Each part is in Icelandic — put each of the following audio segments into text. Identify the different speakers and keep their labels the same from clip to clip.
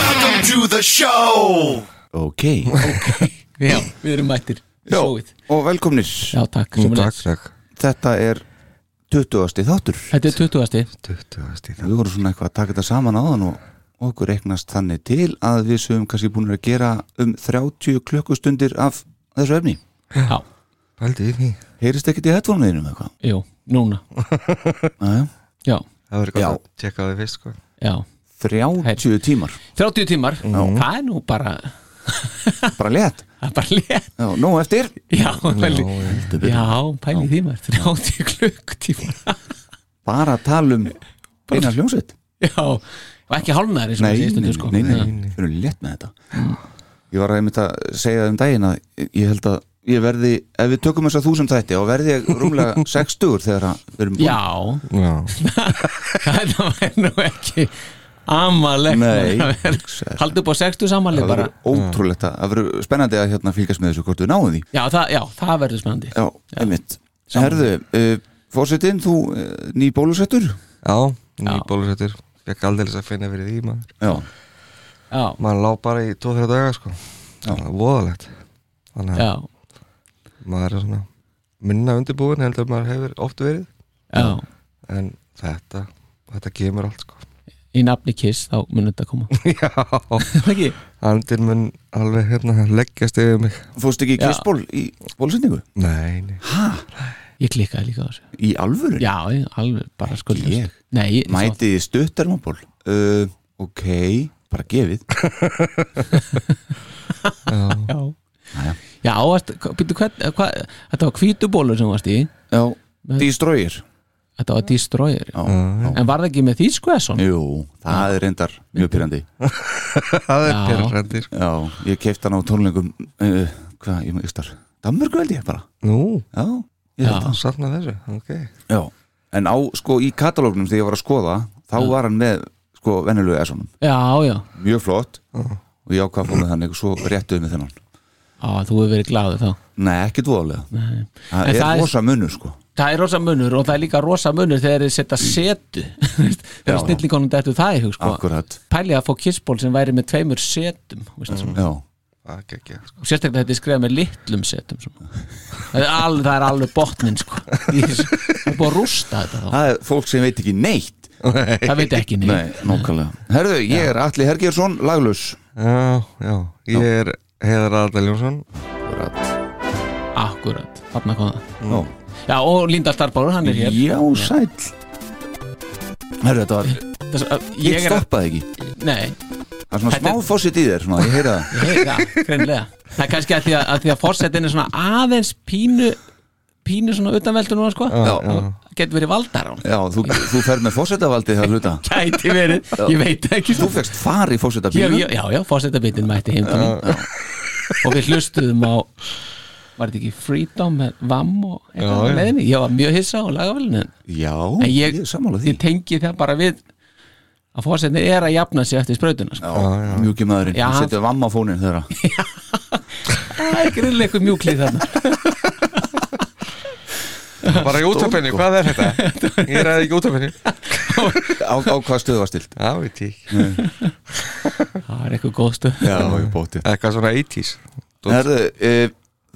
Speaker 1: Welcome to the show
Speaker 2: Ok,
Speaker 3: Já, við erum mættir Sjóið.
Speaker 2: og velkomnir
Speaker 3: Já, takk, sömuleiðis.
Speaker 4: takk
Speaker 2: Þetta er 20. þáttur
Speaker 3: Þetta er 20.
Speaker 4: 20.
Speaker 2: Við vorum svona eitthvað að taka þetta saman áðan og okkur reknast þannig til að við sem kannski búin að gera um 30 klukkustundir af þessu efni
Speaker 3: Já,
Speaker 4: Pældu í því
Speaker 2: Heyrist ekkert í headphone-veginum eitthvað?
Speaker 3: jú, núna
Speaker 2: Jæja.
Speaker 3: Já,
Speaker 4: Það verður gott
Speaker 2: Já.
Speaker 4: að tjekka það fyrst sko
Speaker 3: já
Speaker 2: 30 tímar,
Speaker 3: 30 tímar, það er nú bara
Speaker 2: bara létt
Speaker 3: það er bara létt
Speaker 2: Já, Nó eftir
Speaker 3: Já, pæli, já, pæli því maður 30 klukkutímar
Speaker 2: bara að tala um eina hljómsveit
Speaker 3: Já, og ekki hálfnaður eins og
Speaker 2: Nei, nei,
Speaker 3: við segist
Speaker 2: nei,
Speaker 3: undir sko Mm.
Speaker 2: nei, nei, við erum létt með þetta Ég var að einmitt að segja það um daginn að ég held að ég verði, ef við tökum þess að þú sem þætti og verði ég rúmlega 60 þegar að við erum búin
Speaker 3: Já,
Speaker 4: Já
Speaker 3: þetta var nú ekki amalegt
Speaker 2: Nei,
Speaker 3: Haldi upp á 60 samanlega
Speaker 2: það
Speaker 3: bara
Speaker 2: verður ótrúlegt að það verður spennandi að hérna fylgjast með þessu hvort við náum því
Speaker 3: Já, það, já, það verður spennandi
Speaker 2: Já, einmitt Herðu, uh, fórsetin, þú uh, ný bólusettur
Speaker 4: Já, ný bólusettur Fekk aldeilis að finna fyrir því maður
Speaker 2: Já,
Speaker 3: Já,
Speaker 4: Maður lá bara í 2-3 daga sko Það var voðalegt Þannig
Speaker 3: já,
Speaker 4: að maður er svona minna undirbúin heldur en maður hefur oft verið
Speaker 3: já
Speaker 4: En þetta, þetta kemur allt sko
Speaker 3: Í nafni Kiss, þá munum þetta koma
Speaker 4: Já
Speaker 3: Það ekki?
Speaker 4: Andinn mun alveg hérna leggjast yfir mig
Speaker 2: fórst ekki í
Speaker 3: Já.
Speaker 2: kissból í bólusetningu?
Speaker 4: Nei, nei
Speaker 3: Ég klikkaði líka á þessu
Speaker 2: Í alvöru?
Speaker 3: Já, ég- alveg bara skuldast
Speaker 2: Ég?
Speaker 3: Nei, ég-
Speaker 2: Mætið þið stutt ermaból? Uh, ok, bara gefið
Speaker 3: svo- Já, já varst, byrju, hvern, eh, hva, þetta var hvítubólur sem þú varst í
Speaker 2: Já, destroyer
Speaker 3: Þetta var Destroyer
Speaker 2: Já,
Speaker 3: En var það ekki með sko, þýsku eða svona?
Speaker 2: Jú, það er reyndar mjög pyrrandi
Speaker 4: Það er
Speaker 3: Já.
Speaker 4: perrandi sko
Speaker 2: Já, ég keipta hann á tónlingum uh, Hvað, ég maður star Danmörku held ég bara
Speaker 4: Nú,
Speaker 2: Já, ég held
Speaker 3: Já.
Speaker 2: það
Speaker 4: safna þessu, ok
Speaker 2: Já, en á, sko, í katalógnum þegar ég var að skoða þá var hann með, sko, venjulegu S-unum
Speaker 3: Já, já,
Speaker 2: Mjög flott og ég ákvað fór með þannig og svo réttuðu með þennan
Speaker 3: á, þú hefur verið glæður þá
Speaker 2: Nei, ekki dvoðalega
Speaker 3: Nei. En
Speaker 2: Það er
Speaker 3: það er-
Speaker 2: rosa munur, sko
Speaker 3: Það er rosa munur og það er líka rosa munur þegar þeir setja setu þegar
Speaker 2: Já.
Speaker 3: snillingunum dættu það í hug sko.
Speaker 2: Akkurat,
Speaker 3: Pæli að fá kissból sem væri með tveimur setum veist, mm.
Speaker 2: já
Speaker 4: Það gekkja sko.
Speaker 3: og sérstaklega þetta er skrifað með litlum setum svona. það, er alveg, það er alveg botnin sko. Í þessu- það er búið að rústa þetta þá.
Speaker 2: Það er fólk sem veit ekki neitt
Speaker 3: það veit ekki neitt
Speaker 2: Nei, nákvæmlega Herðu, ég er Atli Hergjörsson, laglaus
Speaker 4: Já, já, ég er Heiðar Adal Jónsson
Speaker 3: akkurat, þarna kom það
Speaker 2: Já,
Speaker 3: Já, og Linda Starbáru, hann er hér
Speaker 2: já sæll Herðu, þetta var
Speaker 3: Þess, að-
Speaker 2: Ég
Speaker 3: ég er að,
Speaker 2: stoppaði ekki
Speaker 3: nei,
Speaker 2: Það er svona
Speaker 3: Þetta er-
Speaker 2: smá fósitt í þér, svona, ég heyra það
Speaker 3: hei, já, greinlega það er kannski að því að, að, því að forsetin er svona aðeins pínu pínu svona utanveldu núna sko
Speaker 2: Já,
Speaker 3: getur verið valdar á hann
Speaker 2: já þú, þú fer með fósettavaldi það hluta
Speaker 3: gæti verið, ég veit það ekki
Speaker 2: Þú fegst far í
Speaker 3: Ég-
Speaker 2: fósettabílum
Speaker 3: ég- já, já, fórsetabitinn mætti heim til mín og við hlustuðum á var þetta ekki Freedom með Vam og eitthvað
Speaker 4: Já,
Speaker 3: á
Speaker 4: já.
Speaker 3: leiðinni ég var mjög hissa á lagafælinu
Speaker 2: Já,
Speaker 3: en
Speaker 2: ég,
Speaker 3: ég,
Speaker 2: er sammála því
Speaker 3: ég tengi það bara við að fórsetin er að jafna sig eftir sprautuna sko.
Speaker 2: Já, mjúki maðurinn,
Speaker 3: Já,
Speaker 2: þú
Speaker 3: hann-
Speaker 2: setja vamm á fónin þeirra
Speaker 3: það er greinlega eitthvað mjúklið þarna
Speaker 4: Bara í útöpenni, hvað er þetta? Ég er ekki útöpenni
Speaker 2: Á, á hvað stöðu var stilt?
Speaker 4: Já, veit ég ekki.
Speaker 3: það er eitthvað góð stöð
Speaker 2: Já, ég bóti
Speaker 4: Eitthvað svona 80s
Speaker 2: Herðu, e,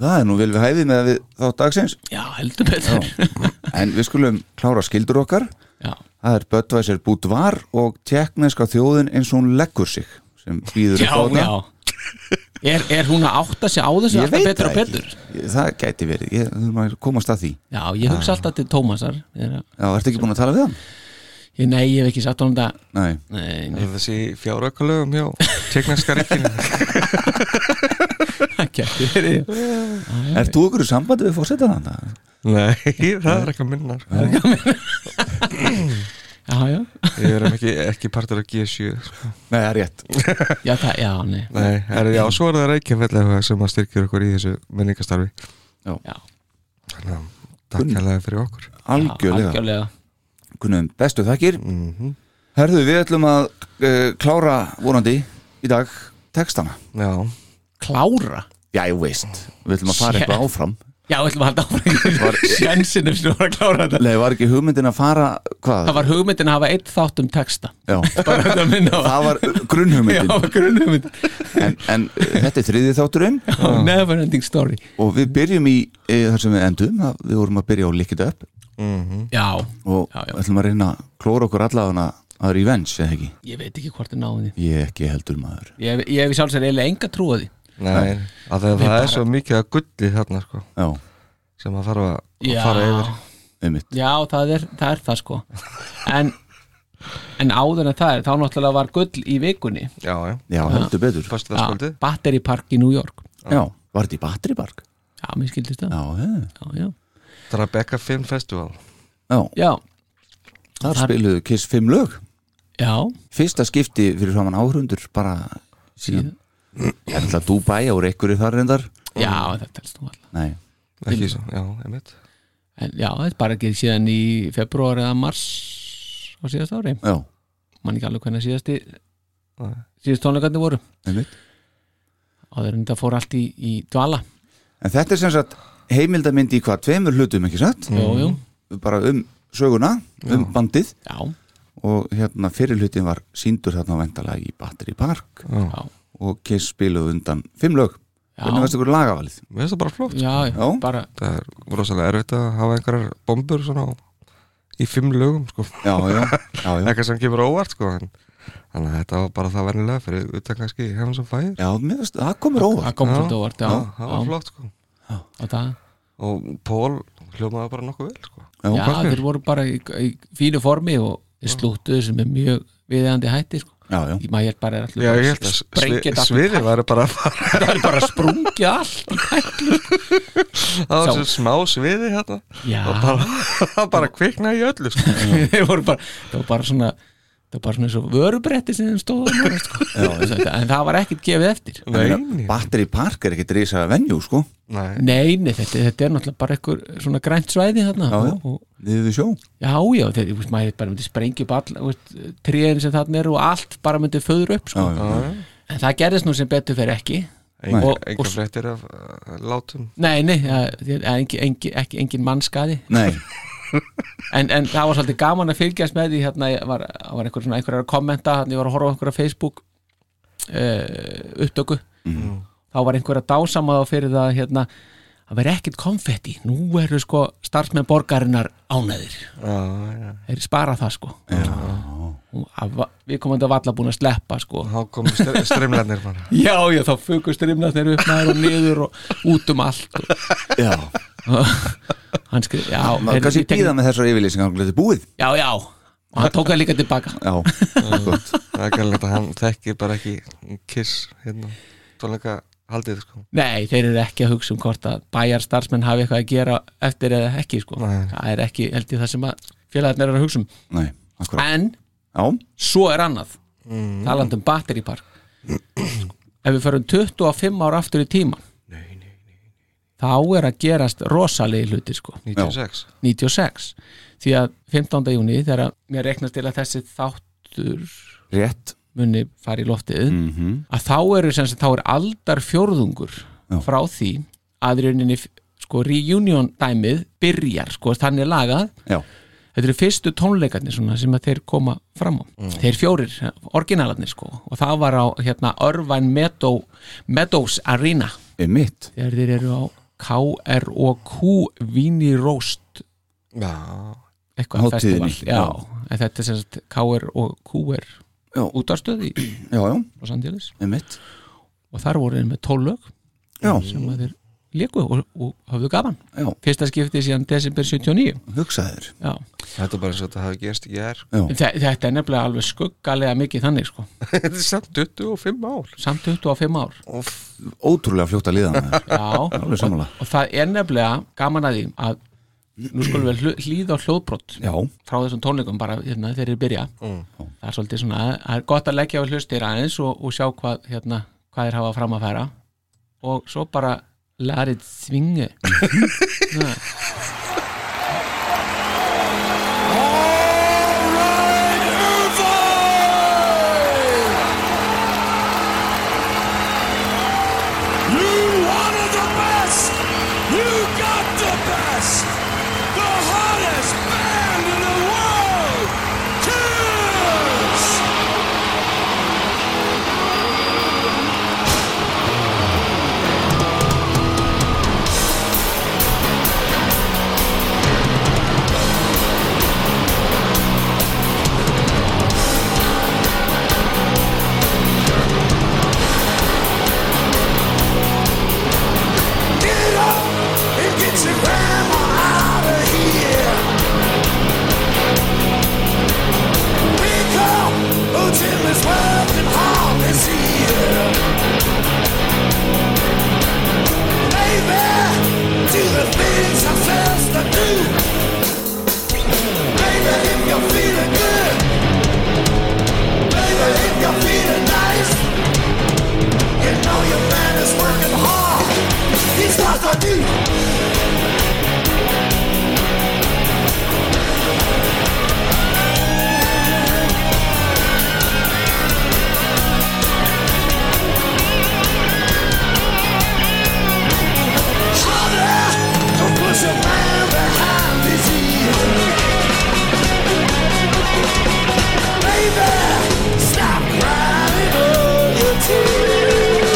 Speaker 2: það er nú vel við hæfið með að við þá dagsins
Speaker 3: já, heldur betur já,
Speaker 2: En við skulum klára skildur okkar Það er Böttvæsir Búdvar og tekneska þjóðin eins og hún leggur sig sem býður
Speaker 3: já,
Speaker 2: upp á
Speaker 3: já.
Speaker 2: það
Speaker 3: er, er hún að átta sig á þessu
Speaker 2: Ég
Speaker 3: alltaf
Speaker 2: veit
Speaker 3: betur og
Speaker 2: það
Speaker 3: betur
Speaker 2: ekki Ég- Það gæti verið, ég þurfum að komast að því
Speaker 3: já, ég hugsa
Speaker 2: Ah.
Speaker 3: alltaf til Tómasar ég, er að-
Speaker 2: Já, ertu ekki búin að tala við hann?
Speaker 3: ég, nei, ég hef ekki sagt honum þetta
Speaker 2: Nei,
Speaker 3: nei, nei,
Speaker 5: Er þessi fjáraukalögum hjá Tjegnarska ríkinu
Speaker 3: það gæti verið.
Speaker 2: ert þú okkur í sambandi við fórsetan hann?
Speaker 5: Nei, það er ekki að minna sko.
Speaker 3: já, já,
Speaker 5: Við erum ekki, ekki partur af G7 sko.
Speaker 2: Nei, það er rétt
Speaker 3: já, það, já, nei
Speaker 5: Nei, er, já, svo er það Reykjavík sem að styrkir okkur í þessu minningastarfi
Speaker 3: já,
Speaker 5: Þannig að takk hérlega fyrir okkur
Speaker 2: Algjörlega,
Speaker 3: algjörlega.
Speaker 2: kunnum bestu þakkir
Speaker 5: mm
Speaker 2: Herðu, við ætlum að uh, klára vorandi í dag textana
Speaker 5: Já,
Speaker 3: klára
Speaker 2: Já, ég veist, við ætlum að fara
Speaker 3: Shit.
Speaker 2: eitthvað áfram
Speaker 3: já, við ætlum að halda áfram sjensinum sem var að klára þetta
Speaker 2: Nei, var ekki hugmyndin að fara, hvað?
Speaker 3: það var hugmyndin að hafa eitt þátt um texta
Speaker 2: Já,
Speaker 3: bara þetta minna á
Speaker 2: það var
Speaker 3: já,
Speaker 2: grunnhugmyndin
Speaker 3: grunnhugmynd
Speaker 2: En, en eh, þetta er þriðið þátturinn
Speaker 3: never ending story
Speaker 2: og við byrjum í e, þar sem við endum að við vorum að byrja á Lick It Up
Speaker 3: já,
Speaker 2: og
Speaker 3: Já, já.
Speaker 2: ætlum að reyna að klóra okkur allavega að revenge eða ekki
Speaker 3: ég veit ekki hvort er náði
Speaker 2: ég ekki heldur maður
Speaker 3: ég, ég hef í sjálfsögur eiginlega enga trúa því
Speaker 5: nei, að það, það er svo mikið að gulli þarna sko,
Speaker 2: já,
Speaker 5: sem að þarf að að
Speaker 3: já,
Speaker 5: fara yfir
Speaker 2: einmitt
Speaker 3: já það, er, það er það sko en, en áður en það er þá náttúrulega var gull í vikunni
Speaker 5: Já, já,
Speaker 2: já, heldur betur
Speaker 5: fyrst það skvöldi
Speaker 3: Battery Park í New York
Speaker 2: já, var þetta í Battery Park
Speaker 3: já, mér skildist það
Speaker 2: já, eh,
Speaker 3: já, já.
Speaker 5: Drabekka Film Festival
Speaker 2: já
Speaker 3: já,
Speaker 2: þar
Speaker 3: Þar-
Speaker 2: spiluðu Kiss 5 lög
Speaker 3: já,
Speaker 2: fyrsta skipti fyrir framann áhrundur bara síðan ég ætla að Dubai ára einhverju þar reyndar
Speaker 3: já það telst nú alltaf
Speaker 2: nei,
Speaker 5: Ekki svo, já, einmitt
Speaker 3: en já, það er bara ekki síðan í februar eða mars á síðast ári
Speaker 2: já,
Speaker 3: man ekki alveg hvernig síðasti
Speaker 5: Nei.
Speaker 3: síðast tónleikandi voru
Speaker 2: einmitt
Speaker 3: áður en þetta fór allt í, í dvala
Speaker 2: en þetta er sem sagt heimildamind í hvað tveimur hlutum ekki satt
Speaker 5: Mm.
Speaker 3: jú, jú,
Speaker 2: bara um söguna, um bandið
Speaker 3: já,
Speaker 2: og hérna fyrir hlutin var síndur þarna vendala í Battery Park
Speaker 3: já,
Speaker 2: og Kiss spiluð undan fimm lög
Speaker 3: Já.
Speaker 2: hvernig varst ykkur lagavalið
Speaker 5: Mér finnst það bara flott
Speaker 3: já, já.
Speaker 2: Já.
Speaker 3: bara
Speaker 5: Það er rosalega erfitt að hafa einhverjar bombur svona á, í fimm lögum sko.
Speaker 2: já, já, já, já.
Speaker 5: eitthvað sem kemur á óvart sko. en, Þannig að þetta var bara það vennilega fyrir utan kannski hefum sem fæðir
Speaker 2: já mér varst, það komur óvart
Speaker 3: það kom
Speaker 5: Já.
Speaker 3: svolítið óvart já,
Speaker 5: það var flott sko.
Speaker 3: og það,
Speaker 5: Og Pól hljómaði bara nokkuð vel sko.
Speaker 2: Já,
Speaker 3: já,
Speaker 5: hvað
Speaker 3: þeir voru bara í, í fínu formi og slúttuðu sem er mjög viðeigandi hætti sko.
Speaker 2: já, já,
Speaker 3: ég maður held bara er
Speaker 5: Já,
Speaker 3: allir
Speaker 5: ég
Speaker 3: bara
Speaker 5: held að
Speaker 3: sprengja
Speaker 5: svi-
Speaker 3: þetta
Speaker 5: sviðið væri bara að fara
Speaker 3: allt- það er bara að sprungja allt í kæklu
Speaker 5: Það var
Speaker 3: Sjá.
Speaker 5: svo smá sviði hérna
Speaker 3: já,
Speaker 5: og bara, það bara kviknaði í öllu sko.
Speaker 3: þeir voru bara það var bara svona það var bara svona eins og vörubretti sem þeim stóðu á núna, sko. Þetta- en það var ekkert gefið eftir
Speaker 5: Nei,
Speaker 2: Battery Park er ekkert reysa venjú sko
Speaker 5: nei
Speaker 3: nei, nei þetta, þetta er náttúrulega bara eitthvað svona grænt svæði þarna
Speaker 2: Já, já.
Speaker 3: og, og
Speaker 2: niður við sjó
Speaker 3: Já, já, þeir, þú veist, maður bara myndi sprengja upp all, tríðin sem þarna eru og allt bara myndi föður upp, sko.
Speaker 2: Já, já.
Speaker 3: En það gerðist nú sem betur fyrir ekki.
Speaker 5: Enga,
Speaker 3: Og-
Speaker 5: enga
Speaker 3: og-
Speaker 5: fréttir af uh, látum
Speaker 3: Nei, nei, það- það er engi, engi, ekki engin mannskaði.
Speaker 2: nei,
Speaker 3: En, en það var svolítið gaman að fylgjast með því, hérna ég var, það var einhver svona einhverjar að kommenta, hérna ég var að horfa á einhverja Facebook uh, upptöku.
Speaker 2: Mhm.
Speaker 3: Þá var einhver að dásama þá fyrir það, hérna, það verði ekkert konfetti. Nú eru sko starfsmenn borgarinnar ánæðir.
Speaker 5: Já, já
Speaker 3: Þeir spara það, sko. Já. Við komum þetta valla búin að sleppa, sko.
Speaker 5: Þá komu streimlarnir bara
Speaker 3: Já, já, þá fugust rimnarnir upp maður og niður og út um allt og,
Speaker 2: já
Speaker 3: hann skrif, já,
Speaker 2: maður
Speaker 3: heyrðu,
Speaker 2: kannski
Speaker 3: ég tek-
Speaker 2: býða með þessar yfirlýsingar þetta er búið
Speaker 3: Já, já, og hann tók það líka tilbaka
Speaker 2: já, gott
Speaker 5: Það er gæmlega að hann þekki bara ekki kiss hérna tónleika haldið sko
Speaker 3: Nei, þeir eru ekki að hugsa um hvort að bæjarstarfsmenn hafi eitthvað að gera eftir eða ekki, sko
Speaker 5: Nei.
Speaker 3: Það er ekki, held ég, það sem að félagarnir eru að hugsa um
Speaker 2: nei, akkurat
Speaker 3: En,
Speaker 2: já,
Speaker 3: svo er annað mm. talandi um batteripark Ef við förum 25 ár aftur í tíma Þá er að gerast rosalegi hluti, sko
Speaker 5: 96
Speaker 3: 96 því að 15. júni þegar að mér reiknast til að þessi þáttur
Speaker 2: rétt
Speaker 3: munni fara í loftið
Speaker 2: Mhm.
Speaker 3: að þá eru sem sagt, þá er aldar fjórðungur frá því að í rauninni f- sko reunion dæmið byrjar sko þannig lagað
Speaker 2: já,
Speaker 3: þetta eru fyrstu tónleikarnir svona sem að þeir koma fram á þeir fjórir, orginalarnir sko og það var á hérna Irvine Meadow, Meadows Arena
Speaker 2: er mitt
Speaker 3: þegar þeir eru á KROQ Vini Roast
Speaker 5: Já,
Speaker 3: eitthvað
Speaker 2: Hátíðinni,
Speaker 3: festival já, en þetta er sem sagt KR og QR
Speaker 2: Já.
Speaker 3: útarstöð í
Speaker 2: já, já,
Speaker 3: Los Angeles
Speaker 2: er mitt
Speaker 3: og þar voru þeir með 12 lög
Speaker 2: já,
Speaker 3: sem að þeir leku og, og hafðu gaman
Speaker 2: já,
Speaker 3: fyrsta skipti síðan desember 79
Speaker 2: hugsaður
Speaker 3: já.
Speaker 5: Þetta er bara eins og þetta hafi gerst í gær
Speaker 2: já,
Speaker 3: En þe- þetta er nefnilega alveg skuggalega mikið þannig sko
Speaker 5: Þetta er samt 25 ár
Speaker 3: samt 25 ár
Speaker 2: ótrúlega fljótt að liða maður.
Speaker 3: já,
Speaker 2: alveg sammála.
Speaker 3: og, og það er nefnilega gaman að því að nú skulum við hlu- hlýða á hljóðbrott
Speaker 2: já,
Speaker 3: frá þessum tónleikum bara hérna, þegar þeir byrja það er svolítið svona, það er gott að leggja á hlustir aðeins og, og sjá hvað hérna, hvað þeir hafa fram að færa og svo bara larið svingu
Speaker 1: You wanted the best! You got the best! The hottest band in the world! Kiss! Get up and get your grandma out of here! Wake up! Oh, Jim is working hard this year! Baby, do the things I'm supposed to do! Baby, if you're feeling good! Baby, if you're feeling nice! You know your man is working hard. He's got the new. Honey, don't push a man behind his ear. Baby, stop crying all your tears.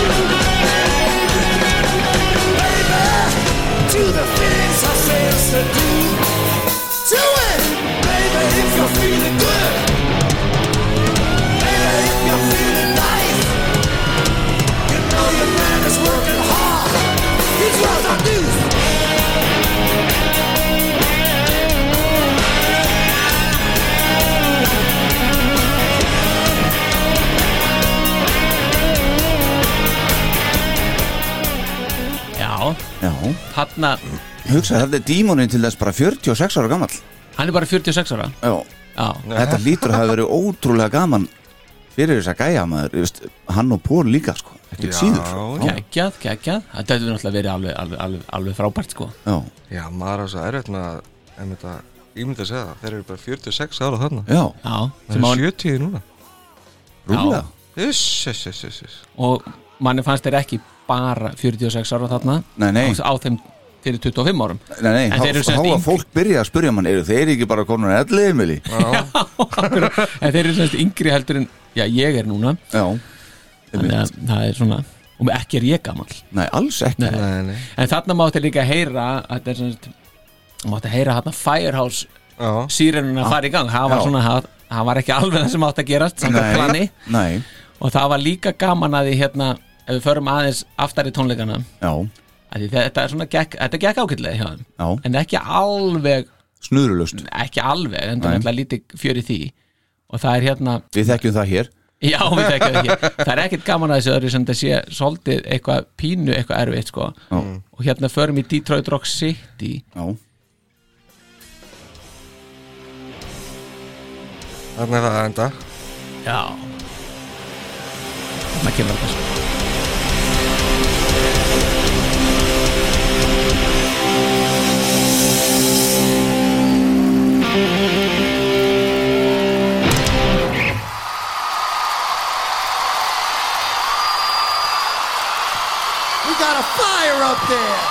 Speaker 1: Baby, do the things I says to do. Do it, baby, if you're feeling good. Baby, if you're feeling nice. You know your man is working hard. He's what I do.
Speaker 3: já,
Speaker 2: já
Speaker 3: þarna
Speaker 2: hugsaður, þetta er dímonin til þess bara 46 ára gamall
Speaker 3: hann er bara 46 ára
Speaker 2: já,
Speaker 3: já,
Speaker 2: þetta lítur að hafa verið ótrúlega gaman fyrir þess að gæja maður ég veist, hann og Pól líka sko, ekkert síður sko.
Speaker 5: já.
Speaker 3: geggjað, geggjað þetta hefur náttúrulega verið alveg, alveg, alveg, alveg frábært sko
Speaker 2: já,
Speaker 5: já, maður er svo erfitt með að einmitt að, ég myndi að segja það, þeir eru bara 46 ára þarna
Speaker 2: já,
Speaker 3: já,
Speaker 5: Þeir
Speaker 3: sem á
Speaker 5: eru 70 núna
Speaker 2: rúlega
Speaker 5: Uss, uss, uss, uss, uss
Speaker 3: og manni fannst þeir ekki bara 46 ára þarna
Speaker 2: Nei, nei.
Speaker 3: á, á þeim fyrir 25 árum
Speaker 2: Nei, nei,
Speaker 3: En
Speaker 2: þá
Speaker 3: þeir eru
Speaker 2: þá
Speaker 3: sem sagt
Speaker 2: að
Speaker 3: yngri.
Speaker 2: fólk byrja að spyrja mann eru þeir ekki bara konar elli emili
Speaker 3: en þeir eru semst yngri heldur en já, ég er núna
Speaker 2: Já,
Speaker 3: þannig að það er svona og ekki er ég gamall
Speaker 2: nei, alls ekki
Speaker 3: Nei.
Speaker 5: Nei, nei,
Speaker 3: en þarna mátti líka heyra þetta er semst mátti heyra þarna Firehouse
Speaker 5: já,
Speaker 3: sírenuna fara í gang það var
Speaker 2: Já.
Speaker 3: svona það, það var ekki alveg það sem átti að gerast samkvæmt plani
Speaker 2: nei,
Speaker 3: og það var líka gaman að því hérna ef við förum aðeins aftar í tónleikana
Speaker 2: já,
Speaker 3: að því þetta er svona gekk, þetta gekk ákveðlega hjá þeim
Speaker 2: já,
Speaker 3: en ekki alveg
Speaker 2: snurulust
Speaker 3: ekki alveg, en
Speaker 2: Nei.
Speaker 3: það er náttúrulega lítið fjör í því og það er hérna,
Speaker 2: Við þekkjum það hér
Speaker 3: já við þekkjum það ekki það er ekkert gaman að þessu öðru sem það sé svolítið eitthvað pínu eitthvað erfitt sko
Speaker 2: Já,
Speaker 3: og hérna förum í Detroit Rock City
Speaker 2: já,
Speaker 5: þarna er það að enda
Speaker 3: já þarna kemur þetta sko.
Speaker 1: We got a fire up there.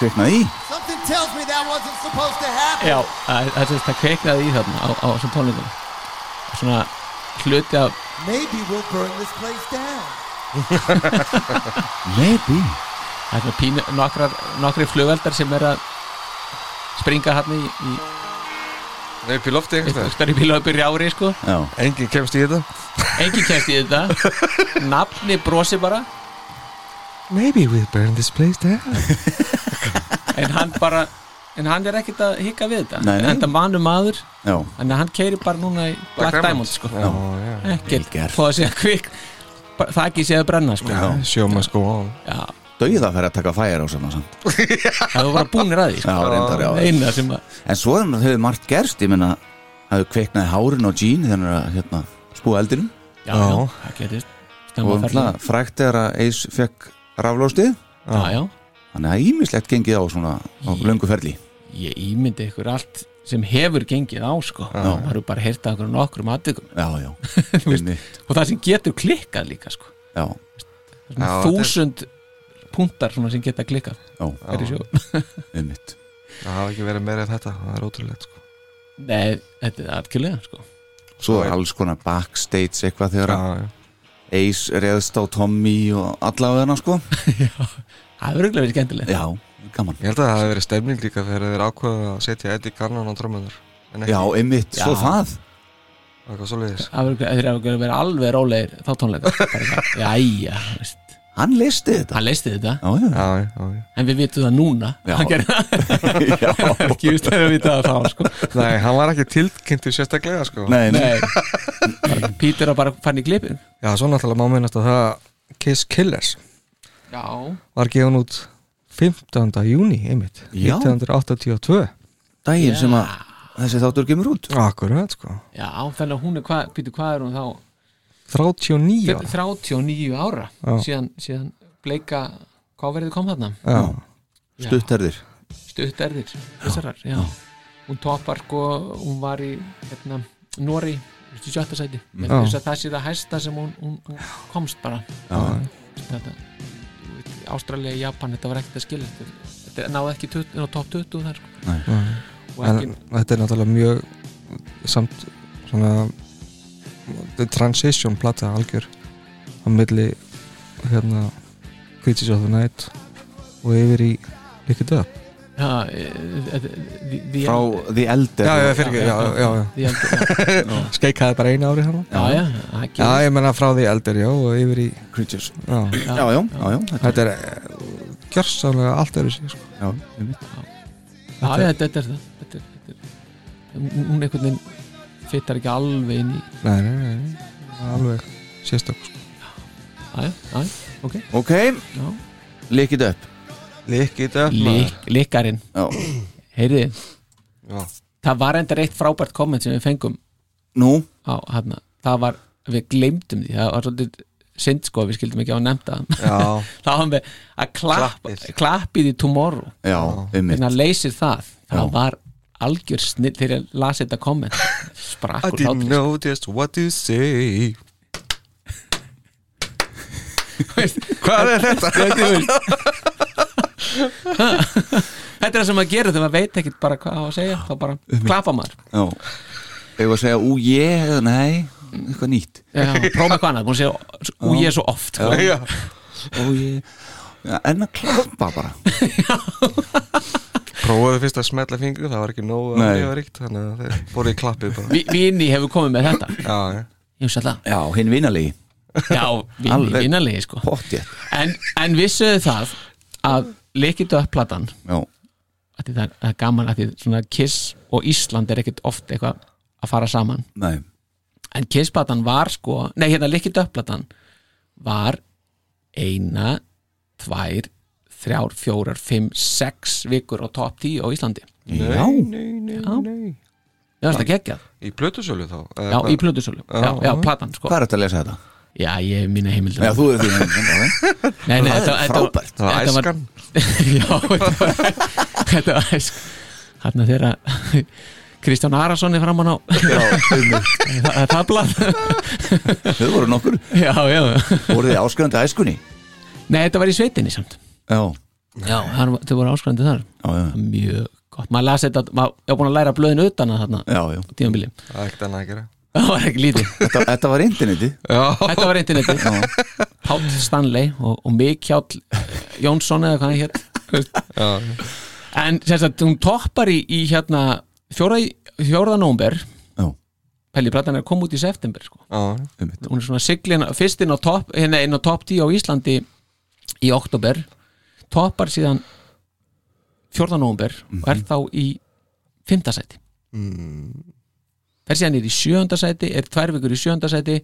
Speaker 2: kveiknaði í
Speaker 1: Something tells me that wasn't supposed to happen.
Speaker 3: já, það það sem sagt, það kveiknaði í þarna á, á þessum tónleikum Og svona hluti af
Speaker 1: Maybe we'll burn this place down.
Speaker 2: Maybe
Speaker 3: það er svona pínu nokkrar, nokkri flugveldar sem er að springa hérna í, í
Speaker 5: Nei, upp í lofti einhvers
Speaker 3: Þú
Speaker 5: veginn
Speaker 3: stær í bíla upp í rjári sko
Speaker 2: Já,
Speaker 5: Engin kemst í þetta
Speaker 3: Engin kemst í þetta Nafni brosi bara
Speaker 5: Maybe we'll burn this place down
Speaker 3: En hann bara En hann er ekkert að hika við þetta
Speaker 2: Nei, nei.
Speaker 3: En þetta manu maður
Speaker 2: já,
Speaker 3: Þannig að hann keiri bara núna í Black, Diamond sko
Speaker 5: Já, já
Speaker 3: Ekkert
Speaker 2: gert.
Speaker 3: Þó að segja kvik Það ekki séð að brenna sko Já,
Speaker 5: Show must go on
Speaker 2: dauða fyrir að taka fæjar á saman samt
Speaker 3: það var bara búnir að því sko
Speaker 2: Já, reyndar,
Speaker 3: Það
Speaker 2: já
Speaker 3: eina sem að
Speaker 2: En svo hefur hefur margt gerst, ég meina hafðu kveiknaði hárin á Jean þegar hann er að hérna, spúa eldinum
Speaker 3: Já, já, það getist
Speaker 2: og
Speaker 3: Stemma að ferða
Speaker 2: náttúrulega frækt er að Ace fekk raflóstið
Speaker 3: Já, já
Speaker 2: þannig að ímislegt gengið á svona á löngu ferli
Speaker 3: Ég ímyndi ykkur allt sem hefur gengið á sko Það eru bara heyrtað okkur nokkrum aðtökum
Speaker 2: Já, já, Einmitt.
Speaker 3: Og það sem getur klikkað líka sko
Speaker 2: já,
Speaker 3: Svona
Speaker 5: Já,
Speaker 3: Þúsund puntar svona sem geta klikkað
Speaker 2: já,
Speaker 3: Hverju sjó
Speaker 2: einmitt
Speaker 5: Það hafa ekki verið meira en þetta Það er ótrúlegt sko
Speaker 3: Nei, þetta er algjörlega sko
Speaker 2: Svo er alls konar backstage eitthvað þegar að
Speaker 5: Já,
Speaker 2: Ace reðst á Tommy og allavega hana sko
Speaker 3: Það er auðvitað verið skemmtilegt
Speaker 2: Já, gaman
Speaker 5: Ég held að það hefði verið stemning líka þegar þeir ákvaða að setja Eddie Garnon á drömmunar En ekki
Speaker 2: Já, einmitt, svo
Speaker 3: Já.
Speaker 2: það
Speaker 5: eitthvað svoleiðis
Speaker 3: Það er auðvitað verið alveg rólegir þá tónleika Bara eitthvað, Jæja, veist.
Speaker 2: Hann listi þetta
Speaker 3: hann leisti þetta
Speaker 2: Já, já,
Speaker 5: Já, já, já
Speaker 3: En við vitum það núna
Speaker 2: Já.
Speaker 3: Hann gerði
Speaker 2: já.
Speaker 3: það ekki Just þegar við vitum það þá sko
Speaker 5: Nei, hann var ekki tilkynntur sérstaklega sko
Speaker 2: Nei, nei,
Speaker 3: Nei Bara Peter var bara fann í glipin
Speaker 5: Já, svo náttúrulega má minnast að það Kiss Killers
Speaker 3: Já
Speaker 5: var gefin út 15. júni, einmitt
Speaker 2: Já.
Speaker 5: 1982
Speaker 2: daginn sem að þessi þáttur kemur út
Speaker 5: Akkurat, sko
Speaker 3: Já, þannig að hún er hvað Peter, hvað er hún þá
Speaker 5: 39 ára.
Speaker 3: 39 ára
Speaker 5: Já.
Speaker 3: síðan, síðan bleika hvað verður kom þarna?
Speaker 5: Já,
Speaker 2: Stutterðir
Speaker 3: Stutt erðir Þessarar, já. Hún toppar sko, hún var í hérna, Nóri, í sjötta sæti Mér
Speaker 5: Mm. Já.
Speaker 3: finnst að það sé það hæsta sem hún, hún, hún komst bara
Speaker 2: Já.
Speaker 3: þetta Ástralja, Japan, þetta var ekkert að skilja þetta, þetta náði ekki 20, ná, top 20 þar sko. og ekki,
Speaker 5: en þetta er náttúrulega mjög samt svona the transition plata algjör á milli hérna Creatures of the Night og yfir í Lick It Up
Speaker 3: já, e, e, e, the,
Speaker 2: Frá The Elder
Speaker 5: Já, já, fyrir ekki, já, já, já
Speaker 3: the elder,
Speaker 5: Skeikaði bara einu ári hann
Speaker 3: já, já, já, það
Speaker 5: Já,
Speaker 3: gerist.
Speaker 5: ég menna frá því eldir, já, og yfir í
Speaker 2: Creatures Já, já,
Speaker 5: já.
Speaker 2: já, já, þetta-
Speaker 5: Þetta er eh, gjörsamlega allt öðru sér sko.
Speaker 2: já, einmitt.
Speaker 3: já, já, þetta er það þetta er, þetta er, hún einhvern veginn fyttar ekki alveg inn í
Speaker 5: Nei, nei, nei, nei Alveg sérstök sko.
Speaker 3: já, já, já, ok
Speaker 2: Ok,
Speaker 3: já.
Speaker 2: likið upp
Speaker 5: Lick It Up
Speaker 3: Lík, líkarinn,
Speaker 2: Já.
Speaker 3: heyrði
Speaker 5: Já.
Speaker 3: það var endur eitt frábært komment sem við fengum
Speaker 2: Nú,
Speaker 3: á hana, það var, við gleymdum því það var svolítið synd sko, við skildum ekki á nefnda
Speaker 5: Já,
Speaker 3: það var með að klapp,
Speaker 5: Klappið.
Speaker 3: klappið í tomorrow
Speaker 2: já, Hérna- einmitt
Speaker 3: þannig að leysir það það
Speaker 2: Já.
Speaker 3: var algjör snill þegar ég las þetta komment sprakk
Speaker 5: I
Speaker 3: úr
Speaker 5: didn't
Speaker 3: hlátur
Speaker 5: know just what to say
Speaker 3: Veist,
Speaker 5: Hvað er þetta?
Speaker 3: þetta er- þetta er það sem maður gerir þegar maður veit ekkert bara hvað á að segja þá bara klappa maður
Speaker 2: Já Ég var að segja, ú ég, eða nei Eitthvað nýtt
Speaker 3: Já, prófa eitthvað annað, búin að segja úr ég svo oft sko.
Speaker 5: Já,
Speaker 2: Ó ég Já, En að klappa bara
Speaker 5: prófaðu fyrst að smetla fingri það var ekki nógu
Speaker 2: Nei.
Speaker 5: að lifa ríkt þannig að þeir fóru í klappið bara
Speaker 3: Vi- Vini hefur komið með þetta
Speaker 5: Já, já,
Speaker 3: Ég hugsa það,
Speaker 2: Já, hinn vinalegi
Speaker 3: já, vini,
Speaker 2: Alveg.
Speaker 3: vinalegi sko
Speaker 2: Pottjett
Speaker 3: en, en vissuðu það að leikitu upp platan
Speaker 2: Já,
Speaker 3: að því það er- það er gaman að því svona Kiss og Ísland er ekkert oft eitthvað að fara saman
Speaker 2: nei
Speaker 3: en Kiss platan var sko nei hérna leikitu upp platan var eina tvær, þrjár, fjórar, fimm sex vikur á top 10 á Íslandi
Speaker 2: Já,
Speaker 3: Já, það geggjað,
Speaker 5: í plötusölu þá eða
Speaker 3: já,
Speaker 5: hvað?
Speaker 3: í plöðusölu já, já, platan sko
Speaker 2: hvað er þetta að lesa þetta?
Speaker 3: Já, ég hef mína heimildur
Speaker 2: Já, þú er því Já,
Speaker 3: nei, nei,
Speaker 2: það er
Speaker 3: þetta,
Speaker 2: frábært.
Speaker 3: þetta-
Speaker 5: Það var
Speaker 3: þetta
Speaker 5: æskan
Speaker 3: Já, þetta var- þetta var æsk Þarna þegar að Kristján Arason er framann á
Speaker 2: einmitt.
Speaker 3: það er tablað
Speaker 2: Þau voru nokkur
Speaker 3: Já, já
Speaker 2: Voru þið áskrifandi að æskunni?
Speaker 3: Nei, þetta var í sveitinni samt
Speaker 2: Já,
Speaker 3: Já, þar, þau voru áskrandi þar
Speaker 2: já, já
Speaker 3: Mjög gott, maður las þetta maður ég var búin að læra blöðin utan að þarna
Speaker 2: Já, já
Speaker 3: tímabili,
Speaker 5: Það er ekkert annað að gera
Speaker 3: það var ekki lítið
Speaker 2: Þetta, þetta var interneti
Speaker 5: Já,
Speaker 3: Þetta var interneti Páll Stanley og, og Mikjáll eh, Jónsson eða hvað hann hér
Speaker 5: já,
Speaker 3: En sem sagt, hún toppar í, í hérna fjóra, í- fjóraða nómber
Speaker 2: Já.
Speaker 3: Pelli Platan er að koma út í september sko.
Speaker 4: já,
Speaker 2: einmitt.
Speaker 3: hún er svona siglin fyrst inn á topp hérna inn á topp 10 á Íslandi í oktober toppar síðan 14. november og
Speaker 2: Mhm.
Speaker 3: er þá í 5. sæti
Speaker 2: Mm.
Speaker 3: fer síðan er í 7. sæti er tvær vikur í 7. sæti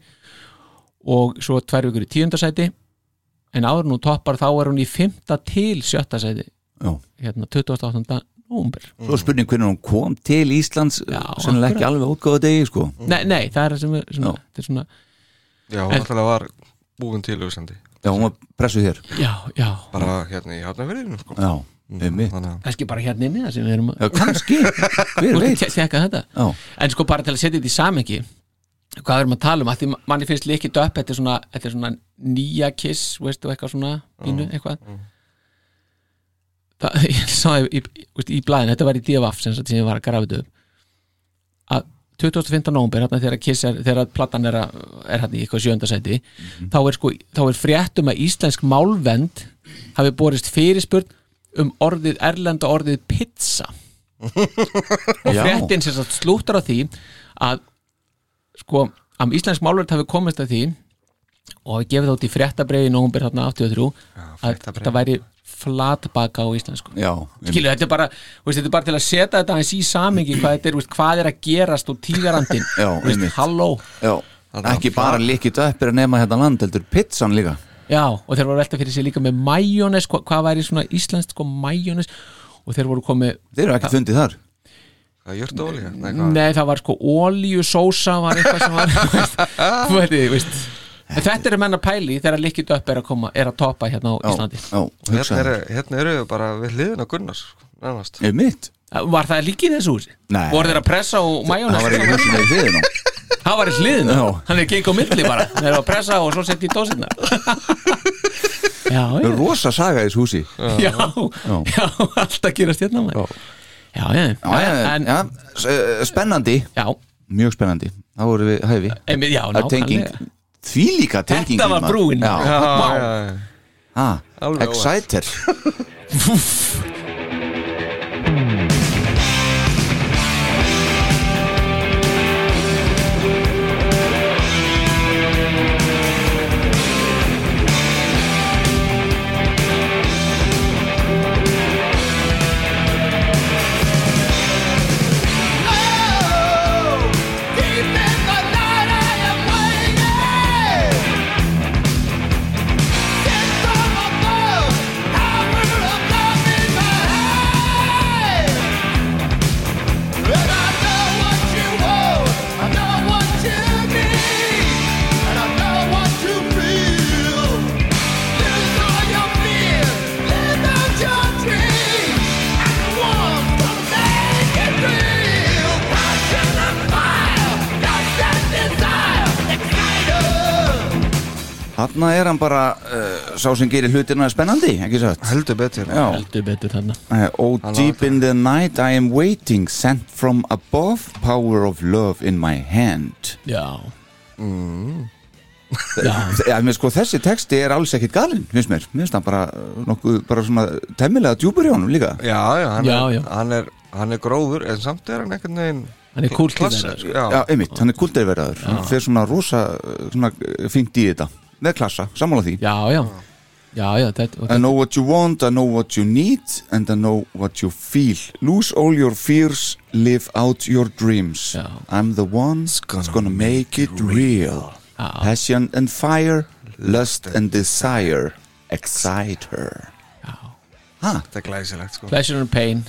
Speaker 3: og svo tvær vikur í 10. sæti en áður en hún toppar þá er hún í 5. til 7. sæti
Speaker 2: Já.
Speaker 3: hérna 28. november
Speaker 2: Svo er spurning hvernig hún kom til Íslands
Speaker 3: Já,
Speaker 2: sennilega ekki alveg útgáða degi sko
Speaker 3: nei, nei, það er það sem er svona,
Speaker 2: Já.
Speaker 3: þetta er svona
Speaker 4: já, hún alltaf var búin til auðsandi,
Speaker 2: Já, hún var pressuð hér
Speaker 3: já, já,
Speaker 4: bara hérna í hafnafyrðinu sko.
Speaker 2: Já, einmitt
Speaker 4: þannig að
Speaker 3: kannski bara hérna inni það sem við erum að
Speaker 2: Já, kannski, hver
Speaker 3: Þú
Speaker 2: veit
Speaker 3: ert að tekka þetta
Speaker 2: Já,
Speaker 3: en sko bara til að setja þetta í samengi hvað við erum að tala um, að því manni finnst líkið upp þetta er svona, þetta er svona nýja kiss veistu, eitthvað svona, pínu, eitthvað það, ég sá í, í, veist, í blæðin, þetta var í divaf sem, sagt, sem ég var að grafa þetta upp að 25. nómber, þarna hérna þegar kiss er, þegar platan er, að, er hann í eitthvað sjöndasæti þá er sko, þá er fréttum að íslensk málvend hafi borist fyrirspurn um orðið erlenda orðið pizza og
Speaker 2: Já.
Speaker 3: fréttin sem sagt slúttar á því að sko að íslensk málverð hafi komist að því og hafi gefið út í fréttabreyfi í nómber þarna 83 að þetta væri flatbaka á íslensku
Speaker 2: já einmitt.
Speaker 3: skilu, þetta er bara, þú veist, þetta er bara til að setja þetta aðeins í samingi hvað þetta er, þú veist, hvað er að gerast og tíðarandin,
Speaker 2: Já,
Speaker 3: Þú veist,
Speaker 2: einmitt.
Speaker 3: halló
Speaker 2: Já, ekki bara líkið upp er að nema hérna land, heldur pizzan líka
Speaker 3: já, og þeir voru velta fyrir sig líka með majónes, hva, hvað væri svona íslenskt sko majónes og þeir voru komið
Speaker 2: Þeir eru ekki fundið þar
Speaker 4: það er jört ólíka nei, hvað?
Speaker 3: Nei, það var sko ólíusósa var eitthvað sem var þú veist, þú veist, þú veist. En þetta er menn að pæli í þegar líkit upp er að koma, er að toppa hérna á Íslandi
Speaker 2: Já, já
Speaker 4: hérna,
Speaker 2: hugsaðu
Speaker 4: eru, hérna eru við bara við hliðin á Gunnars sko, nánast.
Speaker 2: Einmitt
Speaker 3: Var það líka í þessu húsi?
Speaker 2: Nei.
Speaker 3: Voru þeir að pressa og
Speaker 2: Það var
Speaker 3: majónes?
Speaker 2: ekki húsinu í hliðinu
Speaker 3: Það var í hliðinu,
Speaker 2: Já.
Speaker 3: hann er geng á milli bara Þeir eru að pressa og svo setja í dósinna Já,
Speaker 2: Það
Speaker 3: já,
Speaker 2: er rosa saga í þessu húsi
Speaker 3: já, já, alltaf gerast hérna maður Já, já,
Speaker 2: Já, já,
Speaker 3: en,
Speaker 2: já, s- eh, spennandi
Speaker 3: já,
Speaker 2: Mjög spennandi, þá voru við hæfi
Speaker 3: einmitt, já,
Speaker 2: Það er tenging,
Speaker 3: nákvæmlega.
Speaker 2: því líka tenging
Speaker 3: Þetta var brúin.
Speaker 2: Já,
Speaker 4: já, já, já,
Speaker 2: ha,
Speaker 4: Alveg óvænt.
Speaker 2: Exciter Þarna er hann bara uh, sá sem gerir hlutina spennandi, ekki satt?
Speaker 4: heldur betur
Speaker 2: Já,
Speaker 3: Heldur betur þarna
Speaker 2: uh, Oh deep in the night I am waiting Sent from above Power of love in my hand
Speaker 3: Já,
Speaker 2: Já, mér sko þessi texti er alls ekkit galinn finnst mér, mér finnst hann bara eh, nokkuð bara svona temmilega djúpur í honum líka
Speaker 4: já, já, hann,
Speaker 3: Já,
Speaker 4: er,
Speaker 3: já.
Speaker 4: Hann, er, hann er gróður en samt er hann einhvern veginn
Speaker 3: Hann er kúl til
Speaker 4: klassa-
Speaker 3: þeirra, sko.
Speaker 4: já,
Speaker 2: Já, einmitt, hann er kuldeirverðaður hann fer svona rosa eh, svona eh, fínt í þetta með klassa, sammála því
Speaker 3: já, já Já, já, þetta, og
Speaker 2: I know what you want, I know what you need and I know what you feel Lose all your fears, live out your dreams
Speaker 3: Já.
Speaker 2: I'm the one that's gonna, make it real Passion and fire, lust and desire Excite her
Speaker 4: þetta er glæsilegt sko.
Speaker 3: Pleasure and Pain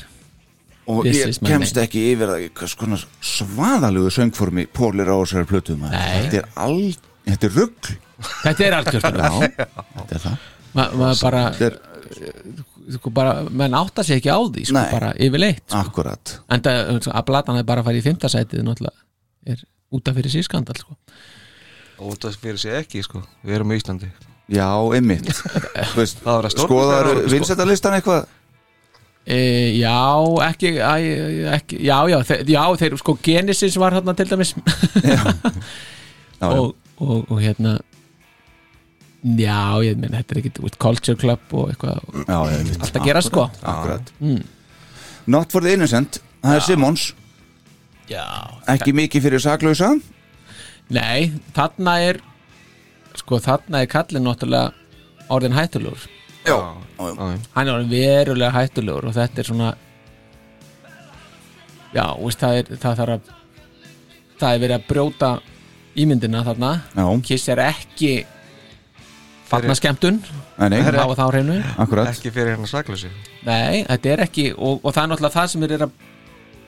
Speaker 2: Og
Speaker 3: This
Speaker 2: ég
Speaker 3: is my
Speaker 2: kemst
Speaker 3: name.
Speaker 2: ekki yfir það hvers konar svaðalugu söngformi Pólir á þessari plötu maður.
Speaker 3: Nei.
Speaker 2: Þetta er all, þetta er rugg
Speaker 3: Þetta er algjört
Speaker 2: Já, þetta er það
Speaker 3: Ma, maður bara,
Speaker 2: Þetta er
Speaker 3: sko, bara menn átta sig ekki á því sko,
Speaker 2: Nei.
Speaker 3: bara yfirleitt
Speaker 2: akkurat
Speaker 3: en það, að platan er bara að fara í fymtasætið náttúrulega er út af fyrir sískandal sko.
Speaker 4: og það fyrir sig ekki sko. við erum í Íslandi
Speaker 2: Já, einmitt Þú veist,
Speaker 4: Það var að stórkostlega
Speaker 2: Skoðar
Speaker 4: árangur, sko.
Speaker 2: vinsættalistan eitthvað
Speaker 3: e, já, ekki, æ, ekki já, já, þe já, þeir sko Genesis var þarna til dæmis
Speaker 2: Já, já.
Speaker 3: og, og, og hérna já, ég meina, þetta er ekki út, Culture Club og eitthvað
Speaker 2: Já, ég veit.
Speaker 3: allt að gera sko
Speaker 2: Akkurat Not for the innocent, það er Simons
Speaker 3: Já,
Speaker 2: Ekki mikið fyrir saklausa
Speaker 3: Nei, þarna er sko þarna er kallinn náttúrulega orðin hættulegur
Speaker 2: Já,
Speaker 3: hann er orðin verulega hættulegur og þetta er svona já, veist, það, er, það þarf að það er verið að brjóta ímyndina þarna
Speaker 2: já,
Speaker 3: Kiss er ekki fatna skemmtun
Speaker 2: Nei, nei,
Speaker 3: þá og þá hreinu
Speaker 2: akkurat
Speaker 5: ekki fyrir hennar saklausi
Speaker 3: Nei, þetta er ekki og, og það er náttúrulega það sem er að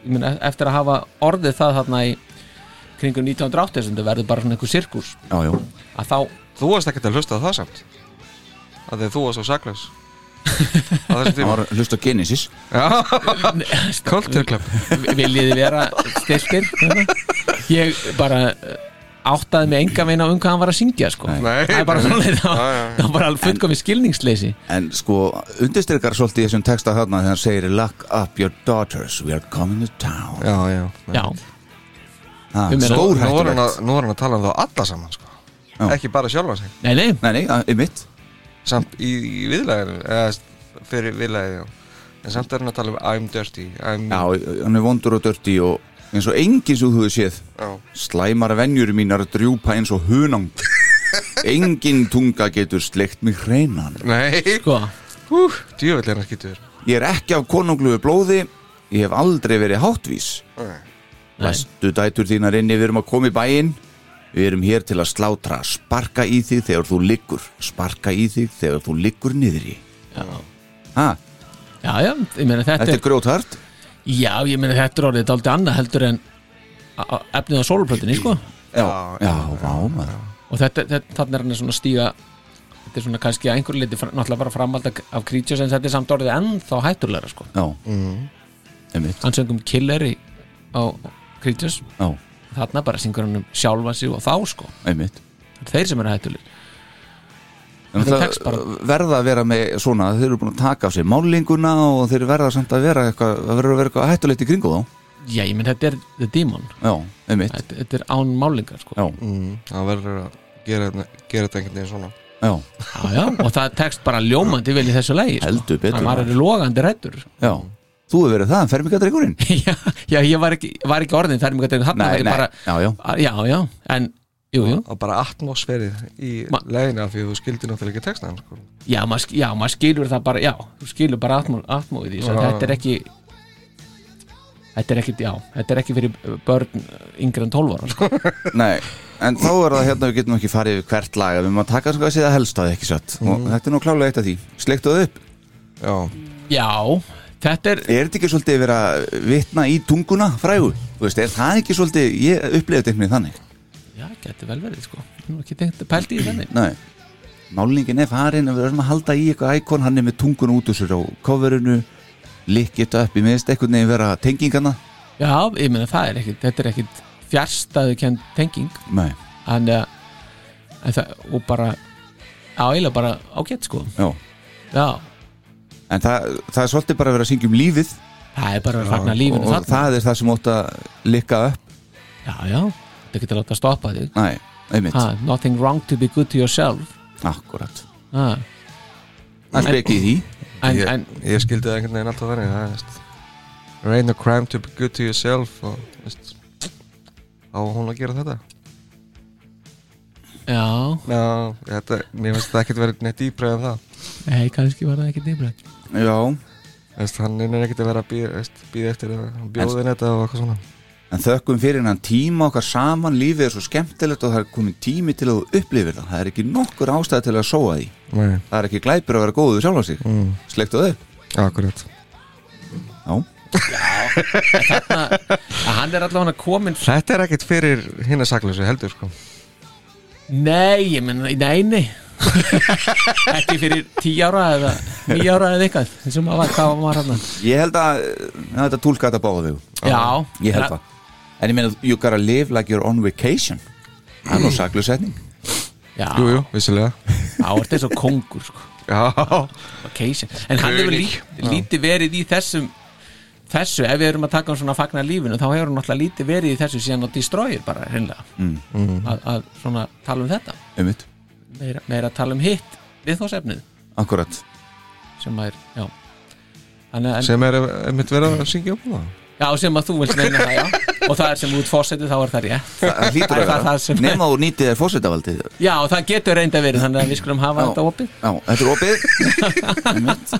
Speaker 3: ég meina, eftir að hafa orðið það þarna í kringum 1980 sem þetta verður bara svona einhver sirkus
Speaker 2: Já, já,
Speaker 3: að þá
Speaker 5: Þú varst ekkert að hlusta á það samt að því að þú varst svo saklaus á þessum
Speaker 2: það
Speaker 5: tíma
Speaker 2: var hlust á Genesis
Speaker 5: Culture Club
Speaker 3: viljiði vera stiltir ég bara eh, áttaði mig enga meina um hvað hann var að syngja sko.
Speaker 5: Nei.
Speaker 3: það er bara svona leið það
Speaker 5: Já, já, já.
Speaker 3: það var bara alveg fullkomið skilningsleysi
Speaker 2: En sko, undirstyrkar svolítið í þessum texta þarna þegar hann segir Lock up your daughters, we are coming to town
Speaker 5: Já, já,
Speaker 3: já,
Speaker 2: Ha,
Speaker 3: Við meina-
Speaker 5: Nú er hann
Speaker 2: Stórhættulegt
Speaker 5: að, nú er hann að tala um þá alla saman sko.
Speaker 2: Já.
Speaker 5: ekki bara sjálfa sig
Speaker 3: nei nei
Speaker 2: Nei, nei, að- einmitt
Speaker 5: samt í, í viðlæðinu eða fyrir viðlæði já. en samt er hann að tala um I'm dirty I'm,
Speaker 2: Já, hann er vondur og dörti og eins og enginn sem þú hefur séð
Speaker 5: Já.
Speaker 2: Slæmar venjur mínar drjúpa eins og hunang Engin tunga getur sleikt mig hreinan
Speaker 5: Nei,
Speaker 3: sko,
Speaker 5: hú, djöfull er hann skýtur
Speaker 2: Ég er ekki af konungluðu blóði Ég hef aldrei verið háttvís Vestu dætur þínar inni Við erum að koma í bæinn Við erum hér til að slátra Sparka í þig þegar þú liggur Sparka í þig þegar þú liggur niðri ha,
Speaker 3: já já, ég meina þetta,
Speaker 2: Þetta er grjóthart
Speaker 3: er já, ég meina þetta er orðið daldið annað heldur en a- a- efnið á sólplötinni sko
Speaker 2: Já, já, vá maður
Speaker 3: og þetta, þetta þannig er hann svona að stíga þetta er svona kannski að einhverju liti náttúrulega bara framhald af- af Creatures en þetta er samt orðið ennþá hættulega sko
Speaker 2: Já, einmitt
Speaker 3: hann söngum Killer í, á Creatures
Speaker 2: Já,
Speaker 3: þarna bara syngur hann um sjálfa sig og þá sko
Speaker 2: einmitt
Speaker 3: Þetta eru þeir sem eru hættulir
Speaker 2: En
Speaker 3: Þetta
Speaker 2: það
Speaker 3: tekst bara.
Speaker 2: verða að vera með svona þeir eru búin að taka af sér málinguna og þeir verða samt að vera eitthvað það verður að vera eitthvað hættulegt í kringu þá
Speaker 3: já ég menn þetta er The Demon
Speaker 2: Já, einmitt
Speaker 3: þetta, þetta er án málingar sko
Speaker 2: Já,
Speaker 5: mm, Það verður að gera, þetta- gera þetta einhvern veginn svona
Speaker 2: já,
Speaker 3: Já, já, og það tekst bara ljómandi vel í þessu lægi sko.
Speaker 2: Heldur betur.
Speaker 3: hann var logandi rættur
Speaker 2: já Þú hefur verið það, fermingadreikurinn
Speaker 3: já, já ég var ekki, var ekki orðin þar mjög að þetta þarna
Speaker 2: Nei,
Speaker 3: þetta er
Speaker 2: nei,
Speaker 3: bara,
Speaker 2: já, já
Speaker 3: já já en jú jú
Speaker 5: og bara atmosfærið í
Speaker 3: Ma-
Speaker 5: læginu af því að þú skildir náttúrulega ekki textaðan sko.
Speaker 3: já maður sk- já, maður skilur það bara já þú skilur bara atmó, atmóið í þessu
Speaker 5: Já.
Speaker 3: þetta er ekki þetta er ekki já þetta er ekki fyrir börn yngri en 12 ára sko.
Speaker 2: Nei, en þá er það hérna við getum ekki farið yfir hvert lag við maður taka sko að séða helstaði ekki satt og þetta er nú klálega eitt af því, sleiktu það upp
Speaker 5: Já,
Speaker 3: já þetta er
Speaker 2: er þetta ekki svolítið verið að vitna í tunguna frægu, þú veist, er það ekki svolítið ég upplifði þetta einhvern veginn
Speaker 3: Já, geti vel verið sko Nú er ekki tengt að pældi í þenni
Speaker 2: þannig Nei, málningin er farin og við erum að halda í eitthvað íkon, hann er með tunguna út úr sér á coverinu likkið þetta upp, ég minnst einhvern veginn vera tengingana
Speaker 3: Já, ég meina það er ekkit Þetta er ekkit fjárstæðu kend tenging
Speaker 2: Nei,
Speaker 3: En, eh, en það, og bara Já, eiginlega bara ágætt sko
Speaker 2: já
Speaker 3: Já,
Speaker 2: En það, það er svolítið bara að vera að syngja um lífið
Speaker 3: það er bara að fagna lífinu
Speaker 2: og
Speaker 3: þarna
Speaker 2: það er það sem ótt að likka upp
Speaker 3: Já, já, þetta getur láta að stoppa þig
Speaker 2: Nei, einmitt,
Speaker 3: ha, Nothing wrong to be good to yourself
Speaker 2: akkurat
Speaker 3: ha,
Speaker 2: Það spekki í því
Speaker 3: en,
Speaker 5: ég,
Speaker 3: en,
Speaker 5: ég skildi það einhvern veginn alltaf þannig það, veist, There ain't no crime to be good to yourself og, veist, á hún að gera þetta
Speaker 3: Já,
Speaker 5: Já, þetta, mér finnst það ekkert verið neitt dýbra en það
Speaker 3: nei, kannski var það ekki nefnilegt
Speaker 2: Já,
Speaker 5: veist, hann er ekkert að vera að býða veist, býða eftir að hann bjóði en... þetta og eitthvað svona
Speaker 2: En þökkum fyrir hennan tíma okkar saman, lífið er svo skemmtilegt og það er komið tími til að þú upplifir það. Það er ekki nokkur ástæð til að sóa því.
Speaker 5: Nei,
Speaker 2: Það er ekki glæpur að vera góðu við sjálfa sig. Mm. Slektu þau.
Speaker 5: akkurat
Speaker 2: Já.
Speaker 3: Að Hann er allavega komin
Speaker 5: Þetta er ekkert fyrir hinn að saklausu heldur sko
Speaker 3: Nei, ég menna, nei, nei Ekki fyrir tíu ára eða níu ára eða eitthvað þessum að var, hvað var maður hann
Speaker 2: Ég held að ja, þetta tólka þetta báða við.
Speaker 3: Já,
Speaker 2: Ég held
Speaker 3: en-
Speaker 2: það. En ég meina, you gotta live like you're on vacation. Það er nú saklu setning.
Speaker 3: Já,
Speaker 5: Jú, jú, vissilega
Speaker 3: þá er þetta svo kongur sko,
Speaker 5: Já,
Speaker 3: vacation En hann hefur lít, lítið verið í þessum þessu, ef við erum að taka um svona fagnar lífinu þá hefur hann alltaf lítið verið í þessu síðan á destroyer bara, hreinlega mm. að, að svona tala um þetta
Speaker 2: Umvitt.
Speaker 3: meira, meira að tala um hitt viðþósefnið
Speaker 2: Akkurat.
Speaker 3: sem maður, já Þannig, að- en,
Speaker 5: sem er einmitt verið að syngja um það
Speaker 3: já, Já, sem að þú vilt meina það, já Og það er sem út fósetti, þá er það rétt
Speaker 2: það hlýtur að
Speaker 3: Það er það
Speaker 2: vera
Speaker 3: sem-
Speaker 2: nema þú nýtið þér fósettavaldið
Speaker 3: Já, og það getur reynda verið, þannig að við skulum hafa þetta opið
Speaker 2: já, þetta er opið Einmitt.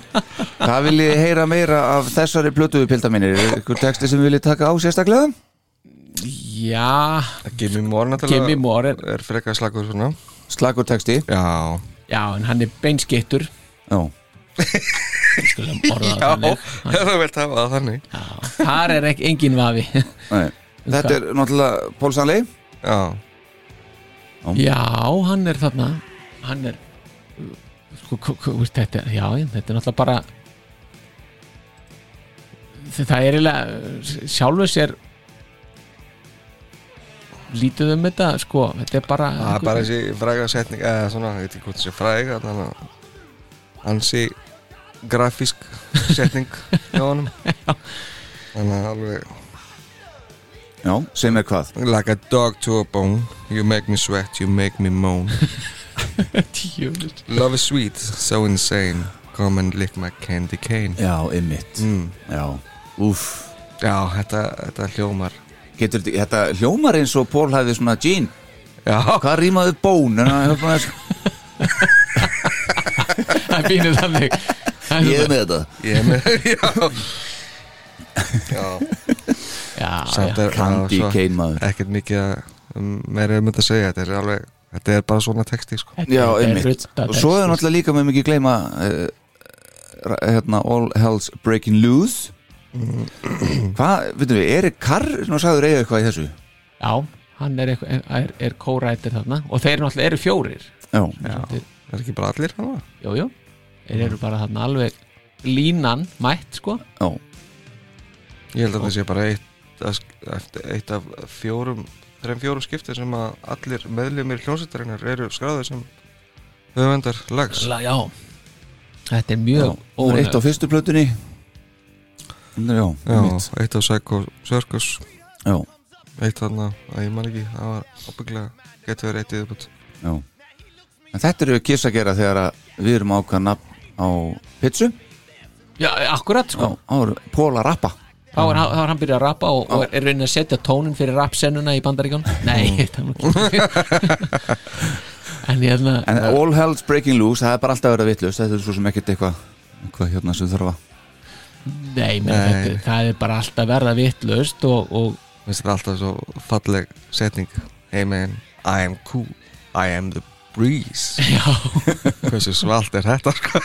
Speaker 2: hvað viljið þið heyra meira af þessari plötu pilda mínir, Er ykkur texti sem við viljið taka á sérstaklega
Speaker 3: Já,
Speaker 5: Gimme More náttúrulega
Speaker 3: Gimme More er-
Speaker 5: er frekar slagur svona
Speaker 2: slagur texti
Speaker 5: Já,
Speaker 3: já, en hann er beinskittur
Speaker 2: já,
Speaker 3: Við skulum orða það
Speaker 5: já
Speaker 3: þannig
Speaker 5: það vilt hafa það þannig
Speaker 3: Já, þar er ekki engin vafi
Speaker 2: nei Þetta er náttúrulega Pól Sannley
Speaker 5: Já,
Speaker 3: Já, hann er þarna Hann er sko, k- k- veist, þetta, er- Já, já, þetta er náttúrulega bara Þa- Það er eiginlega sjálfur sér lítið um þetta sko, þetta er bara
Speaker 5: það er bara þessi fræga setning eða svona, ég veit ekki hvort þessi fræga þannig að hansi grafísk setning hjá honum þannig að alveg
Speaker 2: Já, sem er hvað
Speaker 5: Like a dog to a bone You make me sweat, you make me moan
Speaker 3: djúlut
Speaker 5: Love is sweet, so insane Come and lick my candy cane
Speaker 2: Já, ymmit
Speaker 5: mm.
Speaker 2: Já, úf
Speaker 5: Já, þetta, þetta hljómar
Speaker 2: Getur þetta- þetta hljómar eins og Pól hafði svona Jean,
Speaker 5: Já,
Speaker 2: hvað rýmaðu bón? En hann hefði bara-
Speaker 3: Það er fínir þannig Það
Speaker 2: Ég
Speaker 3: er
Speaker 2: er með þetta
Speaker 5: ég er með Já, já
Speaker 3: svona-
Speaker 5: samt
Speaker 3: Já, já,
Speaker 5: er
Speaker 2: Candy
Speaker 5: já, svo
Speaker 2: cane maður
Speaker 5: Ekkert mikið að- um, meira um þetta að segja Þetta er alveg, þetta er bara svona texti sko.
Speaker 3: Þetta
Speaker 2: Já,
Speaker 3: er
Speaker 2: einmitt
Speaker 3: ruddað
Speaker 2: Og svo er
Speaker 3: texti.
Speaker 2: náttúrulega líka með mikið gleyma uh, hérna, All Hells Breaking Loose
Speaker 5: Mm.
Speaker 2: Hvað, veitum við, Erik Carr nú sagður eiga eitthvað í þessu
Speaker 3: Já, hann er, eitthvað- er, er kórættir þarna og þeir náttúrulega eru fjórir
Speaker 2: Já,
Speaker 5: Já,
Speaker 3: Þetta er-
Speaker 5: er ekki bara allir hana?
Speaker 3: Jú, jú, þeir eru bara þarna alveg línan mætt sko
Speaker 2: já,
Speaker 5: Ég held að það sé bara eitt, að sk- eftir- eitt af fjórum, þreim fjórum skipti sem að allir meðlumir hljónsettarinnar eru skráðið sem höfundar lags.
Speaker 3: La, Já, þetta er
Speaker 2: já. Það er
Speaker 3: mjög
Speaker 2: Eitt á
Speaker 3: ólega
Speaker 2: fyrstu plötunni Þetta er Já,
Speaker 5: Já,
Speaker 2: mitt
Speaker 5: eitt af Psycho Circus,
Speaker 2: Já,
Speaker 5: eitt þarna að ég man ekki, það var ábygglega getur verið eitt yfirbútt.
Speaker 2: já En þetta eru við kiss að gera þegar að við erum ákvað nafn á pizzu
Speaker 3: Já, akkurat
Speaker 2: Já,
Speaker 3: sko
Speaker 2: á eru Pól að rappa
Speaker 3: þá er, hann- þá er hann byrjað að rappa og, og er- er raunin að setja tónin fyrir rapsennuna í bandaríkjón Nei, það er nú ekki En hérna, ég hefna
Speaker 2: En eh, All Hells Breaking Loose, það er bara alltaf að vera vitlust Þetta er svo sem ekkert eitthvað eitthvað hérna sem þarf að
Speaker 3: Nei, menn,
Speaker 5: Nei.
Speaker 3: þetta, það er bara alltaf verða vittlust og, og
Speaker 5: Mér finnst þetta alltaf svo falleg setning. Hey man, I am cool, I am the breeze.
Speaker 3: já
Speaker 5: Hversu svalt er þetta sko?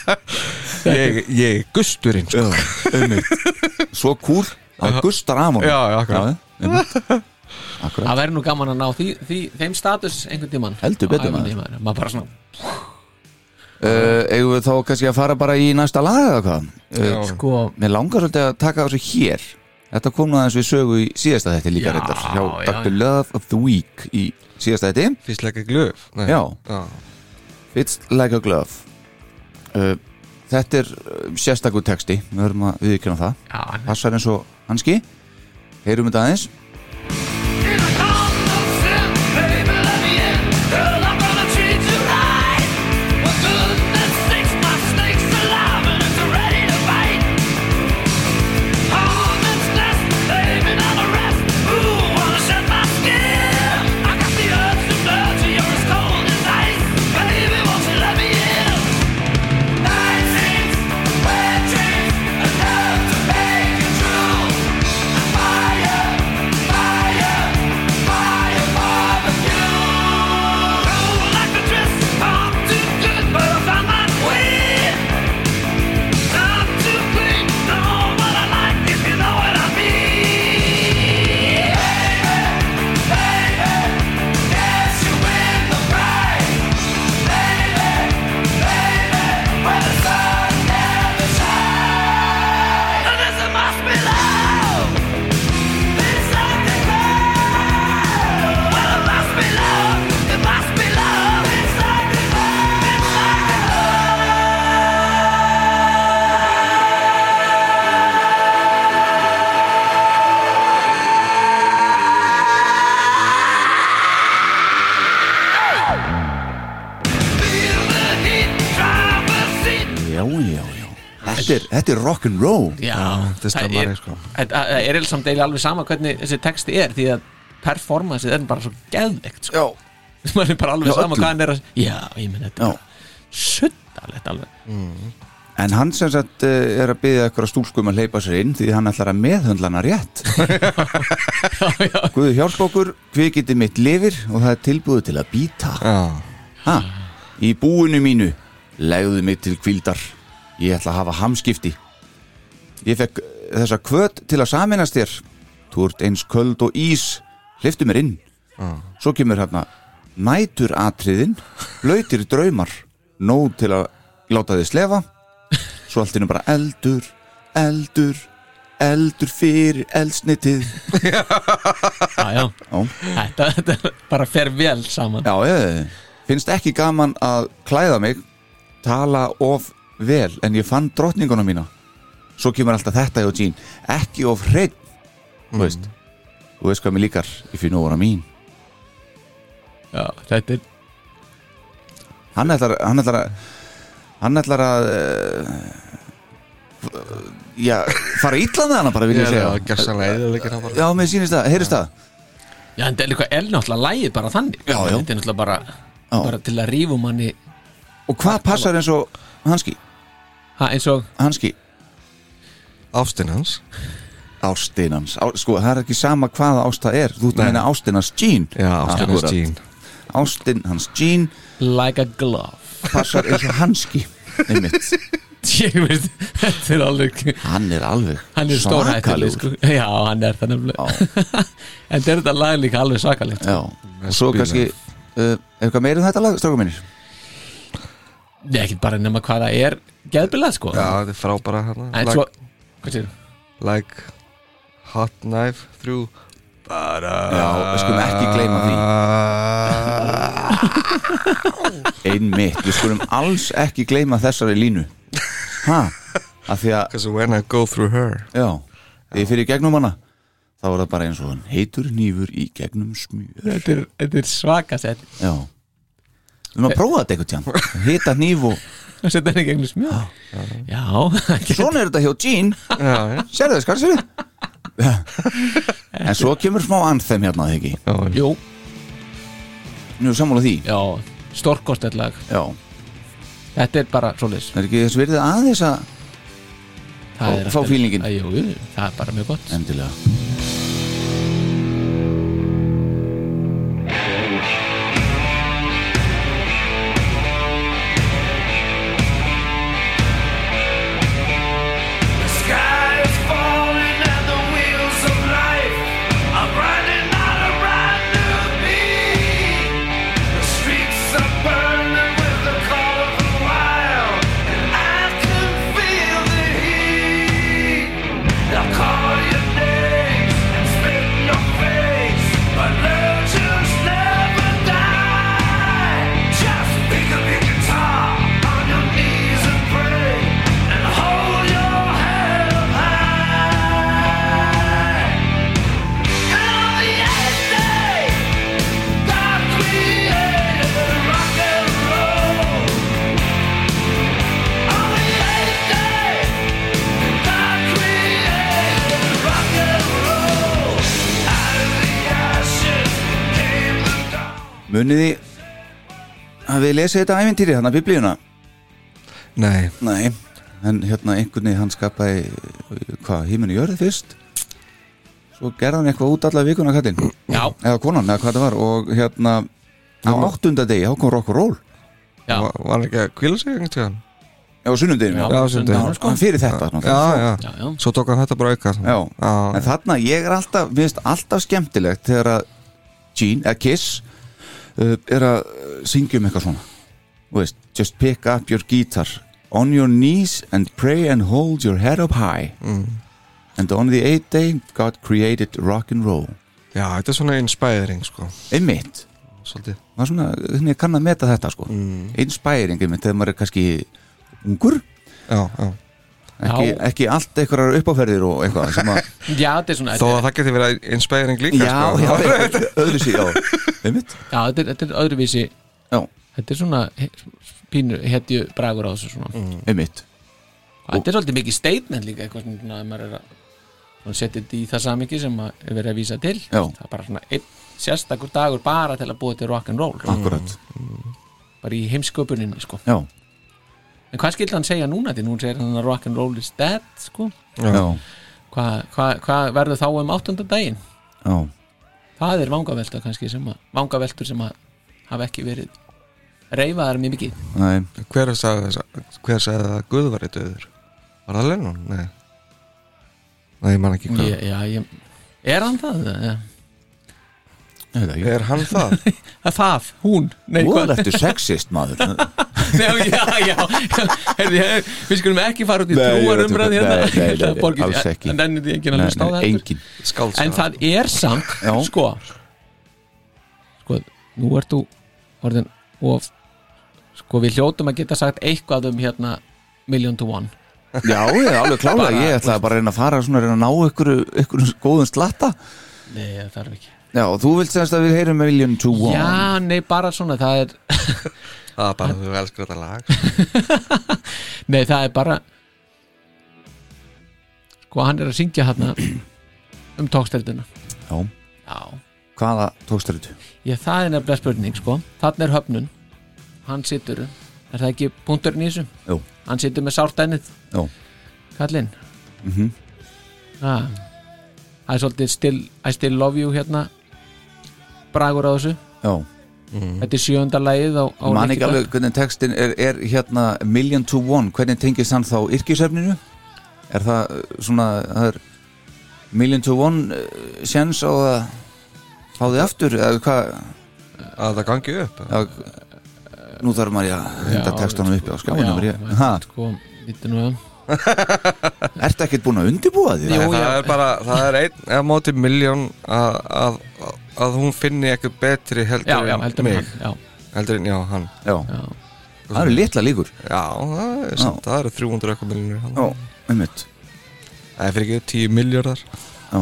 Speaker 5: ég, ég er gusturinn sko.
Speaker 2: Svo kúl, það er Gustar Amon
Speaker 5: Já, já, akkurat.
Speaker 2: akkurat Akkurat,
Speaker 3: Það verður nú gaman að ná því, því, þeim status einhvern tíman
Speaker 2: Heldur betur, maður.
Speaker 3: maður Maður bara svona
Speaker 2: uh, eigum við þá kannski að fara bara í næsta lag eða hvað uh,
Speaker 5: Já.
Speaker 3: sko,
Speaker 2: Mér langar svolítið að taka á þessu hér Þetta kom nú aðeins við sögu í síðasta þetta líka
Speaker 3: Já,
Speaker 2: reyndar
Speaker 3: já.
Speaker 2: Hjá Dr. Love of the Week í síðasta þetta
Speaker 5: Fyrst leika glöf. Nei.
Speaker 2: Já,
Speaker 5: Já.
Speaker 2: Fits Like a Glove uh, Þetta er uh, sérstakur texti Við verðum að viðkjöna það
Speaker 3: Já, hann
Speaker 2: Passar eins og hanski Heyrum þetta aðeins
Speaker 6: Dreams, enough to make it true. Fire.
Speaker 2: þetta er, þetta er rock'n'roll
Speaker 3: Já,
Speaker 5: þetta er
Speaker 3: það
Speaker 5: stemmari,
Speaker 3: er-
Speaker 5: sko.
Speaker 3: það- það er eða samt eiginlega alveg sama hvernig þessi texti er því að performanceið er bara svo geðveikt sko.
Speaker 2: Já,
Speaker 3: maður er bara alveg
Speaker 2: Já,
Speaker 3: sama
Speaker 2: öllum.
Speaker 3: hvað hann er að já, ég menn þetta
Speaker 2: já.
Speaker 3: er suttalegt alveg
Speaker 2: En hann sem sagt eh, er að byggja eitthvað stúlskum að hleypa sér inn því hann ætlar að meðhöndla hana rétt Guðu hjálpokkur, kvikindi mitt lifir og það er tilbúið til að býta
Speaker 5: Já,
Speaker 2: ha, Í búinu mínu legðu mig til kvildar Ég ætla að hafa hamskipti Ég fekk eh, þessa kvöt til að saminast þér Þú ert eins köld og ís Hleyftu mér inn Svo kemur hérna Nætur atriðin, blöytir draumar Nóð til að láta þig slefa Svo allt innum bara eldur, eldur Eldur fyrir eldsnitið
Speaker 3: já, já.
Speaker 2: Já.
Speaker 3: Þetta, þetta bara fer vel saman
Speaker 2: Já, ég finnst ekki gaman að klæða mig tala of vel en ég fann drottninguna mína svo kemur alltaf þetta hjá Jean ekki of hreitt
Speaker 5: Mm.
Speaker 2: þú veist þú veist hvað mér líkar if you know what I mean
Speaker 3: já, þetta er
Speaker 2: hann ætlar, hann ætlar að hann ætlar að uh, já, fara illa með hana bara vil ég
Speaker 5: já,
Speaker 2: segja
Speaker 5: gæssanlega eðilegir hann bara
Speaker 2: já, mér sýnist það, heyrist það
Speaker 3: já, en þetta er líka eln náttúrulega lægið bara þannig
Speaker 2: Já, já.
Speaker 3: þetta er náttúrulega bara,
Speaker 2: Já.
Speaker 3: bara til að rífum manni
Speaker 2: og hvað passar eins og hanski,
Speaker 3: ha, eins og
Speaker 2: hanski
Speaker 5: Ástinn hans
Speaker 2: ástinans, á, sko það er ekki sama hvaða ást það er, þú ert að
Speaker 5: Nei.
Speaker 2: meina ástinans Jean
Speaker 5: Já, ástinn hans
Speaker 2: Akkúrat.
Speaker 5: Jean
Speaker 2: Ástin hans Jean
Speaker 3: like a glove
Speaker 2: passar eins og hanski einmitt,
Speaker 3: ég veist, þetta er alveg
Speaker 2: hann er alveg
Speaker 3: hann er stórhættileg
Speaker 2: svakalegur.
Speaker 3: sko. já, hann er það nefnilega en þetta er þetta lag líka alveg svakalegt
Speaker 2: já, og svo
Speaker 5: Spila.
Speaker 2: kannski uh, eitthvað meira um þetta lag, strákum minnir
Speaker 3: Nei, ekki bara nema hvað það er geðbilað sko
Speaker 5: Já, þetta er frábæra hérna
Speaker 3: En
Speaker 5: Like-
Speaker 3: svo, hvað séu?
Speaker 5: like hot knife through
Speaker 2: já, við skulum ekki gleyma því
Speaker 5: uh,
Speaker 2: einmitt, við skulum alls ekki gleyma þessari línu ha, af því að
Speaker 5: because when I go through her
Speaker 2: já, þegar ég fyrir í gegnum hana þá er það bara eins og hann heitur nýfur í gegnum smjör
Speaker 3: Þetta er, þetta er svakasett
Speaker 2: já, við erum að prófa þetta eitthvað tján hita nýf og
Speaker 3: og setja henni gegnum smjög Já,
Speaker 2: svona er þetta hjá Jean
Speaker 5: já, já,
Speaker 2: sérðu þess, hvað sérðu en svo kemur smá anþem hérna þegar ekki,
Speaker 5: já,
Speaker 3: jú,
Speaker 2: nú erum sammála því
Speaker 3: já, stórkostett lag
Speaker 2: já,
Speaker 3: Þetta er bara svoleiðis
Speaker 2: það er ekki þess verið aðeins að
Speaker 3: Það
Speaker 2: Fá-
Speaker 3: er
Speaker 2: fá
Speaker 3: alltaf-
Speaker 2: feelingin.
Speaker 3: Æ, Jú, jú, það er bara mjög gott
Speaker 2: endilega
Speaker 6: Call your name and spit in your face, but love just never die. Just pick up your guitar on your knees and pray, and hold your head up high. Oh, And on the eighth day, God created rock and roll. On the eighth day, God created rock and roll. Out of the ashes came the dawn.
Speaker 2: muniði að við lesið þetta ævintýri þarna biblíuna
Speaker 5: nei
Speaker 2: nei, en hérna einhvern veginn hann skapaði hvað, híminu jörði fyrst svo gerði hann eitthvað út alla vikuna kattinn,
Speaker 3: Já,
Speaker 2: eða konan, eða hvað það var og hérna á áttunda degi, þá kom rock and roll
Speaker 3: já,
Speaker 5: var var hann ekki að kvíla sig einhvern tíðan
Speaker 2: já, sunnundeginu,
Speaker 3: Já,
Speaker 2: já,
Speaker 5: já,
Speaker 2: já,
Speaker 5: sundið
Speaker 3: sunnudaginn. sko.
Speaker 2: hann fyrir þetta þarna.
Speaker 5: já, já,
Speaker 3: já, já.
Speaker 5: svo tók hann þetta bara auka
Speaker 2: Já, en
Speaker 5: já,
Speaker 2: þarna ég er alltaf, mér finnst alltaf skemmtilegt þegar að Gene, eða Kiss uh, er að uh, syngja um eitthvað svona Þú veist, just pick up your guitar on your knees and pray and hold your head up high and on the eighth day God created rock and roll
Speaker 5: já, þetta er svona inspiring sko,
Speaker 2: einmitt,
Speaker 5: svolítið
Speaker 2: maður svona hvernig kann að meta þetta sko mm. inspiring einmitt, þegar maður er kannski ungur
Speaker 5: já, já,
Speaker 2: ekki,
Speaker 3: Já.
Speaker 2: ekki allt einhverjar uppáferðir og eitthvað sem að
Speaker 3: já, þetta er svona
Speaker 5: þó
Speaker 3: þetta
Speaker 5: að
Speaker 3: er,
Speaker 5: það geti verið inspiring líka
Speaker 2: já,
Speaker 5: sko,
Speaker 2: já, öðru sér, já, einmitt
Speaker 3: Já, þetta er, þetta er öðruvísi
Speaker 2: já,
Speaker 3: Þetta er svona he- pínu hetju bragur á þessu svona
Speaker 2: einmitt
Speaker 3: Þetta er svolítið mikið statement líka eitthvað sem svona, ef maður er að svona setja þetta í það samingi sem að er verið að vísa til
Speaker 2: Já.
Speaker 3: það er bara svona einn sérstakur dagur bara til að búa til rock'n'roll
Speaker 2: akkurat
Speaker 3: bara í heimsköpuninni sko
Speaker 2: Mm. Já,
Speaker 3: en hvað skildi hann segja núna til? Nú segir hann að rock'n'roll is dead sko
Speaker 2: já,
Speaker 3: hvað hva, hva verður þá um áttundardaginn?
Speaker 2: já
Speaker 3: Það er vangavelta kannski sem að vangaveltur sem að hafa ekki verið reyfaðar mjög mikið
Speaker 2: Nei,
Speaker 4: Hver sagði, þessa- hver sagði að Guð var í döður? Var það Lennon? Nei Nei, ég man ekki hvað
Speaker 3: ég, já, ég, Er hann það? Já.
Speaker 2: þetta ekki
Speaker 4: Er hann það?
Speaker 3: Það, það, hún Nei, hvað?
Speaker 2: Voðalegt er sexist maður
Speaker 3: Nei, já, já Herði, ég, Við skulum ekki fara út í
Speaker 2: Nei, ég veit
Speaker 3: trúarumræð
Speaker 2: ekki.
Speaker 3: hérna
Speaker 2: Nei, nei, nei, nei,
Speaker 3: Borgir,
Speaker 2: alls ekki.
Speaker 3: En enni því enginn að
Speaker 2: Nei,
Speaker 3: hlusta á
Speaker 2: nei,
Speaker 3: það heldur.
Speaker 2: Engin
Speaker 4: Skálds
Speaker 3: En það er samt,
Speaker 2: Já.
Speaker 3: sko Sko, nú ert þú orðin of Sko, við hljótum að geta sagt eitthvað um hérna Million to One
Speaker 2: Já, ég er alveg klála
Speaker 3: Bara-
Speaker 2: Ég ætlaði bara að reyna að fara svona að reyna að ná ykkur, ykkur góðum slatta
Speaker 3: Nei, það þarf ekki
Speaker 2: Já, og þú vilt semst að við heyrum Million to One
Speaker 3: Já, nei, bara svona, það er
Speaker 4: Það er bara að þú elskar þetta lag sko.
Speaker 3: Nei, það er bara Sko, hann er að syngja hérna um tókstældina
Speaker 2: Já.
Speaker 3: Já
Speaker 2: Hvaða tókst þetta?
Speaker 3: Ég, það er nefnilega spurning, sko Þannig er höfnun Hann situr, er það ekki punkturinn í þessu?
Speaker 2: Jú.
Speaker 3: Hann situr með sártænið
Speaker 2: Jú.
Speaker 3: Kallinn
Speaker 2: Mhm.
Speaker 3: -hmm. Það er svolítið still, I still love you hérna Bragur á þessu
Speaker 2: Já,
Speaker 3: Þetta er sjöunda lagið á, á
Speaker 2: Mhm. man ekki
Speaker 3: Nikki Dögg.
Speaker 2: alveg hvernig textin er, er hérna Million to One, hvernig tengist hann þá yrkisöfninu? Er það uh, svona, það er Million to One uh, séns á að fá þig aftur eða hvað,
Speaker 4: Að það gangi upp
Speaker 2: já, nú þarf maður að henda
Speaker 3: Já,
Speaker 2: textanum uppi á skjáinu
Speaker 3: Já,
Speaker 2: ég, ha,
Speaker 3: sko, vittu nú að
Speaker 2: Ertu ekkert búin að undibúa því?
Speaker 3: Jú,
Speaker 4: það
Speaker 3: já.
Speaker 4: er bara, það er einn eða móti miljón að, að, að, að hún finni eitthvað betri heldur
Speaker 3: Já, já,
Speaker 4: en
Speaker 3: heldur mig
Speaker 4: mig
Speaker 3: hann, já,
Speaker 4: heldur en já, hann
Speaker 2: Já,
Speaker 3: já.
Speaker 2: það eru litla líkur
Speaker 4: já, það er, samt, það eru 300 eitthvað miljónir
Speaker 2: Já, einmitt
Speaker 4: það er fyrir ekki 10 miljóðar
Speaker 2: Já,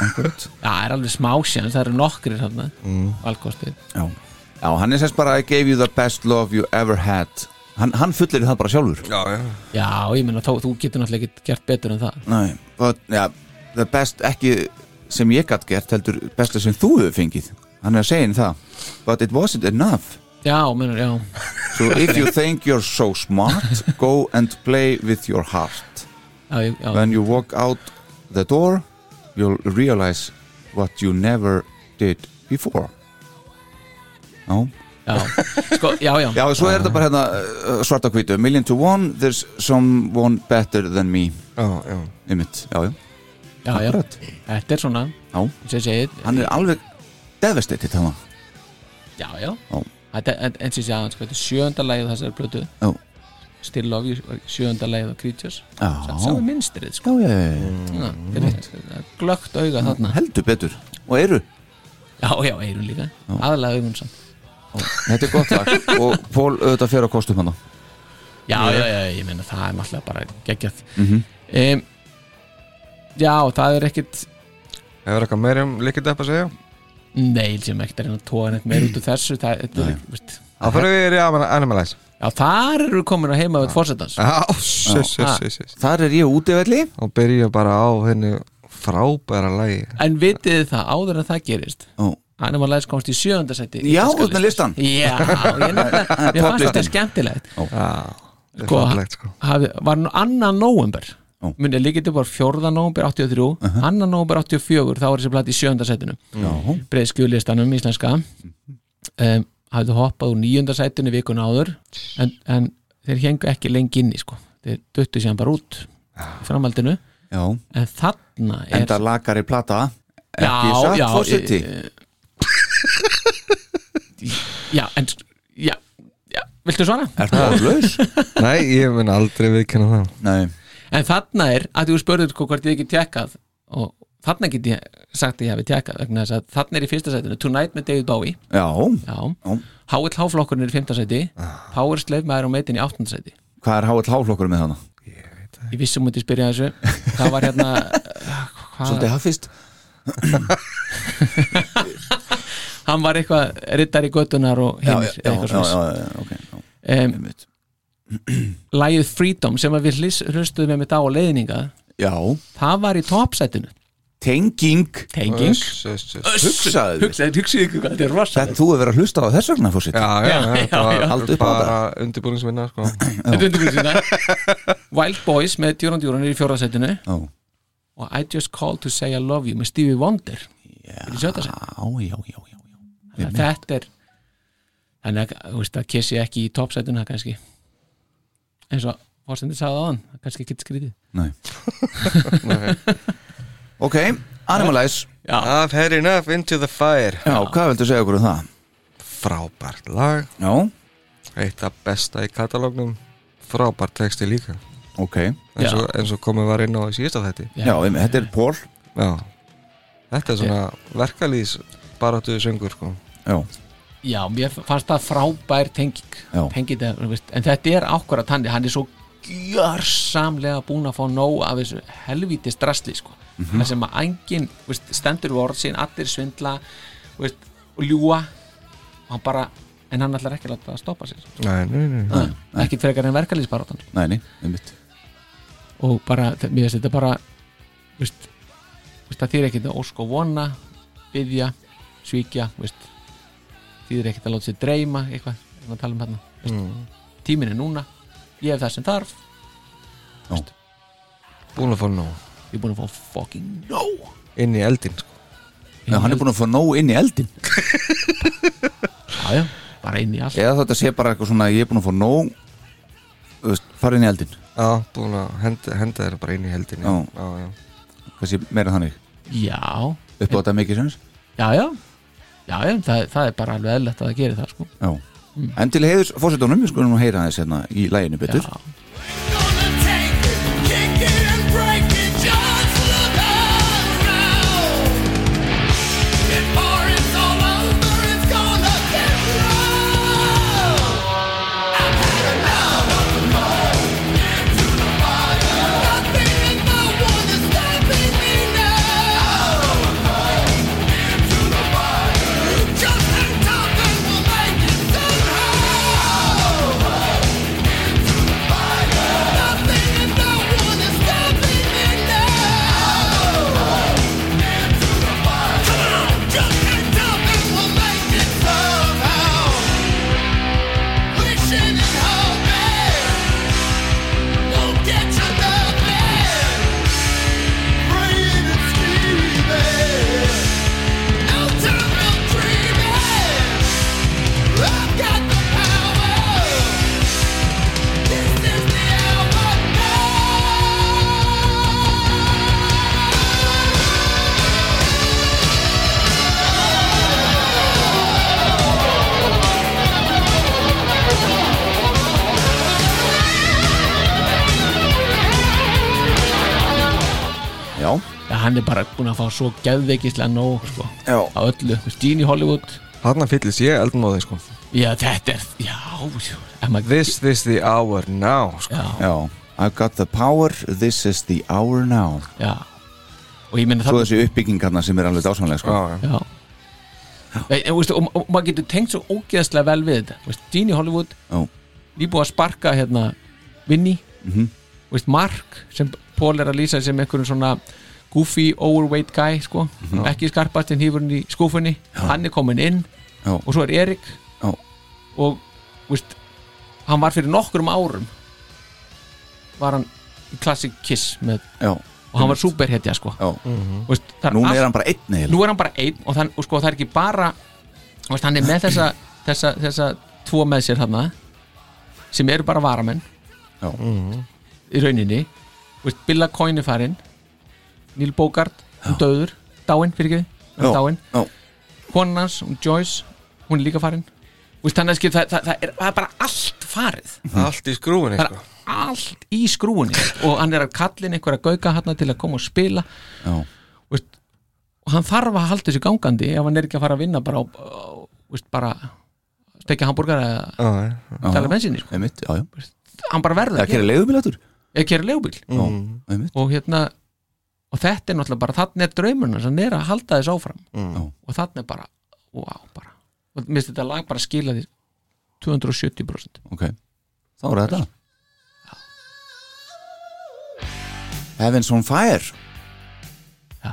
Speaker 2: einhvert
Speaker 3: Já, það er alveg smá sjans, það eru nokkrir hann mm.
Speaker 2: Mhm.
Speaker 3: valkostir
Speaker 2: Já, já hann er semst bara I gave you the best love you ever had Hann, hann fullir það bara sjálfur
Speaker 4: já, já,
Speaker 3: Já, ég meina, þú, þú getur náttúrulega ekki gert betur en það
Speaker 2: Nei, og, ja, það best ekki sem ég gætt gert heldur besta sem þú hefur fengið hann er að segja henni það but it wasn't enough
Speaker 3: Já, meina, já,
Speaker 2: so if you think you're so smart go and play with your heart
Speaker 3: já, ég- já,
Speaker 2: when you walk out the door you'll realize what you never did before Já,
Speaker 3: já. Sko, já, já,
Speaker 2: já svo er þetta bara hérna uh, svarta hvítu, million to one there's someone better than me
Speaker 4: já, já.
Speaker 2: einmitt, já, já,
Speaker 3: já, já.
Speaker 2: akkurat.
Speaker 3: Þetta er svona,
Speaker 2: já
Speaker 3: eins og ég segið
Speaker 2: hann er alveg devastated hann
Speaker 3: Já, já,
Speaker 2: Já.
Speaker 3: þetta er eins og ég segið sko, Þetta er sjönda lagið þessari plötu
Speaker 2: Já.
Speaker 3: Still Love You, sjönda lagið á Creatures
Speaker 2: Já,
Speaker 3: Sá er minnstrið, sko
Speaker 2: já, já, já, já. Mm-hmm.
Speaker 3: Já, þetta er Glögt auga þarna
Speaker 2: heldur betur og eru
Speaker 3: Já, já, eirun líka, aðalega augun samt
Speaker 2: þetta er gott lag og Pól auðvitað fyrir á kostum hann
Speaker 3: já, já, já, ég meina það er náttúrulega bara geggjað
Speaker 2: Mm-hmm.
Speaker 3: um, Já, það er ekkit
Speaker 4: hefur eitthvað meira um líkið upp að segja
Speaker 3: Nei, sem ekkert er að tóa neitt meir út úr þessu það, það, er, veist,
Speaker 4: þá fyrir við í Aman- Animalize
Speaker 3: Já, þar eru komin að heima við fórsetans
Speaker 4: já, sess,
Speaker 3: Já.
Speaker 4: sess, sess, sess
Speaker 2: þar er ég útivelli
Speaker 4: og byrja bara á henni frábæra lagi
Speaker 3: En vitið þið það, áður en það gerist
Speaker 2: Ó.
Speaker 3: Animalize komst í sjöundasæti
Speaker 2: já, út með listan
Speaker 3: Já, ég nefnilega, ég fannst þetta
Speaker 2: Topplistan.
Speaker 3: skemmtilegt
Speaker 4: já, það er
Speaker 3: Sko,
Speaker 4: fallegt sko
Speaker 3: hafi, var nú annan nóvember
Speaker 2: Ó. Uh-huh.
Speaker 3: Munið líkið upp var 4. nóvember 83 annan nóvember 84, þá var þessi platt í sjöundasætinu
Speaker 2: já,
Speaker 3: breiðskjölistanum íslenska
Speaker 2: Mm.
Speaker 3: um, hafðu hoppað úr nýjöndasætinu vikun áður en, en þeir hengu ekki lengi inni sko. þeir duttu sér bara út í framhaldinu
Speaker 2: já.
Speaker 3: en þarna er
Speaker 2: enda lakari plata ekki
Speaker 3: já,
Speaker 2: satt
Speaker 3: já,
Speaker 2: fórseti
Speaker 3: e- já, en já, já, viltu svara?
Speaker 2: ertu aflaus?
Speaker 4: nei, ég mun aldrei viðkenna það
Speaker 2: nei,
Speaker 3: en þarna er, að þú spurður sko, hvort ég hef ekki tjekkað og þarna get ég sagt að ég hafi tjekkað vegna þess að þarna er í fyrsta sætinu Tonight með David Bowie
Speaker 2: já,
Speaker 3: já,
Speaker 2: Já.
Speaker 3: HLH flokkurinn er í 5. sæti
Speaker 2: Ah.
Speaker 3: Power Slave maður og meitin í 8. sæti
Speaker 2: hvað er háall háflokkur með hana?
Speaker 3: ég vissum að ég spyrja að þessu það var hérna hvað,
Speaker 2: svolítið hafist
Speaker 3: hann var eitthvað rittar í göttunar og
Speaker 2: já,
Speaker 3: hinnir
Speaker 2: já, já, já, já, ok, já,
Speaker 3: um,
Speaker 2: einmitt.
Speaker 3: lagið Freedom sem að við hlis- hlustuðum með mitt á og leiðninga
Speaker 2: Já,
Speaker 3: það var í topsætinu
Speaker 2: tenging
Speaker 3: tenging
Speaker 2: Hugsaðu þér.
Speaker 3: hugsaði, hugsaði ykkur hvað þetta er
Speaker 2: Þetta
Speaker 3: rosalegt
Speaker 2: þú hefur verið að hlusta á þess vegna fórsitt
Speaker 5: Já, já, já,
Speaker 3: já,
Speaker 5: þetta
Speaker 3: já.
Speaker 2: Haltu
Speaker 5: var
Speaker 2: upp á
Speaker 5: bara undirbúningsvinna sko.
Speaker 3: Þetta er undirbúningsvinna. Wild Boys með Duran Duran er í fjórðasætinu
Speaker 2: Já,
Speaker 3: og I Just Called to Say I Love You með Stevie Wonder er í sjötta sæti.
Speaker 2: já, já, já, já, já.
Speaker 3: Þannig að þetta er þannig að, þú veist, að kissi ekki í topsætinu það kannski eins og Forstendi sagði á hann, kannski ekki skrítið
Speaker 2: Nei Ok, Animalize
Speaker 5: I've had enough into the fire
Speaker 2: Já, hvað viltu segja okkur um það?
Speaker 5: Frábært lag
Speaker 2: Já,
Speaker 5: Eitt af besta í katalógnum Frábært texti líka
Speaker 2: ok
Speaker 3: Já.
Speaker 5: eins og, eins og komið var inn á í síðasta þætti
Speaker 3: Já.
Speaker 2: Já, em, þetta er Paul
Speaker 5: Já Þetta er svona verkalýðs baráttuðu söngur sko.
Speaker 2: Já,
Speaker 3: Já, mér fannst það frábær tenging
Speaker 2: Já.
Speaker 3: tengið, það, þú veist, en þetta er akkurat hann, hann er svo gjörsamlega búin að fá nóg af þessu helvítis drastli sko.
Speaker 5: Mhm.
Speaker 3: það sem að engin veist, stendur við orð sín, allir svindla þú veist, og ljúa og hann bara, en hann ætlar ekki að láta það stoppa sér
Speaker 5: Nei, nei, nei, nei.
Speaker 3: ekki frekar en verkalýsbaróttan
Speaker 2: næni, einmitt
Speaker 3: og bara, þe- mér finnst þetta bara þú veist, þú veist, það þýr ekkert að ósk og vona byðja, svíkja þú veist, þýr ekkert að láta sér dreyma eitthvað, við erum að tala um þarna þú veist,
Speaker 5: Mm,
Speaker 3: tíminn er núna, ég hef það sem þarf
Speaker 5: Búin að fá nóg
Speaker 3: ég er búin að fá fucking no
Speaker 5: Inn í eldin sko.
Speaker 2: Já, hann er búin að fá nóg inn í eldin
Speaker 3: já, já, bara inn í allt
Speaker 2: Eða þetta sé bara eitthvað svona, ég er búin að fá nóg Þú veist, fara inn í eldin
Speaker 5: Já, búin að henda, henda þeirra bara inn í eldin
Speaker 2: Já.
Speaker 5: já, já.
Speaker 2: Hvað sé meira þannig?
Speaker 3: já,
Speaker 2: Upp á þetta mikið sens?
Speaker 3: já, já já, já, það, það er bara alveg eðlætt að það gerir það sko.
Speaker 2: Já Mm. En til heiðus fórsetunum, við skulum nú heyra þess hérna í læginu betur
Speaker 3: já,
Speaker 6: Just hang tough and we'll make it somehow Nothing in the world is stopping me now. Into the fire. Come on, just hang tough and we'll make it somehow. Wishing and hoping won't get you nothing. Praying and screaming, no time for dreaming. I've got the power. This is the hour now.
Speaker 2: Já,
Speaker 3: já, hann er bara búin að fá svo geðveikislega nóg sko,
Speaker 2: já,
Speaker 3: á öllu, Þú veist, Gene Hollywood
Speaker 5: Þarna fyllist ég eldmóði sko.
Speaker 3: já, þetta er, já, já ef maður-
Speaker 5: This is the hour now sko.
Speaker 3: já,
Speaker 2: já I've got the power, this is the hour now
Speaker 3: Já Og ég meina
Speaker 2: Svo
Speaker 3: það
Speaker 2: þessi uppbyggingarna sem er alveg dásanlega sko.
Speaker 5: já, já.
Speaker 3: Já Nei, en, veistu, og, og, og maður getur tengt svo ógeðslega vel við þetta veist, Gini Hollywood
Speaker 2: Já.
Speaker 3: Nýbúið að sparka hérna Vinni
Speaker 2: Mhm.
Speaker 3: veist, Mark sem Paul er að lýsa sem einhverjum svona goofy, overweight guy sko.
Speaker 2: Mhm.
Speaker 3: ekki skarpast en hýfurinn í skúfunni hann er komin inn
Speaker 2: Já.
Speaker 3: og svo er Erik
Speaker 2: Já.
Speaker 3: og veist, hann var fyrir nokkrum árum var hann í Classic Kiss með,
Speaker 2: Já,
Speaker 3: og hann var superhetja sko.
Speaker 2: já
Speaker 3: veist, það er
Speaker 2: Núna
Speaker 3: allt-
Speaker 2: er hann bara einn eil
Speaker 3: nú er hann bara einn og, þann, og sko, það er ekki bara þú veist, hann er með þessa, þessa, þessa tvo með sér þarna sem eru bara varamenn Mhm.
Speaker 2: Já.
Speaker 3: í rauninni Þú veist, Billa Coyne er farinn Neil Bogart, hún döður dáinn fyrir ekki,
Speaker 2: Já.
Speaker 3: hún er dáinn
Speaker 2: Já.
Speaker 3: konan hans, hún Joyce, hún er líka farinn Þú veist, þannig að skil, það, það, það, er, það er bara allt farið
Speaker 5: Allt í skrúin
Speaker 3: það
Speaker 5: sko.
Speaker 3: er allt í skrúinni og hann er að kallin einhverja gauka hann til að koma og spila
Speaker 2: Já.
Speaker 3: veist, og hann þarf að halda þessu gangandi ef hann er ekki að fara að vinna bara, á, á, veist, bara stekja hambúrgar eða
Speaker 5: Já, já.
Speaker 2: Já,
Speaker 3: tala
Speaker 2: já.
Speaker 3: bensinni sko.
Speaker 2: Einmitt, já, já
Speaker 3: hann bara verður
Speaker 2: Það
Speaker 3: að gera,
Speaker 2: kera leiðubilatur
Speaker 3: eða kera legubíl
Speaker 2: Já, einmitt
Speaker 3: og hérna og þetta er náttúrulega bara, þannig er draumurinn hans, hann er að halda þessu áfram
Speaker 5: Mm.
Speaker 2: Já.
Speaker 3: og þannig er bara, wow, bara og minnst þetta lag bara skila því 270%
Speaker 2: Ok, þá er þetta Heaven's on Fire
Speaker 3: Já.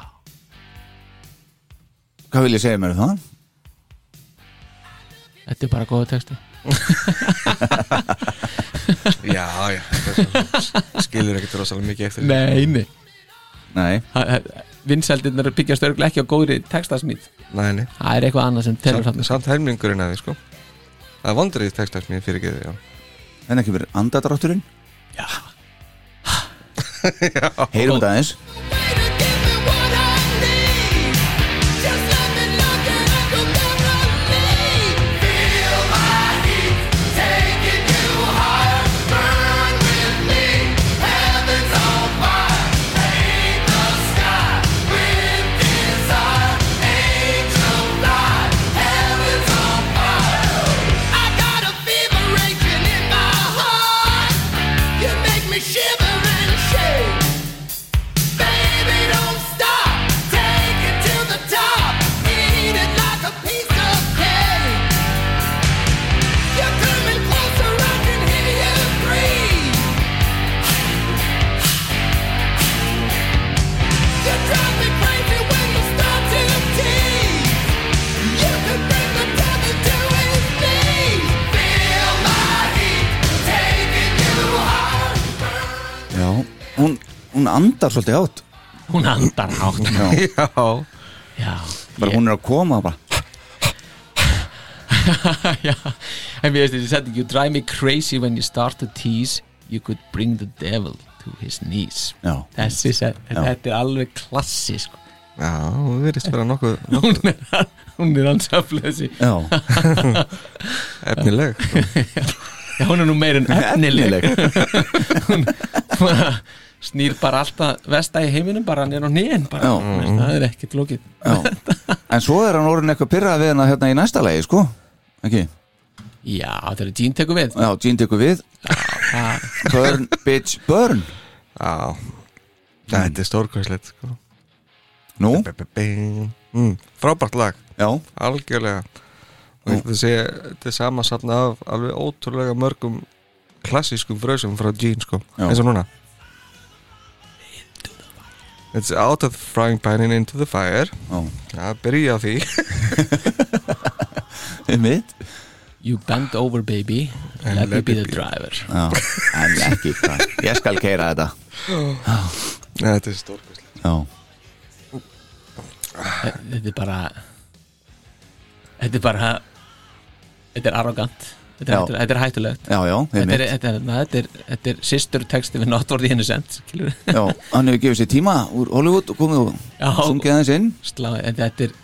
Speaker 2: Hvað vil ég segja mér um það?
Speaker 3: Þetta er bara góða texti
Speaker 5: Já, já þetta er svo- Skilur ekkert rosalega mikið eftir
Speaker 3: Nei, nei
Speaker 2: Nei,
Speaker 3: Vinseldinnar byggjast örgulega ekki á góðri textasmýt
Speaker 5: Nei, nei
Speaker 3: Það er eitthvað annað sem telur
Speaker 5: Samt,
Speaker 3: þarna
Speaker 5: samt helmingurinn að því sko Það er vandrið textar mér fyrir ekki því
Speaker 2: en ekki verið andadrátturinn Já Heyrum þetta aðeins
Speaker 6: Shiver and shake Baby, don't stop. Take it to the top. Eat it like a piece of cake. You're coming closer. I can hear you breathe. You drive me crazy when you start to tease. You could bring the devil to his knees. Feel my heat, taking you higher.
Speaker 2: Já, hún, hún andar svolítið átt
Speaker 3: Hún andar hátt
Speaker 2: Já,
Speaker 5: Já,
Speaker 3: Já,
Speaker 2: bara hún er að koma bara
Speaker 3: já En við veist þessi setting You drive me crazy when you start to tease You could bring the devil to his knees
Speaker 2: Já,
Speaker 3: Þessi set, þetta er alveg klassi sko.
Speaker 5: já, hún verðist vera nokkuð
Speaker 3: Hún er, hún er ansaflega þessi
Speaker 2: já,
Speaker 5: efnileg sko.
Speaker 3: Já, hún er nú meir en efnileg Bara Snýr bara alltaf vesta í heiminum bara hann er á nýjan bara,
Speaker 2: Já.
Speaker 3: Veist, það er ekkert lókið
Speaker 2: já En svo er hann orðin eitthvað pyrrað við hana hérna í næsta lagi, sko Ekki?
Speaker 3: Já, þetta er Jean tekur við
Speaker 2: Já, Jean tekur við Burn, bitch, burn
Speaker 5: Já Þetta er stórkvæslegt sko.
Speaker 2: Nú,
Speaker 5: Be- be- bing. mm, Frábært lag,
Speaker 2: já,
Speaker 5: algjörlega Og ég ætla að segja, Þetta er samansapna af alveg ótrúlega mörgum klassískum frösum frá Gene sko.
Speaker 2: Já.
Speaker 5: eins og núna It's out of the frying pan and into the fire
Speaker 2: já
Speaker 5: Já, byrja á því
Speaker 2: Mitt?
Speaker 3: You bend over baby Let me be the driver
Speaker 2: Já, en ekki hvað. Ég skal keira þetta
Speaker 5: Nei, Þetta er stórkvæslegt
Speaker 2: Já,
Speaker 3: Þetta er bara Þetta er bara Þetta er arrogant Þetta er,
Speaker 2: Já.
Speaker 3: hættu, þetta er hættulegt
Speaker 2: já, já,
Speaker 3: Þetta er,
Speaker 2: einmitt
Speaker 3: þetta, er, þetta, er, þetta er systur texti við Not Worthy Innocent skilurðu.
Speaker 2: Já, hann hefur gefið sér tíma úr Hollywood og komið og
Speaker 3: Já.
Speaker 2: sungið aðeins inn
Speaker 3: Slá, en Þetta er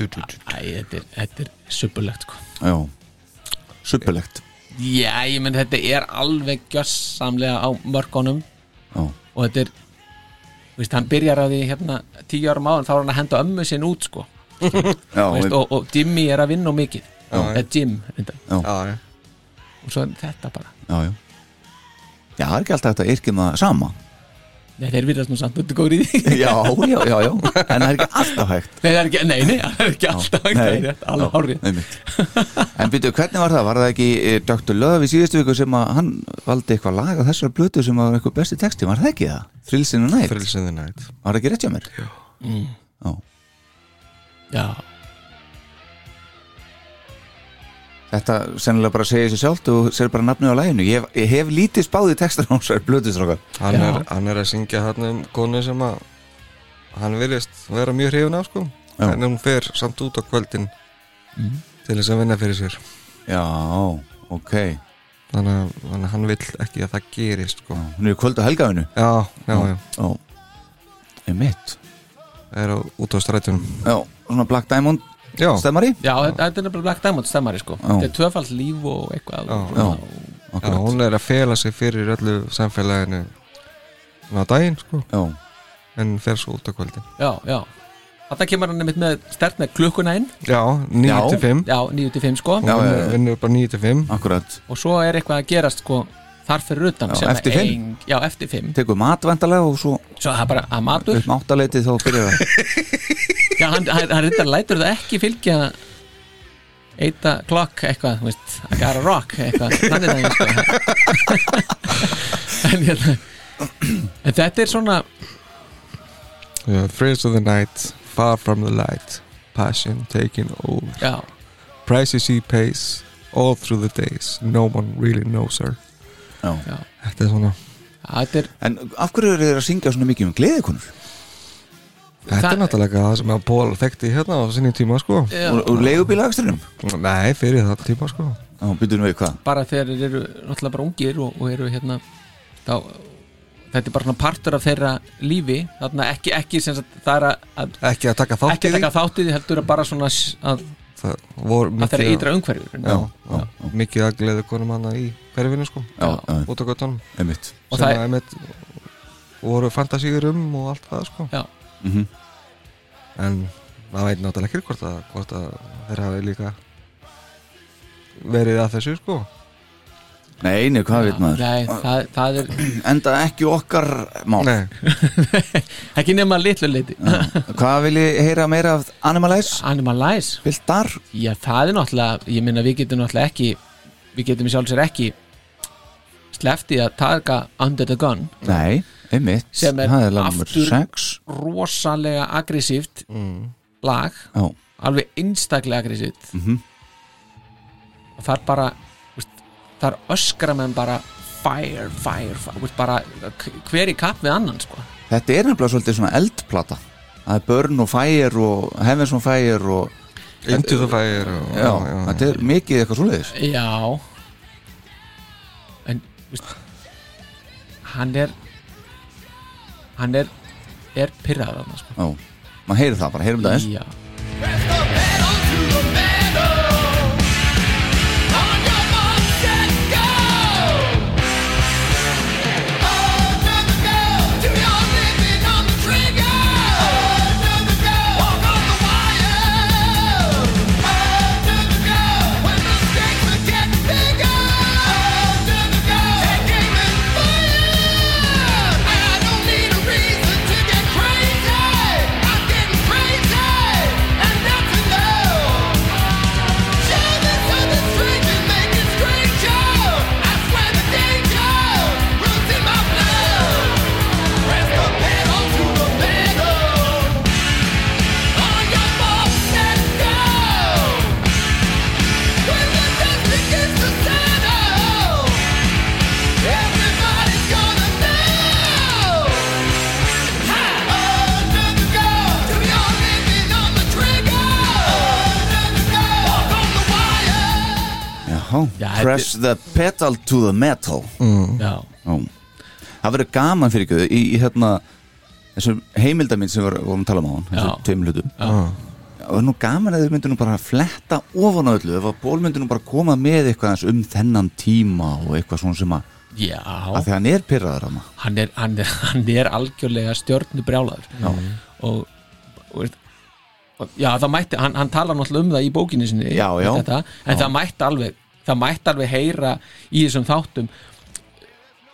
Speaker 5: Du, du, du.
Speaker 3: Æ, þetta er, þetta er suppulegt sko.
Speaker 2: Já, suppulegt
Speaker 3: Já, ég menn þetta er alveg gjössamlega á mörgunum
Speaker 2: Já,
Speaker 3: og þetta er þú veist, hann byrjar á því hérna tíu árum áðan þá er hann að henda ömmu sinn út sko,
Speaker 2: já,
Speaker 3: Þú veist,
Speaker 2: við-
Speaker 3: og, og Jimmy er að vinna of mikið eða Jim reyndar.
Speaker 5: Já, já.
Speaker 3: og svo þetta bara
Speaker 2: já, já Já, það er ekki alltaf hægt að yrkja maður sama
Speaker 3: Nei, þeir virðast nú samt út góður í því
Speaker 2: Já, já, já, já En það er ekki alltaf hægt
Speaker 3: Nei, það er ekki, nei, nei, það er ekki alltaf
Speaker 2: Nei.
Speaker 3: ekki, það er rétt, alveg
Speaker 2: Já,
Speaker 3: hárið
Speaker 2: einmitt. En byrju, hvernig var það? Var það ekki eh, Dr. Love í síðustu viku sem að hann valdi eitthvað lag á þessar blötu sem var eitthvað besti texti, var það ekki það? Þrilsinu nætt,
Speaker 5: Thrills in the night
Speaker 2: var það ekki rétt hjá mér? Já.
Speaker 3: Já,
Speaker 2: Þetta sennilega bara segir sér sjálft og sér bara nafnið á laginu. Ég, hef- ég hef lítið spáði textar á þessar blötu, strákar.
Speaker 5: hann
Speaker 3: Já.
Speaker 5: er, hann er að syngja hann um konu sem að hann virðist vera mjög hrifin af sko
Speaker 2: Já.
Speaker 5: en hún fer samt út á kvöldin
Speaker 3: Mhm.
Speaker 5: til þess að vinna fyrir sér
Speaker 2: Já, ok.
Speaker 5: þannig að, þannig að hann vill ekki að það gerist sko.
Speaker 2: Hún er í kvöld á helgafinu.
Speaker 5: já, já, já,
Speaker 2: Já. Ég mitt.
Speaker 5: er á, út á strætunum
Speaker 2: Já, svona Black Diamond
Speaker 5: já,
Speaker 2: stemmari.
Speaker 3: já, þetta þetta er nefnilega Black Diamond stemmari sko, þetta er tvöfald líf og eitthvað
Speaker 5: Já.
Speaker 3: svona,
Speaker 5: já, hún er að fela sig fyrir öllu samfélaginu á daginn sko
Speaker 2: Já,
Speaker 5: en fer svo út á kvöldin
Speaker 3: já, já Þetta kemur hann nefnitt með stert með klukkuna inn
Speaker 5: já, 9-5
Speaker 3: Já, 9-5 sko
Speaker 5: hún vinnur- vinnur bara 9-5
Speaker 2: akkurat.
Speaker 3: Og svo er eitthvað að gerast sko Þar fyrir utan
Speaker 2: Já,
Speaker 3: sem er
Speaker 2: eftir fimm.
Speaker 3: ein- Já, eftir 5
Speaker 2: Tekur matvendalega og svo
Speaker 3: Svo það er bara að matur
Speaker 2: upp með áttaleiti þá byrjar það.
Speaker 3: Já, hann, hann, hann reyndar lætur það ekki fylgja Eita klokk eitthvað, þú veist I gotta rock eitthvað Þannig það sko En hérna En þetta er svona
Speaker 5: yeah, Friends of the night, far from the light Passion taking over
Speaker 3: Já,
Speaker 5: Prices she pays, all through the days No one really knows her
Speaker 2: Já.
Speaker 3: Já.
Speaker 5: Þetta er svona
Speaker 3: þetta er
Speaker 2: En af hverju eru þeir að syngja svona mikið um gleðikonur?
Speaker 5: Þetta
Speaker 3: Það-
Speaker 5: er náttúrulega það sem að Paul þekkti hérna á sinni tíma sko
Speaker 3: já,
Speaker 2: Úr, úr leigubílaakstrinum?
Speaker 3: Eh.
Speaker 5: Nei, fyrir það tíma sko
Speaker 2: Já, byrjum við hvað?
Speaker 3: bara þegar þeir eru náttúrulega bara ungir og, og eru hérna þá, þetta er bara svona partur af þeirra lífi þarna ekki, ekki sem sagt það er að, að
Speaker 5: Ekki að taka þátt
Speaker 3: ekki
Speaker 5: í því
Speaker 3: taka þáttið heldur að bara svona s- að,
Speaker 5: Það voru
Speaker 3: að þeirra
Speaker 5: mikið
Speaker 3: ytra umhverfur
Speaker 2: Já, já,
Speaker 5: að, mikið að gleði konum hana í hverfinu sko
Speaker 2: já, já,
Speaker 5: Út á göttunum
Speaker 2: einmitt
Speaker 3: Og
Speaker 5: sem
Speaker 3: það-
Speaker 5: að einmitt voru fantasíur um og allt það sko
Speaker 3: Já.
Speaker 2: Mhm.
Speaker 5: en maður veit náttúrulega ekki hvort að, hvort að þeir hafi líka verið að þessu sko
Speaker 2: Nei, nei, hvað veit maður?
Speaker 3: Nei, það, það er
Speaker 2: Enda ekki okkar mál
Speaker 5: Nei,
Speaker 3: ekki nema litlu leiti
Speaker 2: Hvað vil ég heyra meira af Animalize?
Speaker 3: Animalize,
Speaker 2: Viltar?
Speaker 3: já það er náttúrulega ég minna við getum náttúrulega ekki við getum í sjálfsir ekki sleftið að taka Under the Gun
Speaker 2: Nei, einmitt
Speaker 3: Sem er
Speaker 2: Það er lagnumur
Speaker 3: aftur-
Speaker 2: 6
Speaker 3: rosalega aggressíft lag
Speaker 2: Já,
Speaker 3: alveg einstaklega aggressíft
Speaker 2: Mhm.
Speaker 3: og það er bara veist, það er öskra menn bara fire, fire, fire veist, bara, k- hver í kapp við annan sko.
Speaker 2: þetta er nefnilega svolítið svona eldplata Það er Burn og Fire og Heavens on Fire og
Speaker 5: Into the Fire og,
Speaker 2: Já, þetta er mikið eitthvað svoleiðis
Speaker 3: já en veist, hann er hann er er pyrraður annan sko.
Speaker 2: Já, maður heyri það bara, heyrum það eins
Speaker 3: já,
Speaker 6: No! Everybody's gonna know
Speaker 2: Jaha,
Speaker 3: Já, þetta- Mm.
Speaker 2: Press the pedal to the metal
Speaker 3: já,
Speaker 2: Já. Það verður gaman fyrir ykkur í, í hérna þessum heimildamind sem við vorum að tala um á hann þessum
Speaker 3: Já.
Speaker 2: tveim hlutum Það verður nú gaman að þau myndu nú bara að fletta ofan á öllu ef að ból myndu nú bara að koma með eitthvað eins um þennan tíma og eitthvað svona sem að
Speaker 3: já
Speaker 2: að því hann er pyrraður hann
Speaker 3: hann er, hann er, hann er algjörlega stjórnubrjálaður og, og, veist, og já, það mætti, hann, hann talar náttúrulega um það í bókinni sinni
Speaker 2: Já, já.
Speaker 3: Þetta, en það mætti alveg það mætti alveg heyra í þessum þáttum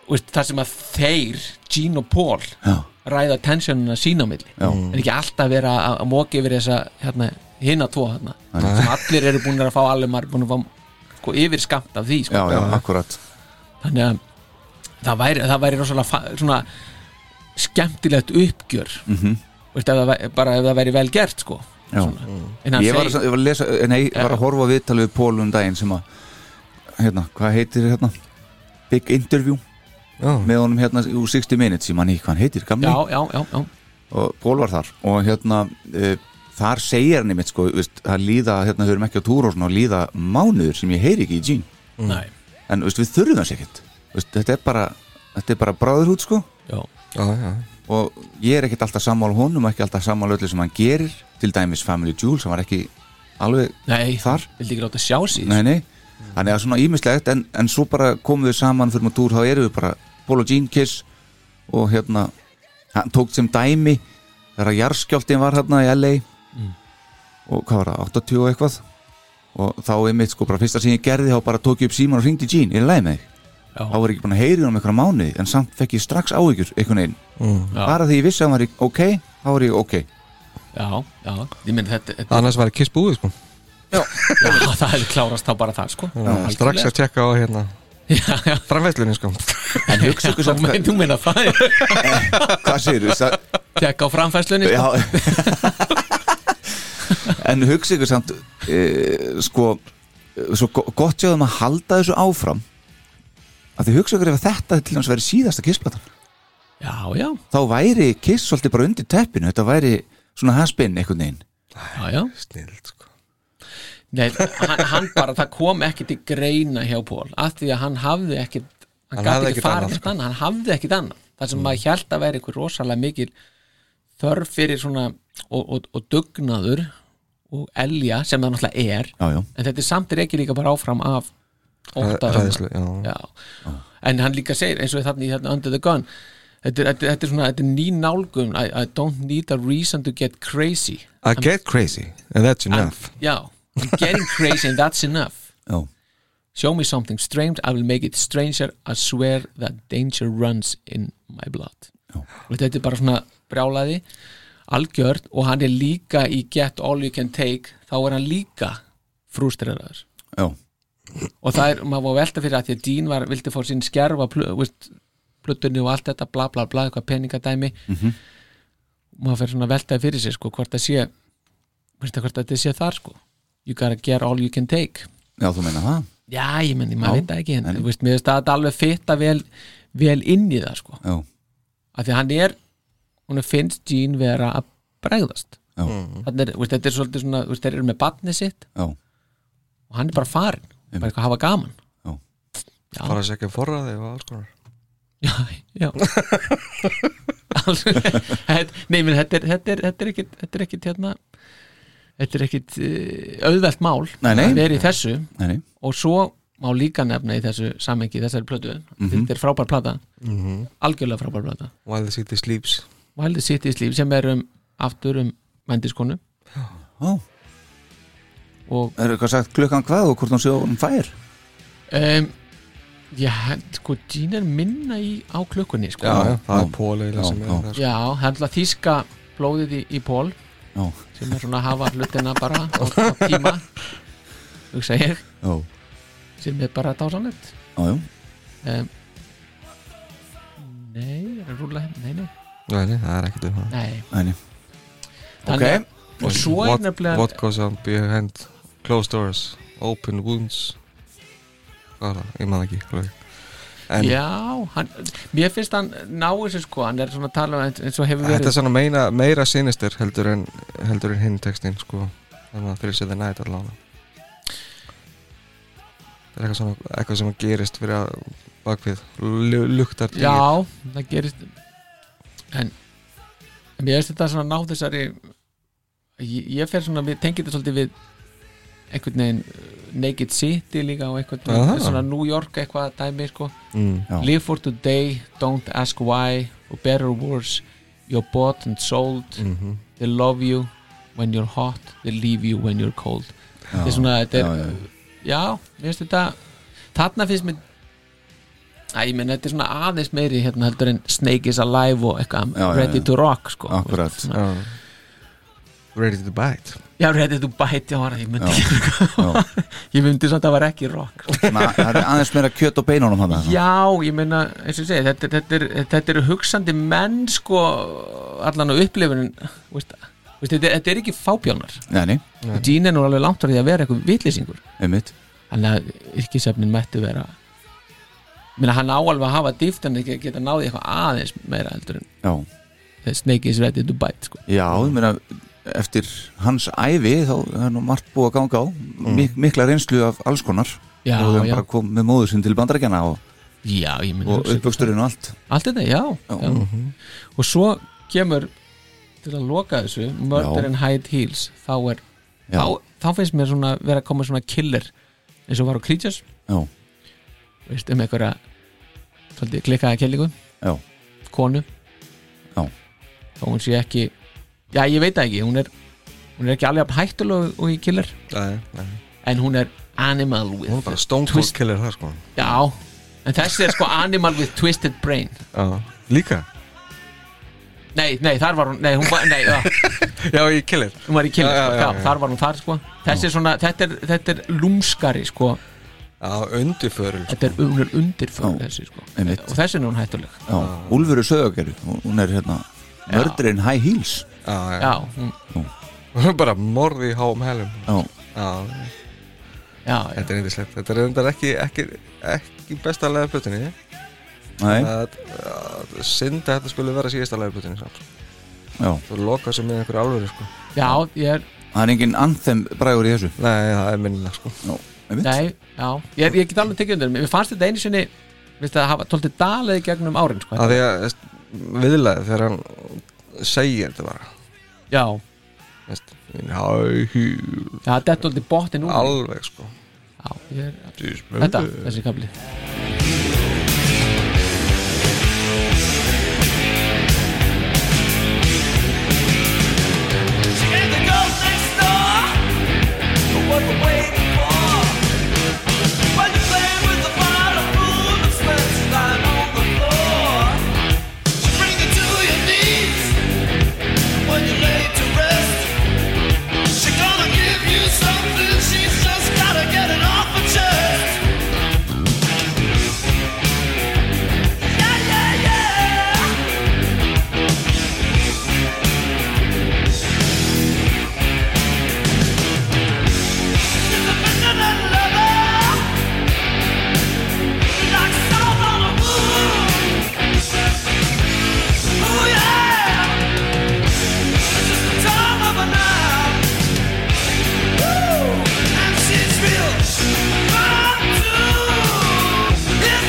Speaker 3: veist, það sem að þeir, Gene og Paul
Speaker 2: Já.
Speaker 3: ræða tensjónuna sína á milli
Speaker 2: Já.
Speaker 3: en ekki alltaf vera að að móka yfir þessa hérna, hinna tvo hérna, sem allir eru búin að fá alveg maður er búin að fá sko, yfir skamt af því sko
Speaker 2: Já, já, akkurat
Speaker 3: þannig að það væri, það væri rosalega fa- svona skemmtilegt uppgjör mm -hmm. Veist, ef það væri, bara ef það væri vel gert sko.
Speaker 2: Mhm. Já.
Speaker 3: en hann
Speaker 2: Mm. Ég var,
Speaker 3: segir
Speaker 2: að, ég var, að, lesa, eh, nei, ég var að horfa á viðtal við Pól um daginn sem að hérna, hvað heitir hérna Big Interview
Speaker 5: já,
Speaker 2: með honum hérna úr 60 Minutes ég manni ekki hvað hann heitir, gamli
Speaker 3: já, já, já, já,
Speaker 2: og Pól var þar og hérna e, þar segir hann einmitt sko veist, það líða, hérna þau erum ekki á túr og svona og líða mánuður sem ég heyri ekki í Jean
Speaker 3: næ
Speaker 2: en veist, við þurfum þess ekkert veist, þetta er bara, þetta er bara bráðurhút sko
Speaker 3: já,
Speaker 5: já, já.
Speaker 2: og ég er ekkert alltaf sammála honum ekki alltaf sammála öllu sem hann gerir til dæmis Family Jewel sem var ekki alveg
Speaker 3: nei,
Speaker 2: þar
Speaker 3: vildi ekki láta sjá síð
Speaker 2: nei, nei. þannig að svona ímislegt en, en svo bara komum við saman fyrir maður túr þá erum við bara Pól og Jean Kiss og hérna hann tók sem dæmi þegar að jarðskjálftin var hérna í LA og hvað var það, 80 og eitthvað og þá er mitt sko bara fyrsta sem ég gerði þá bara tók ég upp síman og ringdi í Jean, ég er leið með þig
Speaker 3: Já.
Speaker 2: þá var ég ekki búin að heyri um einhverja mánuði en samt fekk ég strax áhyggjur einhvern veginn
Speaker 3: Já.
Speaker 2: bara því ég vissi að hann var í ok þá var ég ok
Speaker 3: já, já, ég myndi þetta, þetta
Speaker 5: Annars var kiss búið sko
Speaker 3: já, það hefði klárast þá bara það sko
Speaker 5: Strax að tjekka á hérna framveitlunni sko
Speaker 2: En hugsa ykkur samt hvað-
Speaker 3: Þú meina það
Speaker 2: Hvað segir þú?
Speaker 3: Tekk á framfæslunni sko.
Speaker 2: Já En hugsa ykkur samt e, Sko eh, Svo go- gott sjáðum að halda þessu áfram að þið hugsa ykkur ef að þetta til dæmis væri síðasta kissplatan
Speaker 3: já, já,
Speaker 2: þá væri kiss svolítið bara undir teppinu þetta væri svona haspinn einhvern veginn
Speaker 3: já, já.
Speaker 5: snild sko
Speaker 3: Nei, hann, hann bara, það kom ekkit í greina hjá Pól, af því að hann hafði ekkit hann,
Speaker 5: Hann
Speaker 3: hann
Speaker 5: hafði
Speaker 3: ekki
Speaker 5: ekkit
Speaker 3: farið
Speaker 5: annað, sko. Mm.
Speaker 3: ekkit annað, hann hafði ekkit annað það sem maður held að vera einhver rosalega mikil þörf fyrir svona og, og, og dugnaður og elja sem það náttúrulega er
Speaker 2: Já, já.
Speaker 3: en þetta er samt reykir líka bara áfram af ótta um-
Speaker 5: ræðislu, já, já.
Speaker 3: já. en hann líka segir eins og þarna í þarna Under the Gun þetta, er- þetta, er- þetta er svona, þetta er ný nálgun I, I don't need a reason to get crazy
Speaker 5: I get crazy and that's
Speaker 3: I'm-
Speaker 5: enough Oh.
Speaker 3: já, I'm getting crazy and that's enough
Speaker 2: Já.
Speaker 3: show me something strange, I will make it stranger I swear that danger runs in my blood
Speaker 5: Oh.
Speaker 3: og þetta er bara svona brjálaði algjörn og hann er líka í Get All You Can Take þá er hann líka frústreraður
Speaker 2: Já.
Speaker 3: og það er, maður var velta fyrir að því að Dín var, vildi fór sín skerfa plötunni og allt þetta, bla bla bla eitthvað peningadæmi
Speaker 2: Mhm.
Speaker 3: maður fyrir svona veltaði fyrir sér sko, hvort það sé veistu, hvort þetta sé þar sko you gotta get all you can take
Speaker 2: Já, þú meina það
Speaker 3: já, ég menni,
Speaker 2: Já,
Speaker 3: maður veit það ekki en,
Speaker 2: en-
Speaker 3: en... Veist, mér finnst það alveg fitta vel, vel inn í það sko,
Speaker 2: Já,
Speaker 3: af því að hann er hún finnst Dín vera að bregðast
Speaker 2: Já.
Speaker 3: Þarna er, veist, þetta er svolítið svona, veist, þeir eru með batni sitt
Speaker 2: já,
Speaker 3: og hann er bara farinn, bara eitthvað að hafa gaman
Speaker 5: bara að segja forraði og alls konar
Speaker 3: já, já Alls- Þetta- nei, menn, þetta er þetta er, þetta er ekkit þetta er ekkit hérna þetta er ekkit uh, auðvelt mál
Speaker 2: Nei, nei.
Speaker 3: að vera í þessu
Speaker 2: nei, nei
Speaker 3: og svo má líka nefna í þessu samengi, þessari plötu
Speaker 2: Mhm.
Speaker 3: þetta er frábær plata, algjörlega frábær plata
Speaker 5: While the city sleeps
Speaker 3: Wild the City's líf sem er um aftur um vendiskonu
Speaker 2: Já.
Speaker 3: og
Speaker 2: Það er eitthvað sagt klukkan hvað og hvort hún sé á hún fær
Speaker 3: um, já, sko, Jean er minna í á klukkunni, sko
Speaker 5: já, já, það
Speaker 2: já.
Speaker 5: er póleila
Speaker 2: Já,
Speaker 5: sem
Speaker 2: já.
Speaker 5: er það sko.
Speaker 3: Já, það er alltaf þýska blóðið í, í pól
Speaker 2: Já,
Speaker 3: sem er svona að hafa hlutina bara á, á tíma hugsa ég,
Speaker 2: já,
Speaker 3: sem er bara dásanlegt
Speaker 2: já, já.
Speaker 3: um, Nei, er að rúla henn, nei, nei,
Speaker 5: Nei, nei, það er ekkert um það
Speaker 3: nei
Speaker 2: Nei, nei. Ok,
Speaker 3: Þannig- Og svo er
Speaker 5: What-
Speaker 3: nefnilega
Speaker 5: What goes on behind closed doors Open wounds Hvað er það? Ég man ekki alveg. En
Speaker 3: Já, hann, mér finnst hann ná þessu sko, hann er svona að tala um eins- eins og hefur
Speaker 5: þetta
Speaker 3: verið
Speaker 5: er svona meina, meira sinister heldur en, heldur en hinn textin sko Þannig að fyrir sér það nætt allavega Það er eitthvað, svona, eitthvað sem gerist fyrir að bakvið lu- luktar til
Speaker 3: Já, það gerist en en mér finnst þetta svona ná þessari ég, ég fer svona, við tengi þetta svolítið við einhvern veginn uh, Naked City líka og einhvern
Speaker 5: Aha.
Speaker 3: veginn svona New York eitthvað dæmi sko
Speaker 5: mm.
Speaker 2: Já.
Speaker 3: Live for today, don't ask why or better words, you're bought and sold
Speaker 2: Mhm.
Speaker 3: they love you when you're hot, they leave you when you're cold þetta er svona, þetta er
Speaker 2: já, já.
Speaker 3: já, mér finnst þetta þarna finnst mér Æ, ég menn, þetta er svona aðeins meiri hérna heldur en Snake is Alive og eitthvað
Speaker 2: Já, já,
Speaker 3: Ready
Speaker 2: já.
Speaker 3: to Rock, sko
Speaker 2: Akkurat.
Speaker 3: Svona-
Speaker 5: Já. Ready to bite
Speaker 3: Já, Ready to Bite, já, ég myndi
Speaker 2: Já.
Speaker 3: ég myndi samt að það var ekki rock sko.
Speaker 2: Svona, Það er aðeins meira kjöt og beinunum hann
Speaker 3: Já, ég meina, eins og ég segi þetta, þetta, er, þetta eru hugsandi menn sko, allan á upplifunin veist, veist, þetta, þetta er ekki fábjónar
Speaker 2: Nei, nei,
Speaker 3: og Gene er nú alveg langt frá því að vera eitthvað vitlýsingur
Speaker 2: einmitt
Speaker 3: þannig að yrkisefnin mættu vera ég meina, hann á alveg að hafa dýft en ekki að geta náði eitthvað aðeins meira heldur en
Speaker 2: Já,
Speaker 3: the snake is ready to bite sko.
Speaker 2: já, ég meina eftir hans ævi þá er nú margt búið að ganga á Mik mikla reynslu af alls konar
Speaker 3: Já,
Speaker 2: og þeim
Speaker 3: já.
Speaker 2: bara kom með móður sinn til bandarækjana og,
Speaker 3: já, ég meina
Speaker 2: og Mhm. uppvöxturinn og allt
Speaker 3: allt þetta, já, já. og svo kemur til að loka þessu Murder
Speaker 2: Já.
Speaker 3: and Hide Heels þá er
Speaker 2: Já,
Speaker 3: þá, þá finnst mér svona vera að koma svona killer eins og var á Creatures
Speaker 2: já,
Speaker 3: veist, um einhverja svolítið klikkaða kellingu
Speaker 2: já,
Speaker 3: konu
Speaker 2: Já.
Speaker 3: þá hún sé ekki já ég veit það ekki, hún er hún er ekki alveg jafn hættuleg og í killer
Speaker 5: Nei, nei.
Speaker 3: en hún er animal with
Speaker 5: Hún er bara stone cold
Speaker 3: twist-
Speaker 5: killer þar sko
Speaker 3: já, en þessi er sko animal with twisted brain
Speaker 5: Já. Líka?
Speaker 3: nei, nei, þar var hún nei, hún var, nei, já,
Speaker 5: Já, ég killer
Speaker 3: hún var í killer
Speaker 5: Já, já,
Speaker 3: sko,
Speaker 5: já, já.
Speaker 3: þar var hún þar sko þessi er svona, þetta er, þetta er lúmskari sko
Speaker 5: Já, undirförul
Speaker 3: þetta er umlur undirförn
Speaker 2: Já,
Speaker 3: þessi sko
Speaker 2: einmitt.
Speaker 3: og þessi er hún hættuleg
Speaker 2: Já, Úlfur er söðagerði Hún er hérna Mördurinn High Heels
Speaker 5: Já, já
Speaker 3: já, hún,
Speaker 5: Bara morði í háum helum
Speaker 2: Já,
Speaker 5: Já,
Speaker 3: já, já,
Speaker 5: þetta er eindislegt Þetta er reyndar ekki, ekki, ekki besta lega plötunni
Speaker 2: nei,
Speaker 5: að, að synda þetta skulle vera síðasta lega plötunni samt
Speaker 2: já
Speaker 5: Þú loka sem með einhverju alvöru sko
Speaker 3: já ég er
Speaker 2: Það er engin anthem brægur í þessu
Speaker 5: Nei, það er minnilega sko
Speaker 2: Já, einmitt
Speaker 3: Nei, já, ég, ég get alveg tekið undir Mér fannst þetta einu sinni Vist að hafa tóltið dalið í gegnum árin sko.
Speaker 5: að því að veist, viðlaði þegar hann segir þetta bara
Speaker 3: Já,
Speaker 5: veist, in high heels,
Speaker 3: já, þetta er tóltið bottin úr
Speaker 5: alveg sko
Speaker 3: Já, ég er, Þetta, þessi kafli
Speaker 7: She's just gotta get it off her chest. Yeah, yeah, yeah.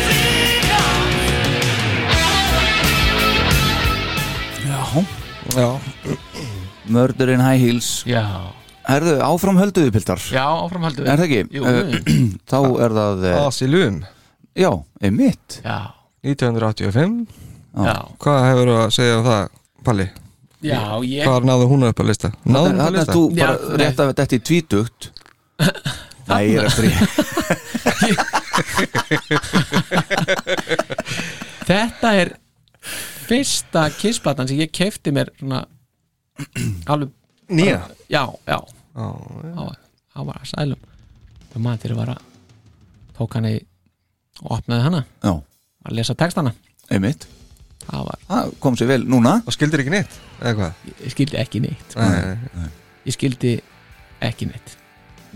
Speaker 7: Yeah.
Speaker 2: Já,
Speaker 5: Já,
Speaker 2: Mördurinn High Heels
Speaker 3: Já,
Speaker 2: Herðu, áfram hölduðu piltar
Speaker 3: já, áframhaldu
Speaker 2: Er það ekki?
Speaker 3: Jú,
Speaker 2: Eh, Þá er það, eh,
Speaker 5: Asilum
Speaker 2: já, einmitt
Speaker 3: já,
Speaker 5: 1985
Speaker 3: já
Speaker 5: Hvað hefur að segja um það, Palli?
Speaker 3: Eh. Já, ég,
Speaker 5: Hvað náðu hún upp að lista? Náðu hún upp að
Speaker 2: Þannig að
Speaker 5: lista?
Speaker 2: þú
Speaker 3: Já,
Speaker 2: bara
Speaker 3: nei.
Speaker 2: rétt af þetta í tvítugt Nei, ég er að stríða
Speaker 3: þetta er Fyrsta kissplatan sem ég kefti mér svona, Alveg,
Speaker 5: Nýja
Speaker 3: já, já
Speaker 5: Já,
Speaker 3: Það var- það var að sælum Það maður til að vara Tók hana í og opnaði hana
Speaker 2: Já,
Speaker 3: að lesa textana
Speaker 2: einmitt
Speaker 3: það var,
Speaker 2: Það kom sér vel núna
Speaker 5: Og skildir ekki neitt, eða hvað?
Speaker 3: ég skildi ekki neitt
Speaker 5: Nei,
Speaker 3: ég skildi ekki neitt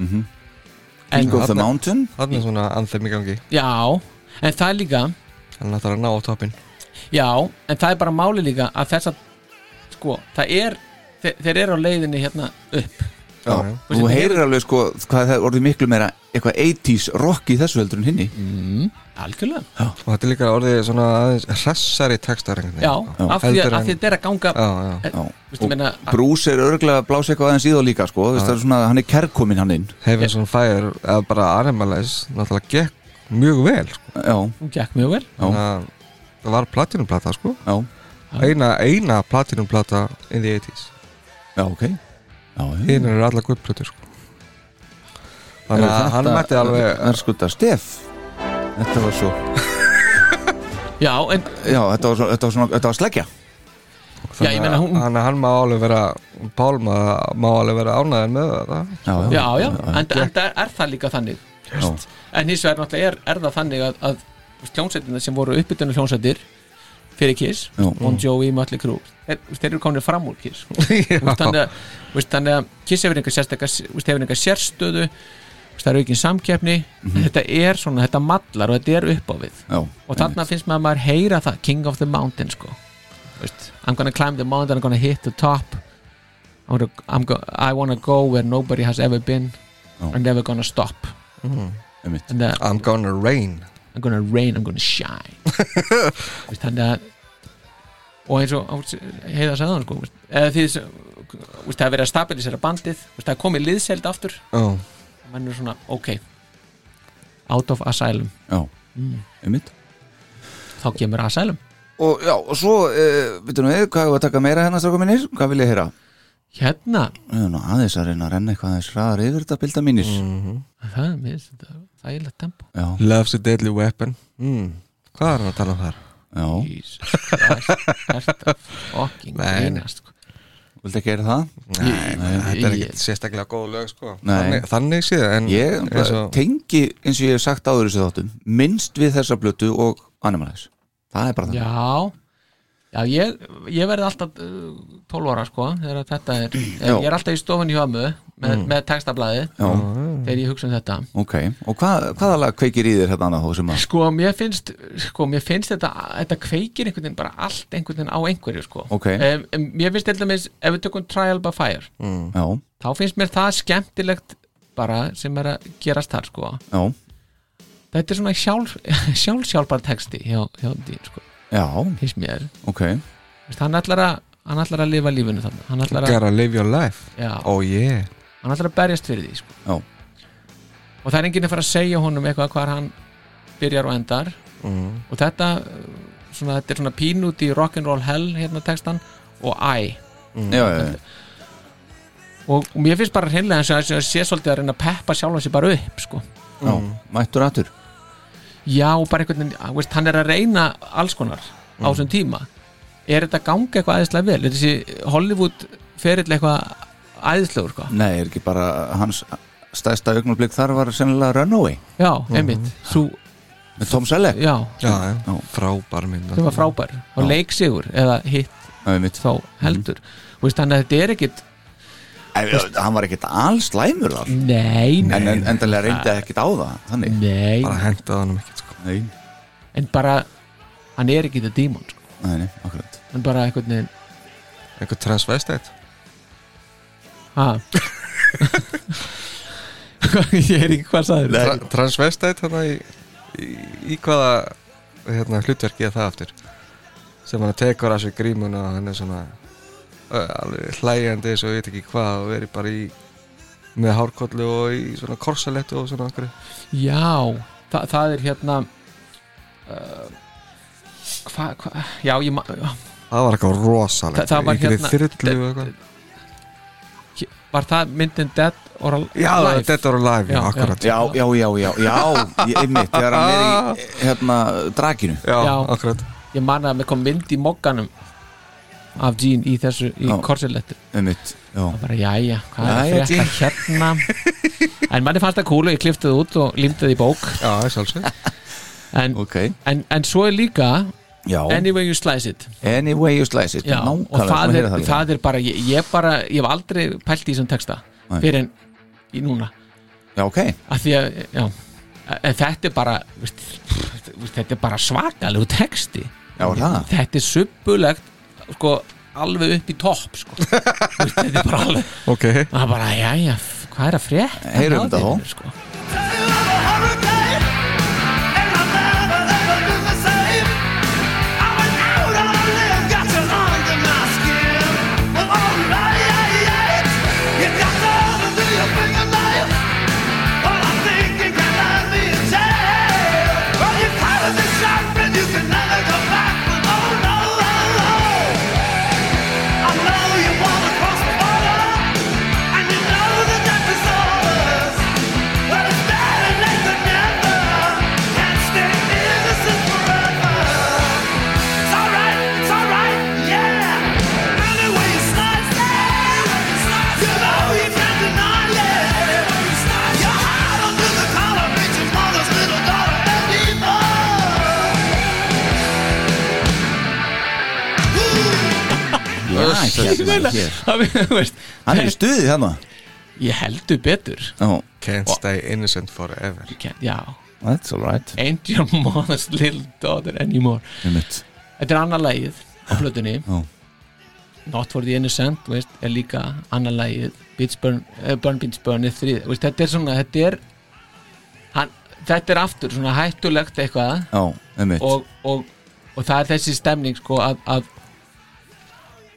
Speaker 2: Mhm.
Speaker 3: en,
Speaker 2: King of the Mountain
Speaker 5: það er svona anþem í gangi
Speaker 3: já, en það er líka
Speaker 5: Hann ætlar að ná á toppin
Speaker 3: já, en það er bara máli líka að þess að sko, það er þeir, þeir eru á leiðinni hérna upp
Speaker 2: Já,
Speaker 5: já.
Speaker 2: þú heyrir alveg sko hvað það er orðið miklu meira eitthvað 80s rock í þessu heldur en hinni
Speaker 3: algjörlega,
Speaker 5: Og þetta er líka orðið svona aðeins hressari textar einhvern veginn,
Speaker 3: já,
Speaker 5: sko.
Speaker 3: af því að,
Speaker 5: Heldur en-
Speaker 3: að þetta er að ganga
Speaker 5: Já, já
Speaker 3: eh,
Speaker 2: Já.
Speaker 3: veistu,
Speaker 2: Og
Speaker 3: meina, að-
Speaker 2: Bruce er örglega að blása eitthvað aðeins í þá líka sko, Vist, það er svona, hann er kærkominn hann inn
Speaker 5: Heavens on Fire eða bara Animalize náttúrulega gekk mjög vel sko.
Speaker 2: Já,
Speaker 3: hún gekk mjög vel
Speaker 2: Já.
Speaker 5: þannig að það var platinumplata sko.
Speaker 2: já,
Speaker 5: eina, eina platinumplata in the 80s
Speaker 2: já, ok Já, já
Speaker 5: hinn eru allar guðplötur sko. þannig að hann mætti alveg
Speaker 2: Það er sko þetta stef Þetta var svo
Speaker 3: já, en,
Speaker 2: Já, þetta var, svo, þetta var, svona, þetta var sleggja
Speaker 3: já ég meina hún
Speaker 5: þannig að hann má alveg vera Pálma má alveg vera ánæðin með það
Speaker 3: já, já, en, en það er það líka þannig
Speaker 2: já.
Speaker 3: en hins vegar náttúrulega er, er það þannig að, að hljómsveitina sem voru uppbytunar hljómsveitir fyrir Kiss,
Speaker 2: Já.
Speaker 3: Bon Jovi, Mötli Krú þeir, þeir eru komin fram úr Kiss sko. Þú veist, þannig, að, þú veist, þannig að Kiss hefur einhver, sérstaka- þú veist, hefur einhver sérstöðu þú veist, það er aukin samkeppni þetta er svona, þetta mallar og þetta er upp á við
Speaker 2: Já,
Speaker 3: og þarna finnst maður að maður heyra það King of the Mountain sko Þú veist, I'm gonna climb the mountain, I'm gonna hit the top I'm gonna, I'm gonna, I wanna go where nobody has ever been
Speaker 2: Já.
Speaker 3: I'm never gonna stop
Speaker 2: einmitt.
Speaker 3: and, uh,
Speaker 5: I'm gonna rain
Speaker 3: I'm gonna rain, I'm gonna shine Vist, þannig að og eins og heiða sagði hann sko veist, eða því þess- veist, það er verið að stabilisera bandið veist, það er komið liðseld aftur
Speaker 5: oh.
Speaker 3: mann er svona, ok out of asylum,
Speaker 2: já Einmitt
Speaker 3: þá kemur asylum
Speaker 2: Og já, og svo, uh, veitum við, hvað hefur að taka meira hérna strákum minnir? Hvað vil ég heyra?
Speaker 3: hérna,
Speaker 2: Við erum nú aðeins að reyna að renna eitthvað aðeins hraðar yfir þetta bilda mínir
Speaker 5: Mm.
Speaker 3: það er mér finnst þetta þægilegt tempo
Speaker 2: Já,
Speaker 5: Love's a deadly weapon mm. hvað er hann að tala um þar?
Speaker 2: já
Speaker 3: sko. Jesus Christ, þetta fucking
Speaker 5: Nei, nei.
Speaker 3: grínast sko.
Speaker 2: Viltu ekki gera það?
Speaker 5: Nei, þetta er
Speaker 3: ég-
Speaker 5: ekkert sérstaklega góð lög sko
Speaker 2: Nei.
Speaker 5: þannig, þannig séð en
Speaker 2: Ég
Speaker 5: eins og,
Speaker 2: tengi, eins og ég hef sagt áður í þessu þáttum minnst við þessa blötu og Animalize Það er bara það
Speaker 3: Já Já, ég, ég verði alltaf uh, 12 ára sko, þegar að þetta er
Speaker 2: Já.
Speaker 3: ég er alltaf í stofunni hjá ömmu með, með textablaði
Speaker 2: Já,
Speaker 3: þegar ég hugsa um þetta
Speaker 2: ok, og hvað, hvaða lag kveikir í þér hérna annað þó sem að
Speaker 3: Sko, mér finnst, sko, mér finnst þetta, þetta kveikir einhvern veginn bara allt einhvern veginn á einhverju sko.
Speaker 2: Ok.
Speaker 5: Eh.
Speaker 3: um, um, Mér finnst þetta með, ef við tökum Trial by Fire,
Speaker 2: Já,
Speaker 3: þá finnst mér það skemmtilegt bara sem er að gerast þar sko.
Speaker 2: já,
Speaker 3: Þetta er svona sjálf, sjálfsjálfar texti hjá, hjá dýr sko,
Speaker 2: já,
Speaker 3: finnst mér
Speaker 2: ok
Speaker 3: Veist, hann ætlar að hann ætlar að lifa lífinu þannig hann ætlar að,
Speaker 5: gotta live your life
Speaker 3: já,
Speaker 5: oh yeah
Speaker 3: hann ætlar að berjast fyrir því sko.
Speaker 2: Já.
Speaker 3: og það er enginn að fara að segja honum eitthvað hvar hann byrjar og endar og þetta uh, svona, þetta er svona pín út í rock'n'roll hell hérna textan og æ
Speaker 5: Mm.
Speaker 2: já, já, já.
Speaker 3: og, og mér finnst bara hreinlega eins og þess að sé svolítið að reyna að peppa sjálfa sér bara upp sko.
Speaker 5: Mm.
Speaker 2: já. mættur atur
Speaker 3: já og bara einhvern veginn að, veist, hann er að reyna alls konar á þessum tíma er þetta gangi eitthvað æðislega vel er þessi Hollywood ferill eitthvað æðislegur sko?
Speaker 2: Nei, er ekki bara hans stæðsta augnablik þar var sennilega Runaway
Speaker 3: já, einmitt, svo,
Speaker 2: með Tom Selleck
Speaker 3: já,
Speaker 5: já, já. frábær mynd
Speaker 3: sem var frábær og leiksigur eða hitt
Speaker 2: Æ, mitt.
Speaker 3: þá heldur mm. veist, þannig að þetta er ekkit
Speaker 2: Æ, Hann var ekkit alls læmur þar
Speaker 3: nei, nei,
Speaker 2: en, en endanlega reyndi ekkit á það Þannig,
Speaker 3: nei,
Speaker 5: bara hendaði hann ekki sko.
Speaker 2: nei,
Speaker 3: en bara hann er ekki þetta dímon sko.
Speaker 2: nei, nei, akkurat
Speaker 3: en bara einhvern veginn
Speaker 5: einhver transvestite
Speaker 3: ha ég er ekki hvað sagður
Speaker 5: Tra transvestite hann í, í, í hvaða hérna, hlutverki er það aftur sem hann tekur að sér grímuna og hann er svona ö, alveg hlægjandi eins og ég veit ekki hvað og verið bara í með hárkollu og í svona korsalettu og svona okkur
Speaker 3: já, þa það er hérna uh, hvað, hva, já, ég ma-
Speaker 5: það var eitthvað rosalegt
Speaker 3: Þa- það var
Speaker 5: Í einhverri
Speaker 3: hérna-
Speaker 5: þyrlu og eitthvað
Speaker 3: var það myndin Dead or Al-
Speaker 5: Já,
Speaker 3: Alive?
Speaker 5: þetta var live, já,
Speaker 3: Já,
Speaker 5: akkurat
Speaker 2: Já, já, já, já, já, ég- einmitt Þegar hann er í, hérna, drakinu
Speaker 5: Já,
Speaker 3: Já.
Speaker 5: akkurat
Speaker 3: ég man að mér kom mynd í mokkanum af Jean í þessu, í
Speaker 2: Já.
Speaker 3: korselettu
Speaker 2: Einmitt, já
Speaker 3: og bara jæja, hvað er
Speaker 2: Jæja,
Speaker 3: að frétta hérna en manni fannst það kúlu, ég kliftið út og límdið í bók
Speaker 5: Já, sjálfsög
Speaker 3: en,
Speaker 2: Ok,
Speaker 3: en, en svo er líka
Speaker 2: já,
Speaker 3: Anyway you slice it
Speaker 2: anyway you slice it
Speaker 3: Já, og
Speaker 2: Nákvæmlega,
Speaker 3: það
Speaker 2: maður
Speaker 3: er,
Speaker 2: heyrir
Speaker 3: það,
Speaker 2: líka.
Speaker 3: er bara ég, ég bara, ég hef aldrei pælt í þessum texta
Speaker 2: Nei.
Speaker 3: fyrir en í núna
Speaker 2: Já, ok,
Speaker 3: af því að, já en þetta er bara veist, veist, þetta er bara svakalegu texti
Speaker 2: já, er það
Speaker 3: þetta er subbulegt sko, alveg upp í topp sko. Veist, þetta er bara alveg
Speaker 5: Ok,
Speaker 3: Það er bara, jæja, hvað er að frétt?
Speaker 2: Heyrum þetta þó.
Speaker 3: Sko.
Speaker 6: Oh,
Speaker 2: Já, hérna, hér.
Speaker 3: Það, þú veist,
Speaker 2: Hann er í stuði þarna
Speaker 3: Ég heldur betur
Speaker 2: Já,
Speaker 5: can't stay innocent forever
Speaker 3: Ég ken- Já,
Speaker 2: that's all right
Speaker 3: ain't your mother's little daughter anymore
Speaker 2: Einmitt,
Speaker 3: Þetta er annað lagið á plötunni
Speaker 2: Ah, Já.
Speaker 3: Not for the innocent, þú veist, er líka annað lagið Beats Burn, uh, Burn Beats Burn er þrið, veist, þetta er svona, þetta er hann, þetta er aftur svona hættulegt eitthvað
Speaker 2: já, einmitt
Speaker 3: og, og, og það er þessi stemning sko að, að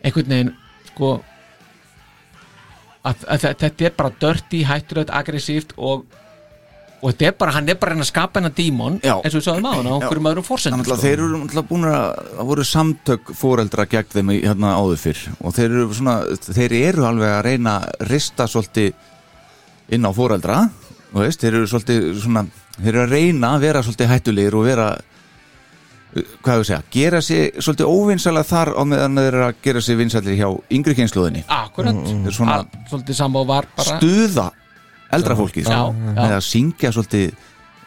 Speaker 3: einhvern veginn sko að, að þe- þetta er bara dirty, hættulegt, aggressíft og, og þetta er bara, hann er bara að reyna að skapa hennar dímon
Speaker 2: Já.
Speaker 3: eins og við sáðum á hann á einhverjum öðrum forsendum sko.
Speaker 2: Þannig að þeir eru náttúrulega búin að það voru samtök fóreldra gegn þeim í- hérna áður fyrr og þeir eru, svona, þeir eru alveg að reyna að rista svolítið inn á fóreldra þú veist, þeir eru svolítið svona, þeir eru að reyna að vera svolítið hættulegir og vera hvað þú segja, gera sig svolítið óvinsalega þar á meðan þeir eru að gera sig vinsallir hjá yngri kynsluðinni
Speaker 3: Akkurat
Speaker 2: Þeir Mm, svona
Speaker 3: Að Svolítið sambóð var bara
Speaker 2: stuða eldra fólkið sko,
Speaker 3: Já,
Speaker 2: með
Speaker 3: já.
Speaker 2: að syngja svolítið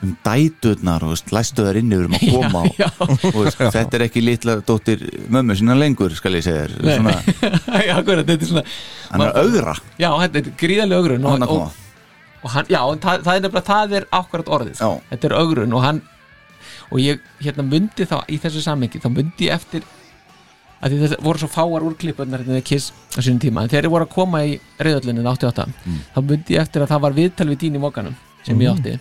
Speaker 2: um dæturnar og veist, læstu þær inni um að koma og,
Speaker 3: Já,
Speaker 2: og veist, þetta er ekki litla dóttir mömmu sína lengur skal ég segja þér
Speaker 3: Nei.
Speaker 2: svona,
Speaker 3: já, akkurat, þetta er svona
Speaker 2: hann er að ögra
Speaker 3: Já, þetta er gríðarlega ögrun
Speaker 2: hann
Speaker 3: og,
Speaker 2: að koma
Speaker 3: og, og hann, Já, en það, það er nefnilega, það er akkurat orðið sko.
Speaker 2: Já.
Speaker 3: Þetta er ögrun og hann og ég hérna myndi þá í þessu samengi þá myndi ég eftir að því þetta voru svo fáar úrklippunar hérna við Kiss á sínum tíma, en þegar ég voru að koma í reyðallinni 88, þá myndi ég eftir að það var viðtal við Dín í Mókanum sem ég átti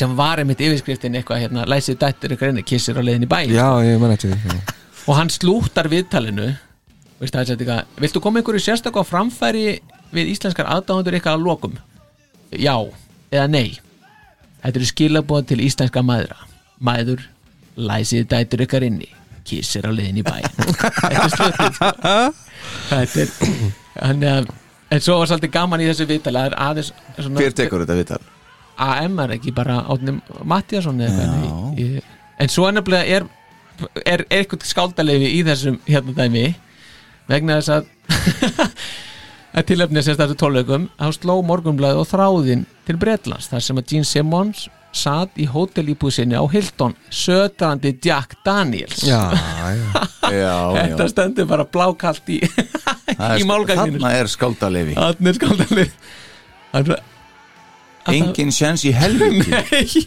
Speaker 3: sem var einmitt yfirskriftin eitthvað hérna, læsið dættur ykkur enni, Kiss er á leiðin í bæ
Speaker 4: Já, ég menn eftir því já.
Speaker 3: og hann slúttar viðtalinu veist það, þetta eitthvað, viltu koma einhverju sérstakku á framfæri við íslenskar aðdáðundur ykkar að lokum já eða nei þetta eru skilabóð til íslenska maðra maður, læsið dætur ykkar inni kissir á liðin í bæ þetta er slutið sko. þetta er hann, en svo var svolítið gaman í þessu viðtali að það er aðeins svona-
Speaker 2: hver tekur þetta viðtal?
Speaker 3: AM er ekki bara Átni Mattiasson eða hvernig Ég- en svo er nefnilega er, er, er eitthvað skáldalegi í þessum hérna dæmi vegna þess að að tilöfnið sérst þessu tólveikum þá sló morgunblæði og þráðin til Bretlands þar sem að Gene Simmons satt í hótelíbúð sinni á Hilton sötrandi Jack Daniels
Speaker 4: Já, já
Speaker 2: Já, já.
Speaker 3: þetta stendur bara blákalt í
Speaker 2: Það er- sko-
Speaker 3: í málganginu
Speaker 2: þarna er skáldalefi
Speaker 3: þannig er skáldalegi hann er
Speaker 2: engin sjens í helviti
Speaker 3: Nei,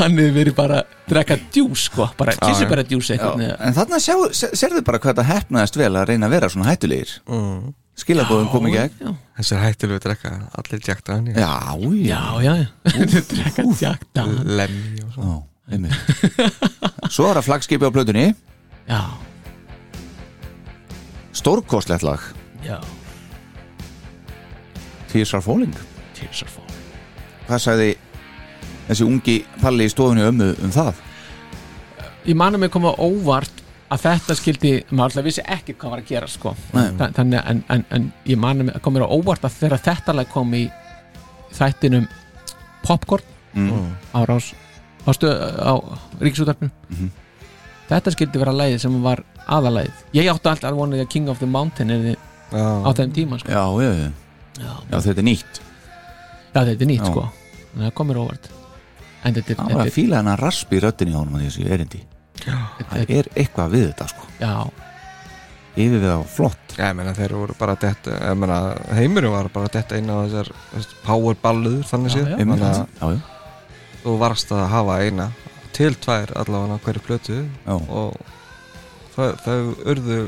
Speaker 3: hann hefur verið bara að drekka djús sko, bara kissi bara djús
Speaker 2: Já,
Speaker 3: eitthvað neða.
Speaker 2: en þarna sjá, se- sérðu bara hvað þetta hefnaðist vel að reyna að vera svona hættulegir skilabóðum kom í gegn
Speaker 3: Já,
Speaker 5: Þessi hættilegu drekka, allir Jack Daniel
Speaker 2: já, já,
Speaker 3: já, já, já. drekka djakta
Speaker 5: Lemmy og svona
Speaker 2: já einmitt. svo er það flagskipi á plötunni
Speaker 3: Já,
Speaker 2: stórkostlegt lag
Speaker 3: já,
Speaker 2: Tears are falling
Speaker 3: tears are falling
Speaker 2: hvað sagði þessi ungi palli í stofunni ömmu um það
Speaker 3: Ég man að mér koma óvart að þetta skildi, maður alltaf vissi ekki hvað var að gera sko,
Speaker 2: Nei.
Speaker 3: Þa- þannig að- en, en, en ég man að mér kom mér á óvart að þegar þetta lag kom í þættinum popcorn
Speaker 2: mm.
Speaker 3: árás á, stöð, á ríkisútarpinu
Speaker 2: Mhm.
Speaker 3: þetta skildi vera lægið sem var aðalægið ég átti alltaf að vona því að King of the Mountain er þið á
Speaker 4: Já,
Speaker 3: þeim tíma sko.
Speaker 2: já, já, já,
Speaker 3: já.
Speaker 2: já, þetta er nýtt
Speaker 3: já, þetta er nýtt
Speaker 2: Já.
Speaker 3: sko þannig að það komir óvart en þetta er,
Speaker 2: það var
Speaker 3: þetta
Speaker 2: að
Speaker 3: er,
Speaker 2: fíla hennar raspi í röddinni á honum að þessu erindi það er eitthvað við þetta sko
Speaker 3: já,
Speaker 2: yfir við á flott
Speaker 5: Já, ég meina þeir voru bara að detta, ég meina heimurinn var bara að detta inn á þessar veist, powerballuður þannig
Speaker 3: Já,
Speaker 5: séð
Speaker 3: já.
Speaker 2: Einmitt.
Speaker 5: Þannig að
Speaker 2: já, já,
Speaker 5: þú varst að hafa eina til tvær allavega á hverju plötu
Speaker 2: já,
Speaker 5: og þau, þau urðu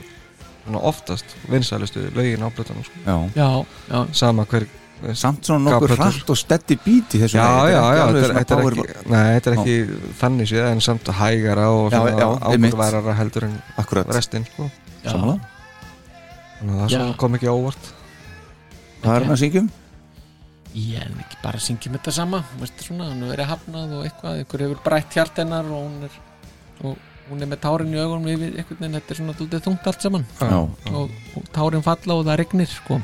Speaker 5: svona oftast vinsælustu lögin á plötunum sko.
Speaker 2: já.
Speaker 3: já, já,
Speaker 5: sama hver
Speaker 2: samt svona nokkuð
Speaker 5: Gabrötur.
Speaker 2: hratt og stetti bíti þessu
Speaker 5: já,
Speaker 2: lagi.
Speaker 5: já, já,
Speaker 2: Þetta er ekki alveg
Speaker 5: þetta
Speaker 2: svona
Speaker 5: er- þetta er
Speaker 2: power-
Speaker 5: ekki nei, þetta er ekki þannig séð en samt hægara og
Speaker 2: Já, já, einmitt.
Speaker 5: ákvörðværara heldur en
Speaker 2: Akkurat,
Speaker 5: restinn sko.
Speaker 3: já.
Speaker 2: samanlega
Speaker 5: þannig að það
Speaker 3: Já.
Speaker 5: svona kom ekki á óvart
Speaker 2: Hvað er hann að um? syngjum?
Speaker 3: ég er ekki bara að syngja með þetta sama Veistu, svona, hann hefur verið hafnað og eitthvað ykkur hefur brætt hjart hennar og hún er, og hún er með tárin í augunum yfir einhvern veginn, þetta er svona daldið þungt allt saman
Speaker 2: Já,
Speaker 3: og, og tárin falla og það rignir sko,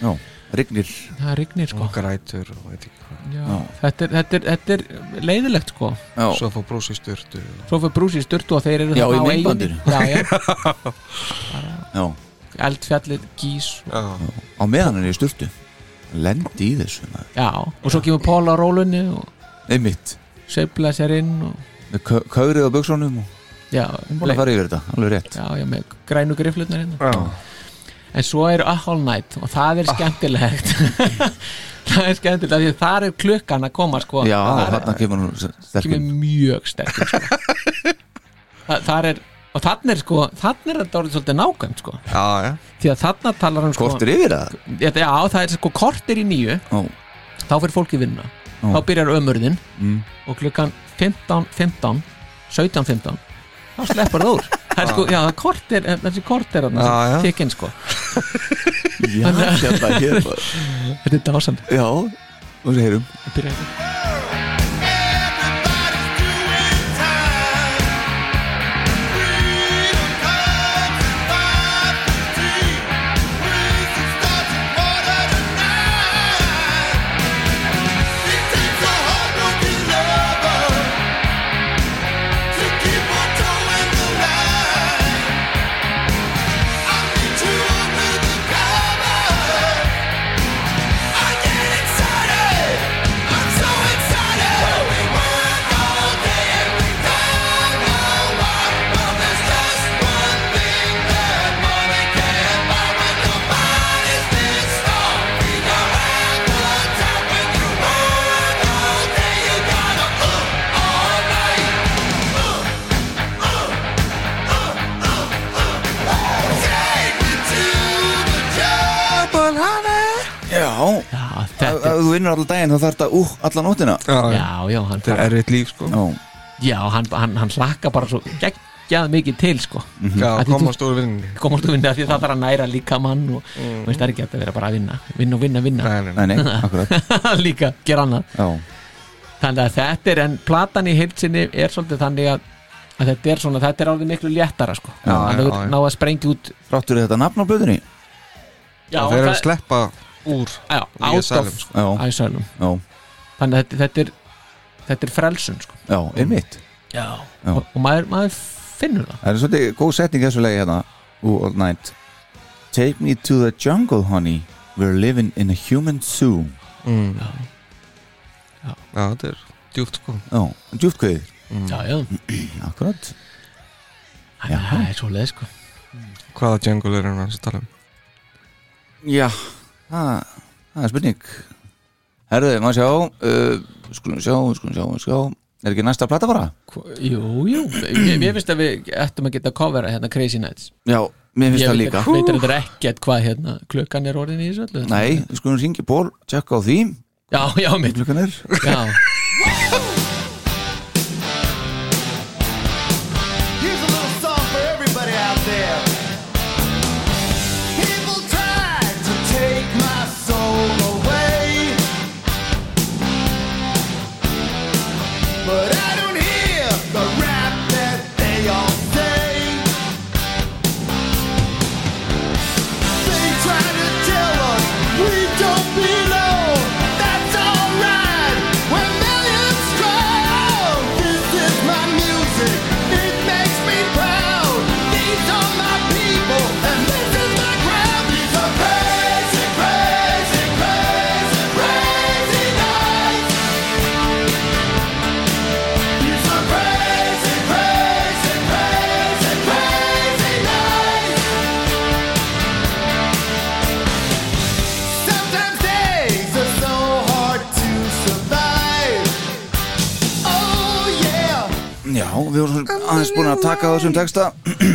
Speaker 2: já, rignir
Speaker 3: það rignir sko
Speaker 5: og grætur og veit ekki hvað
Speaker 3: Já,
Speaker 2: Já.
Speaker 3: þetta er, þetta, er, þetta er leiðilegt sko
Speaker 2: Já,
Speaker 5: svo fór brúsi styrtu og...
Speaker 3: Svo fyrir brúsi í sturtu og þeir eru
Speaker 2: Já, í
Speaker 3: þarna á eyjunni.
Speaker 2: myndbandinu.
Speaker 3: Já, já,
Speaker 2: já,
Speaker 3: eldfjallið, gís
Speaker 5: já,
Speaker 2: á meðan hann er í sturtu Lendi í þessu maður.
Speaker 3: Já, og svo kemur Pól á rólunni og
Speaker 2: Einmitt,
Speaker 3: sveifla sér inn og,
Speaker 2: með kö- kögrið á buksónum og
Speaker 3: Já, um
Speaker 2: búin að fara yfir þetta, alveg rétt
Speaker 3: já, já, með grænu griflutnar hérna En svo eru A All Night og það
Speaker 2: Ah.
Speaker 3: er skemmtilegt Það er skemmtilegt af því að þar er klukkan að koma sko
Speaker 2: Já,
Speaker 3: þar
Speaker 2: þarna kemur hún
Speaker 3: kemur
Speaker 2: sterkinn
Speaker 3: mjög sterk sko. Þa, Þar er og þannig er sko, þannig er þetta orðið svolítið nákvæmt sko,
Speaker 5: já, já,
Speaker 3: því að þannig talar hann sko
Speaker 2: Kortir yfir það
Speaker 3: Þetta- Já, það er sko kortir í nýju
Speaker 2: Ó,
Speaker 3: þá fyrir fólki vinna þá byrjar ömurðin
Speaker 5: Mm.
Speaker 3: og klukkan 15, 15 17, 15 þá sleppar það úr það er sko, já, það er kortir, þessi kortir þarna
Speaker 5: Já, Ah. já.
Speaker 3: sem tekinn sko
Speaker 2: já, hérna, hérna
Speaker 3: þetta er dásand
Speaker 2: Já, og svo heyrum
Speaker 7: Keep on doing the
Speaker 2: Já,
Speaker 3: Já,
Speaker 2: ef
Speaker 3: þetta
Speaker 2: ef þú vinnur allan daginn þá þarf þetta úh, allan nóttina
Speaker 3: er
Speaker 5: Já,
Speaker 3: Já, já, hann,
Speaker 5: þetta er erfitt líf sko
Speaker 2: Já,
Speaker 3: já, hann, hann, hann hlakka bara svo geggjað mikið til sko
Speaker 2: mhm.
Speaker 5: Já,
Speaker 3: Að því
Speaker 5: koma
Speaker 3: þú-
Speaker 5: á stóru vinninni
Speaker 3: komast að vinna því að það þarf að næra líka mann og mm. veist það er ekki hægt að vera bara að vinna vinna og vinna, vinna
Speaker 5: Nei, nei,
Speaker 2: nei, nei, akkurat
Speaker 3: líka, gera annað
Speaker 2: Já,
Speaker 3: þannig að þetta er, en platan í heilsinni er svolítið þannig að, að þetta er svona, þetta er alveg miklu léttara sko
Speaker 2: Já,
Speaker 3: hann hefur
Speaker 5: já, já.
Speaker 3: náð að sprengja út
Speaker 2: fráttur þetta nafn á blöðunni
Speaker 3: já,
Speaker 5: þeir eru að sleppa úr
Speaker 3: já,
Speaker 5: Nýja
Speaker 3: out
Speaker 5: salum,
Speaker 3: of
Speaker 5: sko.
Speaker 2: Já,
Speaker 3: æsælum
Speaker 2: já,
Speaker 3: þannig að þetta, þetta er þetta er frelsun sko
Speaker 2: já, einmitt
Speaker 3: já.
Speaker 2: Já.
Speaker 3: og, og maður, maður finnur það
Speaker 2: Það er svolítið góð setning í þessu lagi hérna Ooh, all night Take me to the jungle, honey We're living in a human zoo
Speaker 5: mm.
Speaker 3: Já. Já.
Speaker 5: Já, þetta er djúpt sko
Speaker 2: Já, djúftkveðið
Speaker 3: já, já,
Speaker 2: Mm. Akkurat
Speaker 3: Þannig að það er svo leið sko
Speaker 5: Hvaða jungle er hann að tala um?
Speaker 2: Já, það það er spurning Herðu, maður sjá uh, Skulum sjá, skulum sjá, skulum sjá Er ekki næsta plata bara?
Speaker 3: Hva- jú, jú, ég, ég finnst að við ættum að geta að covera hérna Crazy Nights
Speaker 2: Já, mér finnst
Speaker 3: ég
Speaker 2: það
Speaker 3: veit
Speaker 2: líka
Speaker 3: veit að þetta er ekkert hvað hérna klukkan er orðin í þessu öllu
Speaker 2: Nei, sko, við skulum ringi ból, tjekka á því
Speaker 3: já, já, mitt
Speaker 2: Klukkan er
Speaker 3: já,
Speaker 6: Here's a little song for everybody out there. People try to take my soul away. But I don't hear the rap that they all say. They try to tell us we don't belong. That's alright. We're millions strong. This is my music. It makes me proud. These are my people, and this is my ground. These are crazy, crazy, crazy, crazy nights. These are crazy, crazy, crazy, crazy nights. Sometimes days are so hard to survive. Oh yeah.
Speaker 2: Já, við vorum svona aðeins búin að taka á þessum texta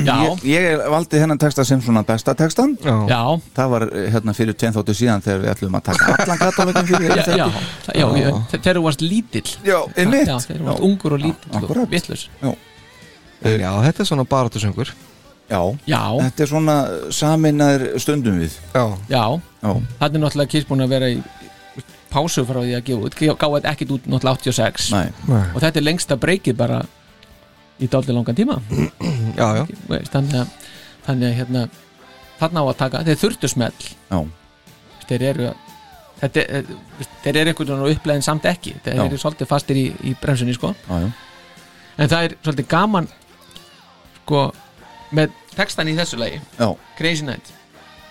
Speaker 3: já,
Speaker 2: Ég, ég valdi hennan texta sem svona besta textan
Speaker 5: Já,
Speaker 3: já
Speaker 2: Það var eh, hérna fyrir tveim þóttu síðan þegar við ætlum að taka allan katalógum fyrir
Speaker 3: já, já, já, já,
Speaker 5: Já.
Speaker 3: þegar þú varst lítill
Speaker 2: já einmitt
Speaker 3: já, þegar þú varst ungur og lítill og
Speaker 2: akkurat.
Speaker 3: vitlaus
Speaker 5: já þetta er svona baratusöngur
Speaker 2: Já,
Speaker 3: já,
Speaker 2: þetta er svona saminnar stundum við
Speaker 5: Já,
Speaker 3: já,
Speaker 2: Já,
Speaker 3: það er náttúrulega kiss búin að vera í pásu frá því að gefa út gáði þetta ekkit út náttúrulega 86
Speaker 2: næ,
Speaker 5: Nei.
Speaker 3: og þetta er lengsta breykið bara í dálítið langan tíma
Speaker 5: já, já
Speaker 3: Veist, þannig að, þannig að hérna, þarna á að taka, þeir þurftu smell
Speaker 2: já,
Speaker 3: þeir eru að- þetta, er- eh, þeir eru einhvern veginn á upplegin samt ekki þeir
Speaker 2: Já.
Speaker 3: eru svolítið fastir í, í bremsunni sko.
Speaker 2: já, já
Speaker 3: en það er svolítið gaman sko, með textan í þessu lagi
Speaker 2: Já,
Speaker 3: Crazy Night,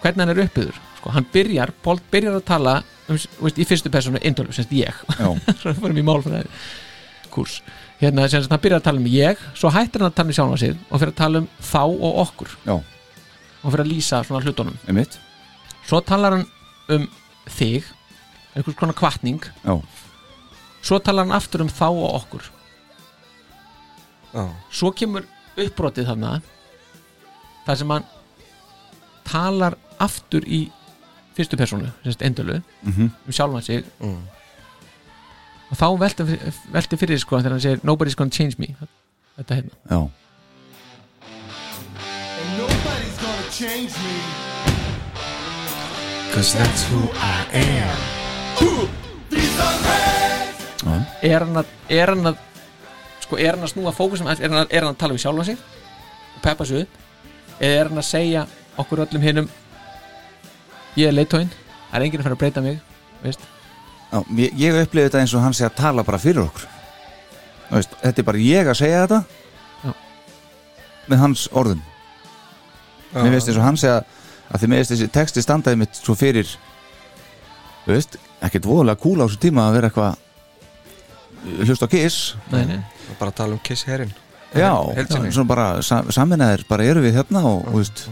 Speaker 3: hvernig hann er uppiður sko, hann byrjar, Paul byrjar að tala um, veist, í fyrstu persónu, indolf, semst ég
Speaker 2: já,
Speaker 3: svo við fórum í málfræði kurs, hérna sem sagt, hann byrjar að tala um ég svo hættir hann að tala um sjálfa sig og fyrir að tala um þá og okkur
Speaker 2: Já.
Speaker 3: og fyrir að lýsa svona hlutunum
Speaker 2: einmitt
Speaker 3: svo talar hann um þig einhvers konar kvartning
Speaker 2: Já.
Speaker 3: svo talar hann aftur um þá og okkur
Speaker 5: Já,
Speaker 3: svo kemur uppbrotið þarna þar sem hann talar aftur í fyrstu persónu, sérst endölu
Speaker 2: Mhm.
Speaker 3: um sjálfan sig og þá velti, velti fyrir sko þegar hann segir nobody's gonna change me þetta hérna
Speaker 2: Já,
Speaker 6: And nobody's gonna change me.
Speaker 5: Cause that's who
Speaker 6: These are crazy.
Speaker 3: er hann að, er hann að sko, er hann að snúa fókusum aðeins? er hann að, er hann að tala við sjálfan sig og peppa sig upp eða er hann að segja okkur öllum hinnum ég er leitóin það er enginn að fara að breyta mig veist?
Speaker 2: já ég, ég upplifði þetta eins og hann sé að tala bara fyrir okkur Þú veist, Þetta er bara ég að segja þetta
Speaker 3: Já.
Speaker 2: Með hans orðum Mér veist eins og hann segja að því mér veist þessi texti standaði mitt svo fyrir Þú veist, ekkert voðalega kúla á þessu tíma að vera eitthvað eh, hlust á kiss
Speaker 3: nei, nei.
Speaker 5: Bara að tala um Kiss Herin
Speaker 2: Já,
Speaker 5: heild sinni.
Speaker 2: svona bara sam, saminæðir bara eru við hérna og, og, veist,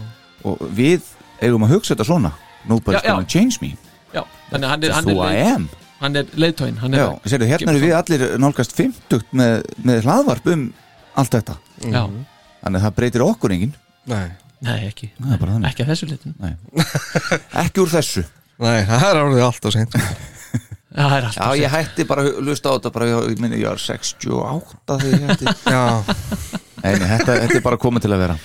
Speaker 2: og við eigum að hugsa þetta svona Nobody's
Speaker 3: Já, já.
Speaker 2: gonna change me
Speaker 3: Já, þannig að hann er,
Speaker 2: That's
Speaker 3: hann
Speaker 2: who I
Speaker 3: er, leit,
Speaker 2: am
Speaker 3: hann er leitóin hann er,
Speaker 2: Já, sérðu, hérna eru við allir nálgast 50 með, með hlaðvarp um allt þetta
Speaker 3: já,
Speaker 2: Þannig að það breytir okkur enginn
Speaker 5: Nei,
Speaker 3: nei ekki
Speaker 2: Það er bara þannig
Speaker 3: ekki að þessu leitin
Speaker 2: Ekki úr þessu
Speaker 5: Nei, það er orðið allt og seint
Speaker 3: Já, það er
Speaker 2: Já,
Speaker 3: alltaf
Speaker 2: ég hætti bara að hlusta á þetta bara, ég minni, ég var 68 þegar ég hætti
Speaker 5: Já,
Speaker 2: Nei, nei, þetta, þetta er bara komið til að vera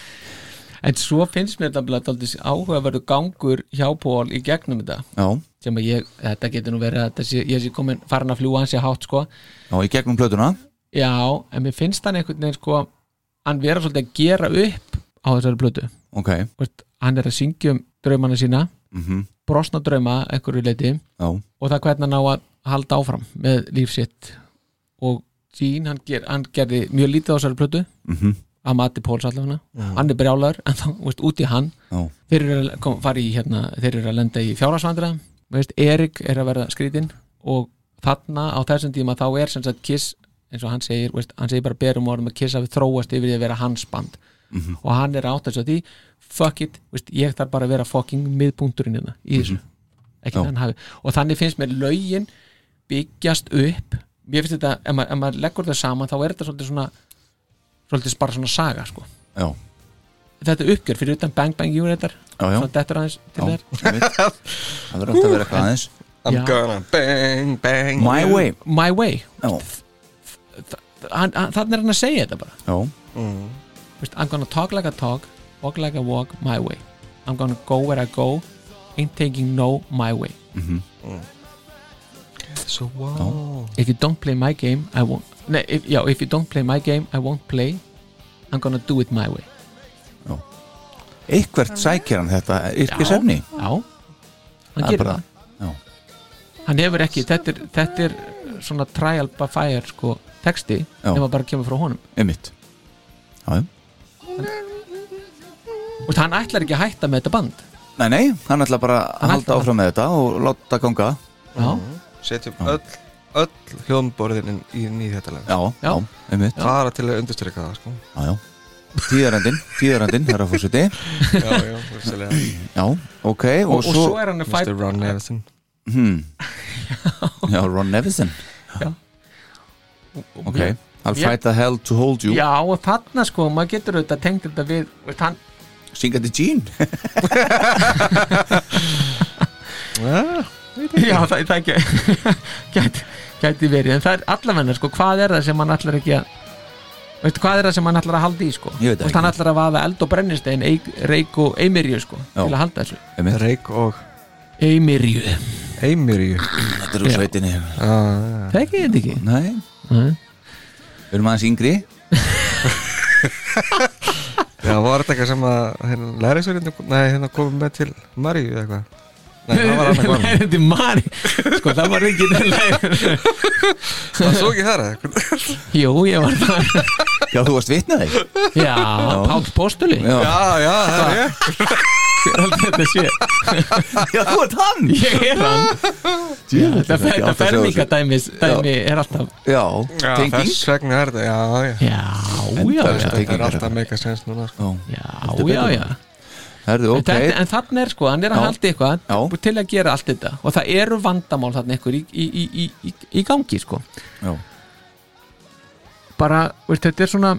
Speaker 3: En svo finnst mér þetta aldrei áhugaverðu gangur hjá Pól í gegnum þetta
Speaker 2: Já,
Speaker 3: sem að ég, þetta getur nú verið að þessi, ég sé komin farin að fljúa hans í hátt sko
Speaker 2: já, í gegnum plötuna
Speaker 3: Já, en mér finnst hann einhvern veginn sko hann vera svolítið að gera upp á þessari plötu
Speaker 2: Ok,
Speaker 3: Vist, hann er að syngja um draumana sína
Speaker 2: mhm,
Speaker 3: brosna drauma einhverju leiti
Speaker 2: já,
Speaker 3: og það hvernig hann á að halda áfram með líf sitt og sín, hann, ger, hann gerði mjög lítið á þessari plötu
Speaker 2: mhm,
Speaker 3: að mati Póls allafna hann er brjálar, en þá, veist, út í hann
Speaker 2: já,
Speaker 3: þeir eru að kom, fara í hérna þeir eru að lenda í fjárhagsvandra veist, Erik er að verða skrítinn og þarna á þessum tíma þá er sem sagt Kiss, eins og hann segir, veist, hann segir bara berum orðum að Kiss hafi þróast yfir því að vera hans band
Speaker 2: Mhm.
Speaker 3: og hann er átt þess að því fuck it, veist, ég þarf bara að vera fucking miðpunkturinn hérna í þessu
Speaker 2: Mhm.
Speaker 3: ekki
Speaker 2: Já.
Speaker 3: þannig hafi, og þannig finnst mér lögin byggjast upp mér finnst þetta, ef maður, ef maður leggur þetta saman þá er þetta svolítið svona svolítið bara svona saga sko
Speaker 2: já,
Speaker 3: þetta er uppgjör fyrir utan Bang Bang Uniter
Speaker 2: já, já,
Speaker 3: svona dettur aðeins til
Speaker 2: já
Speaker 3: þér
Speaker 2: einmitt. Það verður alltaf að vera eitthvað aðeins
Speaker 5: I'm
Speaker 3: Já.
Speaker 5: gonna bang, bang
Speaker 2: My
Speaker 5: you.
Speaker 2: way,
Speaker 3: My Way
Speaker 2: já,
Speaker 3: hann, hann, þannig er hann að segja þetta bara
Speaker 2: já,
Speaker 3: Vist, I'm gonna talk like I talk walk like I walk my way I'm gonna go where I go ain't taking no my way
Speaker 2: Mhm.
Speaker 5: So wow
Speaker 3: if you don't play my game I won't Nei, if, já, if you don't play my game I won't play I'm gonna do it my way
Speaker 2: Eitthvert sækir hann þetta yrkisefni
Speaker 3: já, hann
Speaker 2: Það er
Speaker 3: gerir
Speaker 2: bara-
Speaker 3: það
Speaker 2: já.
Speaker 3: hann hefur ekki, þetta er, þetta er svona trial by fire sko texti
Speaker 2: Já.
Speaker 3: nema bara kemur frá honum
Speaker 2: Einmitt Já, já
Speaker 3: Vist, hann ætlar ekki að hætta með þetta band
Speaker 2: Nei, nei, hann ætla bara
Speaker 3: Hann
Speaker 2: að halda
Speaker 3: ætlar-
Speaker 2: áfram með þetta og láta ganga
Speaker 3: já,
Speaker 5: Setjum öll, öll hljómborðin í nýð þetta lag
Speaker 2: Já, já,
Speaker 3: Já.
Speaker 2: einmitt,
Speaker 5: Bara til að undirstryka það, sko
Speaker 2: já, já Tíðarendin, tíðarendin, herra fórseti
Speaker 5: Já, já, vissulega
Speaker 2: Já, ok, og,
Speaker 3: og, og svo er hann að
Speaker 5: Mr.
Speaker 3: fæta
Speaker 5: Ron Nevison
Speaker 2: hmm. Já, Ron Nevison Ok, I'll
Speaker 3: Mér-
Speaker 2: fight the hell to hold you
Speaker 3: Já, og þarna sko, maður getur auðvitað tengt þetta við, veist, hann,
Speaker 2: Singandi Jean
Speaker 3: já, það, það ekki, gæti, gæti verið, en það er allavegna sko, hvað er það sem hann ætlar ekki að, veist, hvað er það sem hann ætlar að halda í sko,
Speaker 2: Ég veit
Speaker 3: Veist,
Speaker 2: ekki.
Speaker 3: hann ætlar að vaða eld og brennistein, eik, reik og eimirju sko,
Speaker 2: Já.
Speaker 3: til að halda þessu,
Speaker 2: Einmitt,
Speaker 5: Reik og
Speaker 3: eimirju,
Speaker 5: Eimirju
Speaker 2: þetta er úr
Speaker 3: Já.
Speaker 2: sveitinni
Speaker 5: Já, já.
Speaker 3: það ekki þetta ekki,
Speaker 2: Nei,
Speaker 3: Nei.
Speaker 2: við erum aðeins yngri
Speaker 5: Já, var þetta eitthvað sem að hérna, lærisverðin Nei, hérna komið með til Maríu eða eitthvað Nei, það var annað
Speaker 3: Nei,
Speaker 5: hvað
Speaker 3: þetta er mari, sko, það var ekki þetta
Speaker 5: Það svo ekki þar eða eitthvað
Speaker 3: jú, ég var það,
Speaker 2: Já, þú varst vitnaði
Speaker 3: já, Páll Postuli,
Speaker 2: Já, já,
Speaker 5: Já, já, það er ég
Speaker 3: þetta sé,
Speaker 2: þú ert hann
Speaker 3: ég er hann, þetta fer- þetta ferminga dæmis, dæmi er alltaf,
Speaker 2: Já,
Speaker 5: Já,
Speaker 2: tenging
Speaker 5: Þess vegna er þetta, já, já
Speaker 3: Já, já,
Speaker 2: Endalaust að
Speaker 3: já,
Speaker 5: Þetta
Speaker 2: Tenging
Speaker 5: er
Speaker 2: er
Speaker 5: alltaf
Speaker 2: þetta.
Speaker 5: mega sens núna sko.
Speaker 2: Já.
Speaker 3: já, já, já.
Speaker 2: Herðu,
Speaker 3: En,
Speaker 2: ok
Speaker 3: þetta, en þarna er sko, hann er að
Speaker 2: Já.
Speaker 3: halda eitthvað
Speaker 2: Já.
Speaker 3: til að gera allt þetta og það eru vandamál þarna eitthvað í, í, í, í, í, í gangi sko
Speaker 2: Já.
Speaker 3: bara, veist, þetta er svona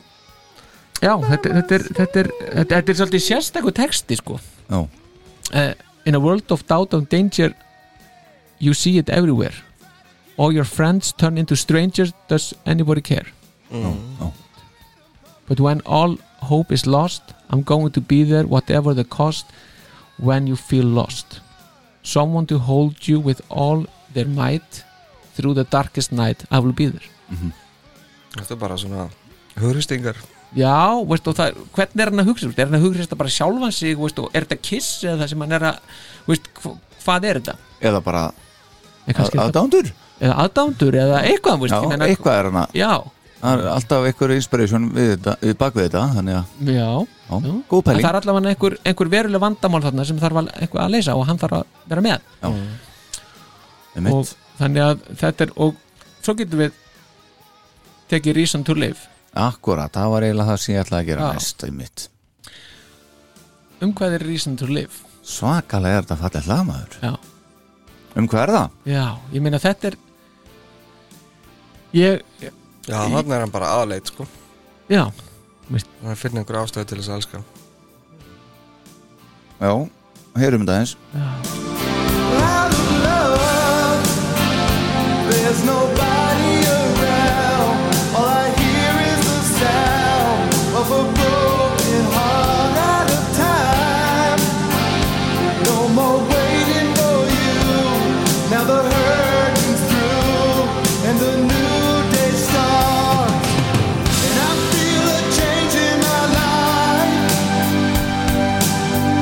Speaker 3: já, þetta, þetta, er, þetta, er, þetta, þetta er svolítið sérstakur texti sko
Speaker 2: Já.
Speaker 3: Eh, In a world of doubt and danger you see it everywhere all your friends turn into strangers does anybody care
Speaker 2: já.
Speaker 3: But when all hope is lost, I'm going to be there whatever the cost when you feel lost. Someone to hold you with all their might through the darkest night, I will be there.
Speaker 5: Þetta er bara svona Hugristingar
Speaker 3: Já, veist, og það, hvernig er hann að hugsa? Er hann að hugsa þetta bara sjálfan sig, veist, og er þetta kiss eða það sem hann er að, veist, hv hvað er þetta?
Speaker 2: Eða bara
Speaker 3: Er kannski þetta-
Speaker 2: aðdándur
Speaker 3: Eða aðdándur eða eitthvað, veist,
Speaker 2: Já,
Speaker 3: ég meina-
Speaker 2: eitthvað er hana
Speaker 3: Já,
Speaker 2: Það er alltaf eitthvað inspiration við, þetta, við bak við þetta Þannig að,
Speaker 3: já.
Speaker 2: já,
Speaker 3: Já.
Speaker 2: góð
Speaker 3: En
Speaker 2: pæling
Speaker 3: það er allavega einhver, einhver veruleg vandamál þarna sem þarf að, einhver að leysa og hann þarf að vera með.
Speaker 2: Einmitt.
Speaker 3: og þannig að þetta er og svo getum við tekið reason to live
Speaker 2: Akkurat, það var eiginlega það sem ég ætlaði að gera
Speaker 3: Já.
Speaker 2: næst einmitt.
Speaker 3: um hvað er reason to live
Speaker 2: Svakalega er þetta fallið hlamaður
Speaker 3: já,
Speaker 2: Um hvað er það?
Speaker 3: já ég meina þetta er ég,
Speaker 5: Já, þarna er hann bara aðleit sko
Speaker 3: já
Speaker 5: Hann finnir einhver ástöðu til þess að elska
Speaker 2: Já, heyrum þetta eins
Speaker 1: Out Now the hurting's through, and the new day starts. And I feel a change in my life.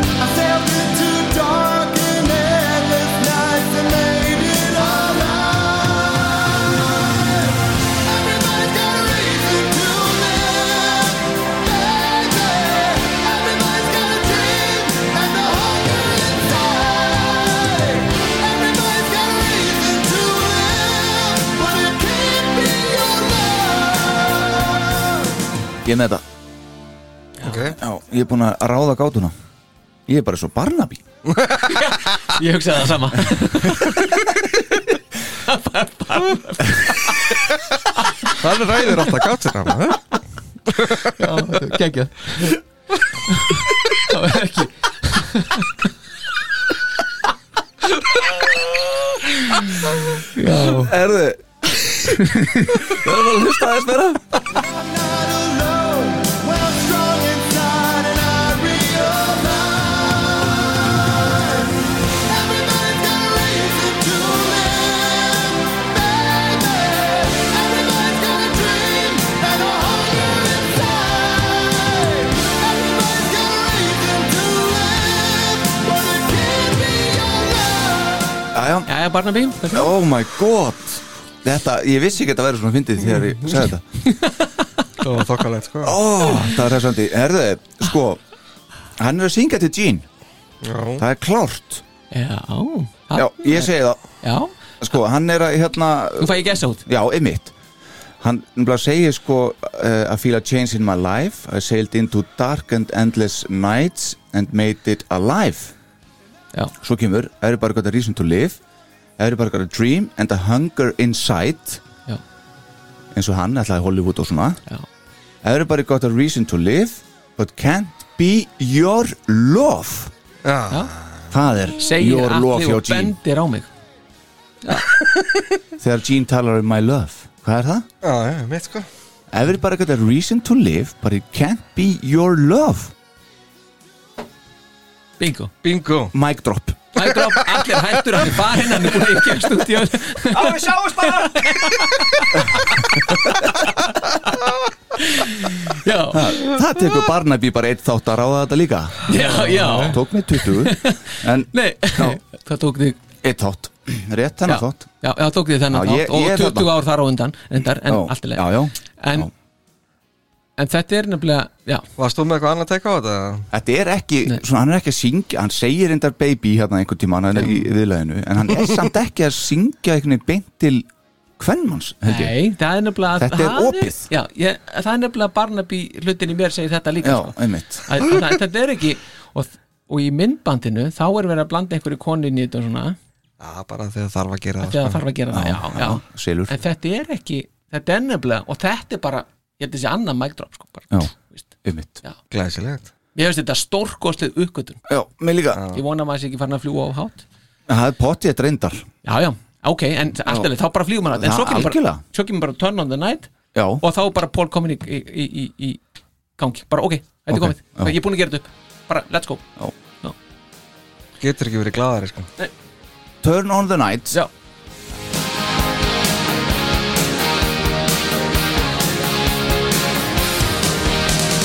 Speaker 1: I sailed into dark and endless nights and made it all right. Everybody's got a reason to live, baby. Everybody's got a dream and the hunger inside. Everybody's got a reason to live, but it can't be your love.
Speaker 2: Ég er með þetta
Speaker 5: Ok.
Speaker 2: Já, ég er búin að ráða gátuna Ég er bara svo Barnaby
Speaker 3: Ég hugsaði það sama
Speaker 5: Þannig ræðir alltaf gátir hann
Speaker 3: Gengja Það var ekki
Speaker 2: Erðu Það er að hlusta aðeins meira
Speaker 1: Not alone, well strong inside, and I realize everybody's got a reason to live, baby. Everybody's got a dream and a hunger inside. Everybody's got a reason to live, but it can't be
Speaker 2: Jæja,
Speaker 1: your love.
Speaker 3: Jæja, Barnaby
Speaker 2: oh my god Þetta, ég vissi ekki að þetta væri svona fyndið þegar ég sagði þetta
Speaker 5: Það var þokkalegt sko
Speaker 2: Ó, það er hressandi Erðu, sko Hann er að syngja til Gene,
Speaker 5: Já,
Speaker 2: það er klárt
Speaker 3: Já, ha,
Speaker 2: Já, ég segi það
Speaker 3: já
Speaker 2: Sko, hann er að, hérna
Speaker 3: Þú fæ ég gæsa út
Speaker 2: Já, einmitt Hann bara segir sko uh, I feel a change in my life I sailed into dark and endless nights and made it alive
Speaker 3: Já.
Speaker 2: Svo kemur Everybody got a reason to live Everybody got a dream and a hunger inside
Speaker 3: Já.
Speaker 2: eins og hann ætlaði Hollywood og svona
Speaker 3: Já.
Speaker 2: Everybody got a reason to live but can't be your love
Speaker 5: já.
Speaker 2: Það er
Speaker 3: Segir
Speaker 2: your love
Speaker 3: allir
Speaker 2: hjá
Speaker 3: og
Speaker 2: Gene
Speaker 3: bendir á mig
Speaker 2: Þegar Gene talar um my love Hvað er það?
Speaker 5: já, já, mitt sko
Speaker 2: Everybody got a reason to live but it can't be your love
Speaker 3: Bingo
Speaker 5: Bingo
Speaker 2: Mic drop
Speaker 3: Mic drop, allir hættur, hann er farinn, hann er búin að gefst út í öll
Speaker 8: Á, við sjáumst bara
Speaker 3: Já,
Speaker 2: Það tekur Barnaby bara eitt þátt að ráða þetta líka
Speaker 3: já, já
Speaker 2: Tók mig 20 En
Speaker 3: Nei, það tók þig
Speaker 2: eitt þátt Rétt hennar þátt
Speaker 3: Já, já, það tók þig þennan
Speaker 2: Já, ég-
Speaker 3: þátt og
Speaker 2: ég er
Speaker 3: 20
Speaker 2: þarna.
Speaker 3: ár þar á undan endar, en
Speaker 2: Já,
Speaker 3: allt í leið
Speaker 2: Já, já
Speaker 3: en, en þetta er nefnilega, já,
Speaker 5: Varst þú með eitthvað annað að teka á þetta?
Speaker 2: Þetta er ekki,
Speaker 3: Nei.
Speaker 2: svona, hann er ekki að syngja Hann segir endar baby hérna einhvern tíma Hann er í viðlæðinu En hann er samt ekki að syngja einhvern veginn beint til Kvenmanns, held ég
Speaker 3: nei, það er nefnilega
Speaker 2: Þetta er
Speaker 3: það
Speaker 2: opið.
Speaker 3: Já, ég, það er nefnilega Barnaby hlutin í mér segir þetta líka
Speaker 2: Já,
Speaker 3: sko.
Speaker 2: einmitt
Speaker 3: að, að, að, Þetta er ekki og, og í myndbandinu, þá er verið að blanda einhverju konin í þetta og svona
Speaker 5: Já, bara þegar þarf að gera það sko.
Speaker 3: þegar það þarf að gera það, já, já
Speaker 2: Silur
Speaker 3: En þetta er ekki, þetta er nefnilega og þetta er bara, ég held að þessi annað mic drop sko, bara,
Speaker 2: Já.
Speaker 3: víst.
Speaker 2: Einmitt
Speaker 3: Já.
Speaker 5: Glæsilegt
Speaker 3: Mér finnst þetta stórkostlið uppgötun
Speaker 2: Já, mig líka
Speaker 3: Ég vona að maður sé ekki farin að fljúa á hátt
Speaker 2: Það er potið þetta reyndar
Speaker 3: Já, já, ok, en allt er leið, þá bara flýgum hann En
Speaker 2: Já,
Speaker 3: svo kemur bara,
Speaker 2: algjörlega.
Speaker 3: svo kemur bara turn on the night
Speaker 2: Já,
Speaker 3: Og þá er bara Paul komin í, í, í, í, í gangi Bara ok, þetta er
Speaker 2: Ok,
Speaker 3: komið,
Speaker 2: já.
Speaker 3: ég er búin að gera þetta upp Bara let's go
Speaker 5: Getur ekki verið glæðari sko
Speaker 2: Turn on the night
Speaker 3: Já,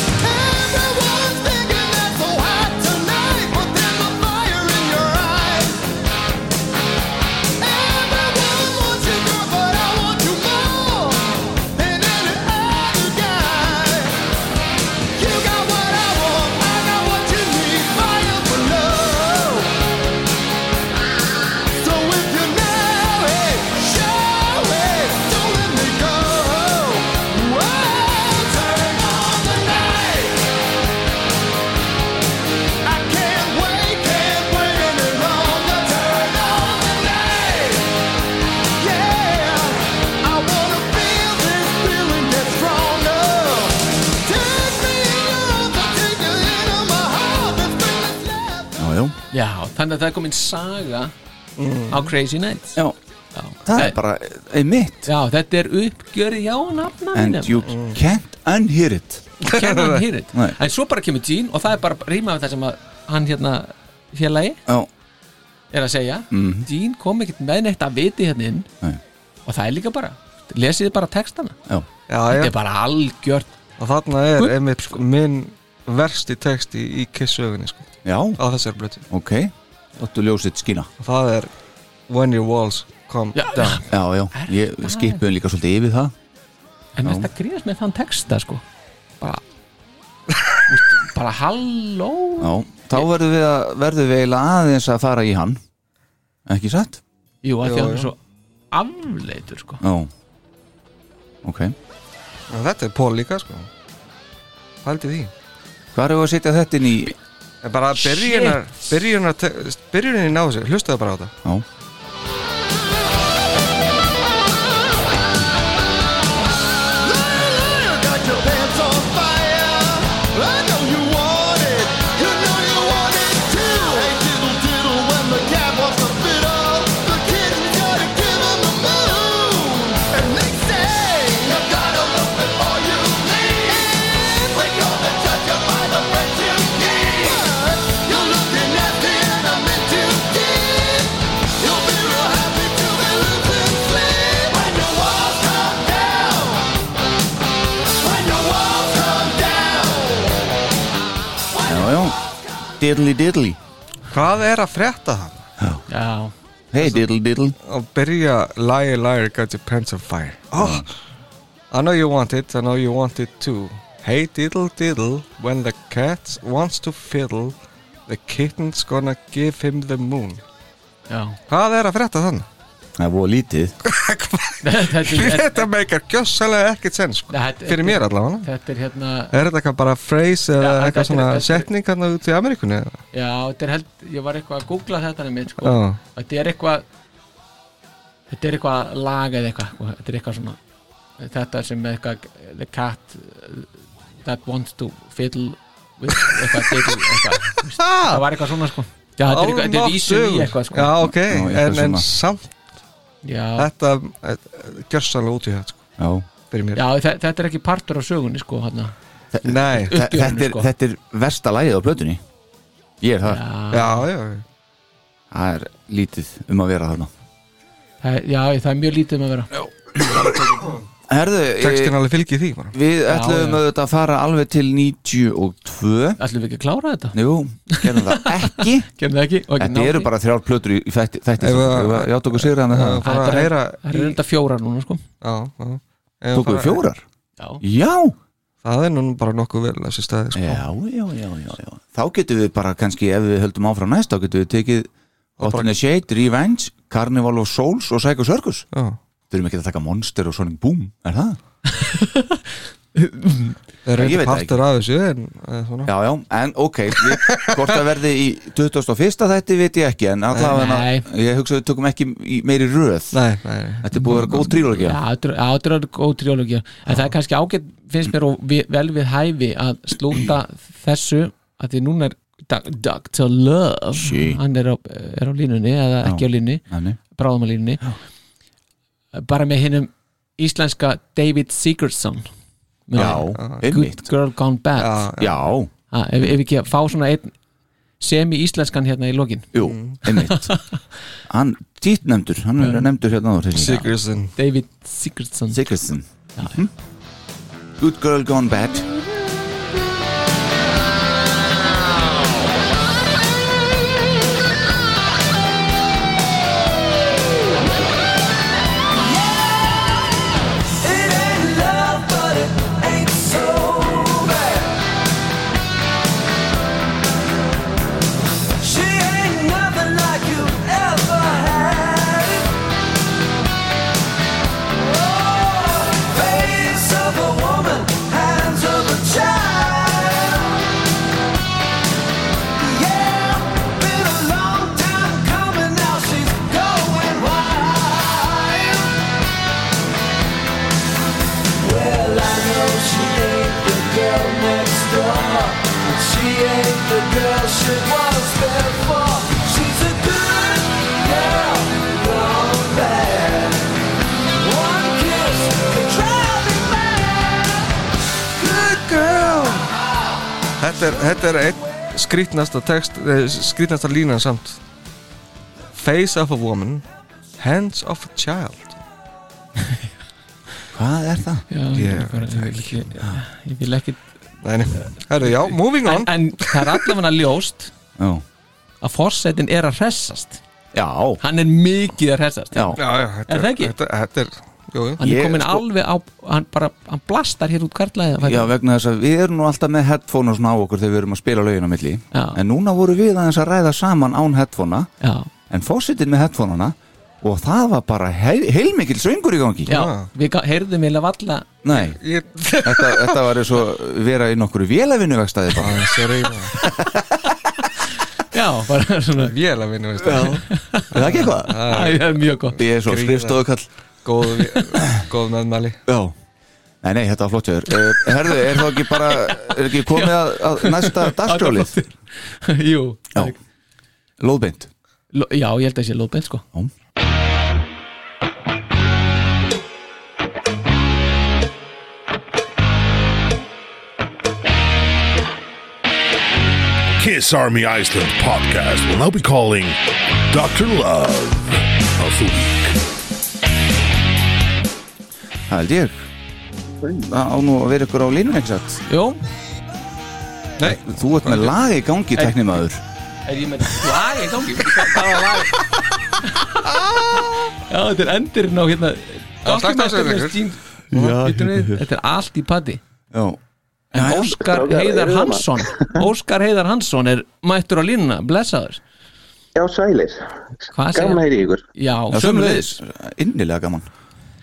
Speaker 1: Everyone's thinking that's so hot tonight, but there's a fire in your eyes. Everyone wants you, girl, but I want you more than any other guy. You got what I want, I got what you need, fire for love. So if you're married, show it, don't let me go. Whoa, turn on the night. I can't wait, can't wait any longer. Turn on the light, yeah. I wanna feel this feeling get stronger. Take me in your arms, I'll take you into my heart. This feeling's left.
Speaker 2: Já, já
Speaker 3: já, þannig að það er komin saga Á Crazy Nights
Speaker 2: Já,
Speaker 3: Já,
Speaker 2: Mm. það
Speaker 3: Eh,
Speaker 2: er bara einmitt
Speaker 3: já þetta er uppgjörið já nafna
Speaker 2: and you can't unhear it
Speaker 3: Kennan hýrit
Speaker 2: Nei.
Speaker 3: En svo bara kemur Gene og það er bara rýma við það sem að Hann hérna félagi
Speaker 2: já,
Speaker 3: er að segja mm. Dín kom ekkert með neitt að viti hérna inn
Speaker 2: Nei.
Speaker 3: og það er líka bara lesiði bara textana
Speaker 2: já,
Speaker 5: já,
Speaker 3: þetta
Speaker 5: já,
Speaker 3: er bara algjört
Speaker 5: og þarna er
Speaker 3: Gull,
Speaker 5: einmitt sko, minn versti texti í kissuögunni sko,
Speaker 2: já,
Speaker 5: á þessari blötu
Speaker 2: ok Láttu ljósið skína
Speaker 5: og það er When Your Walls Come
Speaker 3: Já.
Speaker 5: Down
Speaker 2: Já, já, ég
Speaker 3: það?
Speaker 2: skipuðum líka svolítið yfir það Já.
Speaker 3: en mest að gríðast með þann texta sko bara Úst, bara halló
Speaker 2: Já, þá verðum við, að, verðum við eiginlega aðeins að fara í hann Ekki satt?
Speaker 3: jú að því að
Speaker 5: Já,
Speaker 3: hann
Speaker 5: já.
Speaker 3: er svo afleitur sko
Speaker 2: Já Ok,
Speaker 5: og þetta er Paul líka sko pældi því
Speaker 2: hvað erum við að setja þetta inn í
Speaker 5: en bara byrjunar byrjunar byrjunin í náðu sig hlustaðu bara á þetta
Speaker 2: Já,
Speaker 6: You'll be real happy to be losing sleep when your walls come down. When your walls come down.
Speaker 2: já, já Diddly diddly
Speaker 5: hvað er að frétta það
Speaker 3: já,
Speaker 2: Hey diddly diddly
Speaker 5: og byrja Liar Liar Got Your Pants on Fire oh. I know you want it, I know you want it too Hey diddle diddle When the cat wants to fiddle The kitten's gonna give him the moon
Speaker 3: já
Speaker 5: Hvað er að frétta þannig?
Speaker 2: Það er voða lítið
Speaker 3: þetta, er, þetta,
Speaker 5: Þetta meikar gjössalega ekkert sens sko.
Speaker 3: Nei, þetta-
Speaker 5: Fyrir mér allavega
Speaker 3: þetta er hérna
Speaker 5: Er þetta eitthvað bara phrase eða
Speaker 3: Já, þetta
Speaker 5: eitthvað
Speaker 3: er-
Speaker 5: svona
Speaker 3: þetta er-
Speaker 5: setning hérna út í Ameríkunni? eða?
Speaker 3: já, þetta er held, ég var eitthvað að googla þetta nefnir sko,
Speaker 5: Já,
Speaker 3: þetta er eitthvað þetta er eitthvað lag eða eitthvað sko. þetta er eitthvað svona þetta sem eitthvað the cat uh, that wants to fiddle with eitthvað diddle eitthvað þú veist. það var eitthvað svona sko já, þetta er eitthvað, þetta er vísun í
Speaker 5: Almáttugur.
Speaker 3: eitthvað sko
Speaker 5: Já, ok,
Speaker 2: eitthvað
Speaker 5: en, en
Speaker 2: svona.
Speaker 5: samt
Speaker 3: já,
Speaker 5: þetta eh, gjörsamlega út í þetta sko,
Speaker 2: Já
Speaker 5: fyrir mér
Speaker 3: já þe- þetta er ekki partur af sögunni sko hana.
Speaker 2: Þe-
Speaker 5: Nei,
Speaker 3: Uppgjöfinu,
Speaker 2: þetta, er,
Speaker 3: sko.
Speaker 2: þetta er versta lagið á plötunni Ég er það
Speaker 3: já,
Speaker 5: já, já, já
Speaker 2: Það er lítið um að vera þarna
Speaker 3: það, já, það er mjög lítið um að vera
Speaker 2: Herðu,
Speaker 5: textin
Speaker 2: ég,
Speaker 5: alveg fylgir því bara.
Speaker 2: við
Speaker 3: Já,
Speaker 2: ætlum
Speaker 3: já.
Speaker 2: auðvitað að fara alveg til 92
Speaker 3: ætlum við ekki að klára þetta?
Speaker 2: Jú, gerðum það ekki
Speaker 3: gerðum það ekki? Og ekki
Speaker 2: Þetta
Speaker 3: náð
Speaker 2: eru
Speaker 3: því?
Speaker 2: bara þrjár plötur í þætti
Speaker 5: Ef
Speaker 2: Ég
Speaker 5: að-
Speaker 2: átt okkur sigraði með það
Speaker 5: Ef fara
Speaker 3: Þetta
Speaker 5: að
Speaker 3: er-
Speaker 5: heyra
Speaker 3: það eru
Speaker 5: í-
Speaker 3: þetta fjóra núna sko
Speaker 5: Já, já. Ef
Speaker 2: Tókum
Speaker 5: fara-
Speaker 2: við fjórar?
Speaker 3: já,
Speaker 2: Já
Speaker 5: Það er nú bara nokkuð vel að sér staði sko.
Speaker 2: Já, já, já, já, já Þá getum við bara kannski ef við höldum áfram næst þá getum við tekið Ottine Shade, Revenge, Carnival of Souls og Psycho Circus
Speaker 5: Já.
Speaker 2: Þurfum ekki að taka Monster og Sonic Boom, er það?
Speaker 5: Það er
Speaker 2: Ég veit
Speaker 5: eitthvað
Speaker 2: það ekki.
Speaker 5: partur af þessu en, eh, svona.
Speaker 2: Já, já, en ok við, Hvort það verði í 2001. þætti veit ég ekki en allavega
Speaker 3: Nei.
Speaker 2: ég hugsa að við tökum ekki í meiri röð
Speaker 5: Nei, nei, nei.
Speaker 2: Þetta er búið að vera góð trílógi
Speaker 3: Já, þetta er- já, þetta er góð triólógi en það er kannski ágætt, finnst mér og vi, vel við hæfi að slúta þessu að því núna er Doc- Dr. Love
Speaker 2: Sí.
Speaker 3: hann er á, er á línunni eða
Speaker 2: Já.
Speaker 3: ekki á línunni, bráðum á línunni bara með hinnum íslenska David Sigurdsson Muna,
Speaker 2: Já,
Speaker 3: Good
Speaker 2: einmitt
Speaker 3: Girl Gone
Speaker 5: Já,
Speaker 3: Bad
Speaker 2: Já,
Speaker 3: ha, ef, ef ekki að fá svona einn semi-íslenskan hérna í lokin
Speaker 2: jú, einmitt Hann, títt nefndur, hann
Speaker 3: Mm.
Speaker 2: er nefndur hérna áður þessi.
Speaker 5: Sigurðsson
Speaker 3: David Sigurdsson
Speaker 2: Sigurðsson Mhm. Good Girl Gone Bad
Speaker 6: It ain't love, but it ain't so bad. She ain't nothing like you ever had. Oh, face of a woman, hands of a child. Yeah, been a long time coming, now she's going wild. Well, I know she ain't the girl next door. And she ain't the girl she was there for. She's a good girl, wrong bad. One kiss could drive me mad. Good girl.
Speaker 5: Þetta er, þetta er einn skrítnasta text eh, skrítnasta línan samt Face of a woman Hands of a child
Speaker 2: Hvað er það?
Speaker 3: Já,
Speaker 5: Ég-
Speaker 3: ég, bara, ég, vil ekki, ég vil ekki
Speaker 5: Nei, nei. Herru, já, moving
Speaker 3: en,
Speaker 5: on
Speaker 3: en það er allavega ljóst
Speaker 2: Já,
Speaker 3: að forsetin er að hressast
Speaker 2: já,
Speaker 3: hann er mikið að hressast
Speaker 2: já.
Speaker 5: Já, já, þetta
Speaker 3: Er það ekki?
Speaker 5: Þetta, þetta er, jú, jú
Speaker 3: hann
Speaker 2: Ég-
Speaker 3: er komin
Speaker 2: sko-
Speaker 3: alveg á hann bara, hann blastar hér út karlæði
Speaker 2: Já, vegna þess að við erum nú alltaf með headphone og svona á okkur þegar við erum að spila lögin á milli
Speaker 3: Já.
Speaker 2: en núna voru við aðeins að ræða saman án headphonea
Speaker 3: já,
Speaker 2: en fósittin með headphoneana og það var bara heil, heilmikil söngur í gangi
Speaker 3: já. við ga- heyrðum eða valla
Speaker 2: Nei,
Speaker 5: Ég,
Speaker 2: þetta, þetta var eins og vera í nokkru vélavinu vegstæði bara
Speaker 5: það er reyna
Speaker 3: já, bara svona
Speaker 5: Vél að vinna, veist það
Speaker 2: Er það ekki eitthvað?
Speaker 3: Æ, það er mjög gott
Speaker 2: Ég er svo
Speaker 5: Gríða.
Speaker 2: skrifstofukall
Speaker 5: Góð, vé- góð meðmæli
Speaker 2: Já Nei, nei, þetta var flott hjá þér Eh, Herðu, er þá ekki bara er ekki komið að, að næsta dagskjólið?
Speaker 3: Jú,
Speaker 2: Já, lóðbeint
Speaker 3: Lo- já, ég held að sé lóðbeint sko
Speaker 2: Já.
Speaker 9: Kiss Army Iceland podcast will now be calling Dr. Love of the Week.
Speaker 2: Það held ég Það á nú að vera ykkur á línu eitthvað
Speaker 3: Jú,
Speaker 2: Þú ert með lag í gangi, teknimaður
Speaker 3: er ég með lag í gangi? Hvað hvað var lag? Já, þetta er endurinn á hérna
Speaker 5: slakta á sér
Speaker 3: Dokumentarinn
Speaker 5: ykkur.
Speaker 3: er stínd Þetta er allt í paddi
Speaker 2: hérna, Já
Speaker 3: En Óskar Heiðar Hansson Óskar Heiðar Hansson er mættur á línuna Blessaður
Speaker 6: Já, sælir.
Speaker 3: Hvað
Speaker 6: Gaman
Speaker 3: segir
Speaker 6: heyri ykkur.
Speaker 3: Já,
Speaker 2: Já,
Speaker 3: sömulegis
Speaker 2: sömulegis Innilega gaman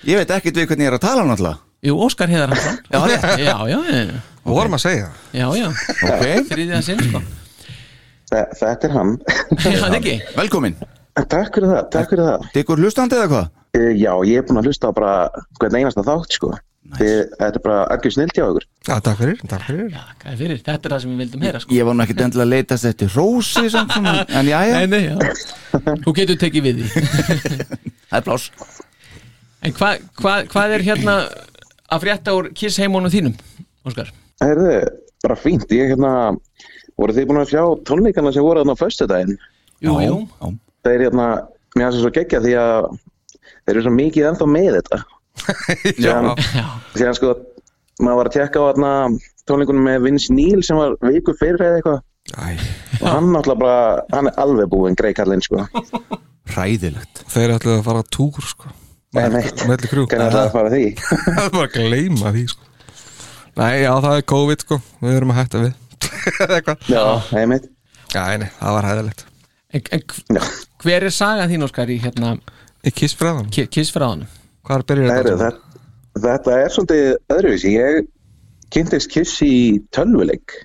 Speaker 2: Ég veit ekkert við hvernig ég er að tala um náttúrulega
Speaker 3: Jú, Óskar Heiðar Hansson Já, já, já, já,
Speaker 5: Við vorum að segja það
Speaker 3: já, já.
Speaker 2: Ok,
Speaker 3: Þriðja sinn sko
Speaker 6: Þa, þetta er hann.
Speaker 3: Já, það ekki
Speaker 2: velkomin
Speaker 6: takk fyrir það, takk fyrir það.
Speaker 2: Tekur hlustandi eða hvað?
Speaker 6: Uh, já, ég er búin að hlusta á bara hvern einasta þátt, sko. Þið, þetta er bara algjör snilt hjá ykkur.
Speaker 5: Já, takk fyrir, takk fyrir
Speaker 3: Já, hvað er fyrir? Þetta er það sem við vildum heyra sko
Speaker 2: Ég var nú ekkert endilega að leitast eftir rósi samt svona, En jæja,
Speaker 3: Nei, nei, já Þú getur tekið við því
Speaker 2: það er plás
Speaker 3: En hvað hva, hva er hérna að frétta úr Kiss heimunum þínum, Óskar?
Speaker 6: Herðu, bara fínt. Ég hérna, voru þið búin að sjá tónleikana sem voru þarna á föstudaginn?
Speaker 3: Jú,
Speaker 2: Já,
Speaker 3: jú,
Speaker 2: já.
Speaker 6: Þeir hérna, mér finnst það svo geggja því að þeir eru svo mikið ennþá með þetta. Síðan- Síðan sko, maður var að tekka á hérna, tónleikunum með Vince Neil sem var viku fyrir eða eitthvað.
Speaker 5: Æ,
Speaker 6: Og hann náttúrulega bara, hann er alveg búinn, grei kallinn, sko.
Speaker 2: Ræðilegt
Speaker 5: þeir ætluðu að fara á túr, sko
Speaker 6: Nei, neitt.
Speaker 5: Melli krú
Speaker 6: Hvernig ætlaði að fara að því?
Speaker 5: Það er bara að gleyma því sko Nei, já, það er COVID sko Við erum að hætta við Eða eitthvað
Speaker 6: Já, einmitt
Speaker 5: Já, nei, það var hæðilegt
Speaker 3: En, en hv- hver er sagan þín, Óskar, í hérna
Speaker 5: Ég kiss fræðan
Speaker 3: Ki- Kiss fræðanum?
Speaker 5: Hvað er byrjir
Speaker 6: Heru, það, Þetta er svolítið öðruvísi Ég kynntist kiss í tölvuleik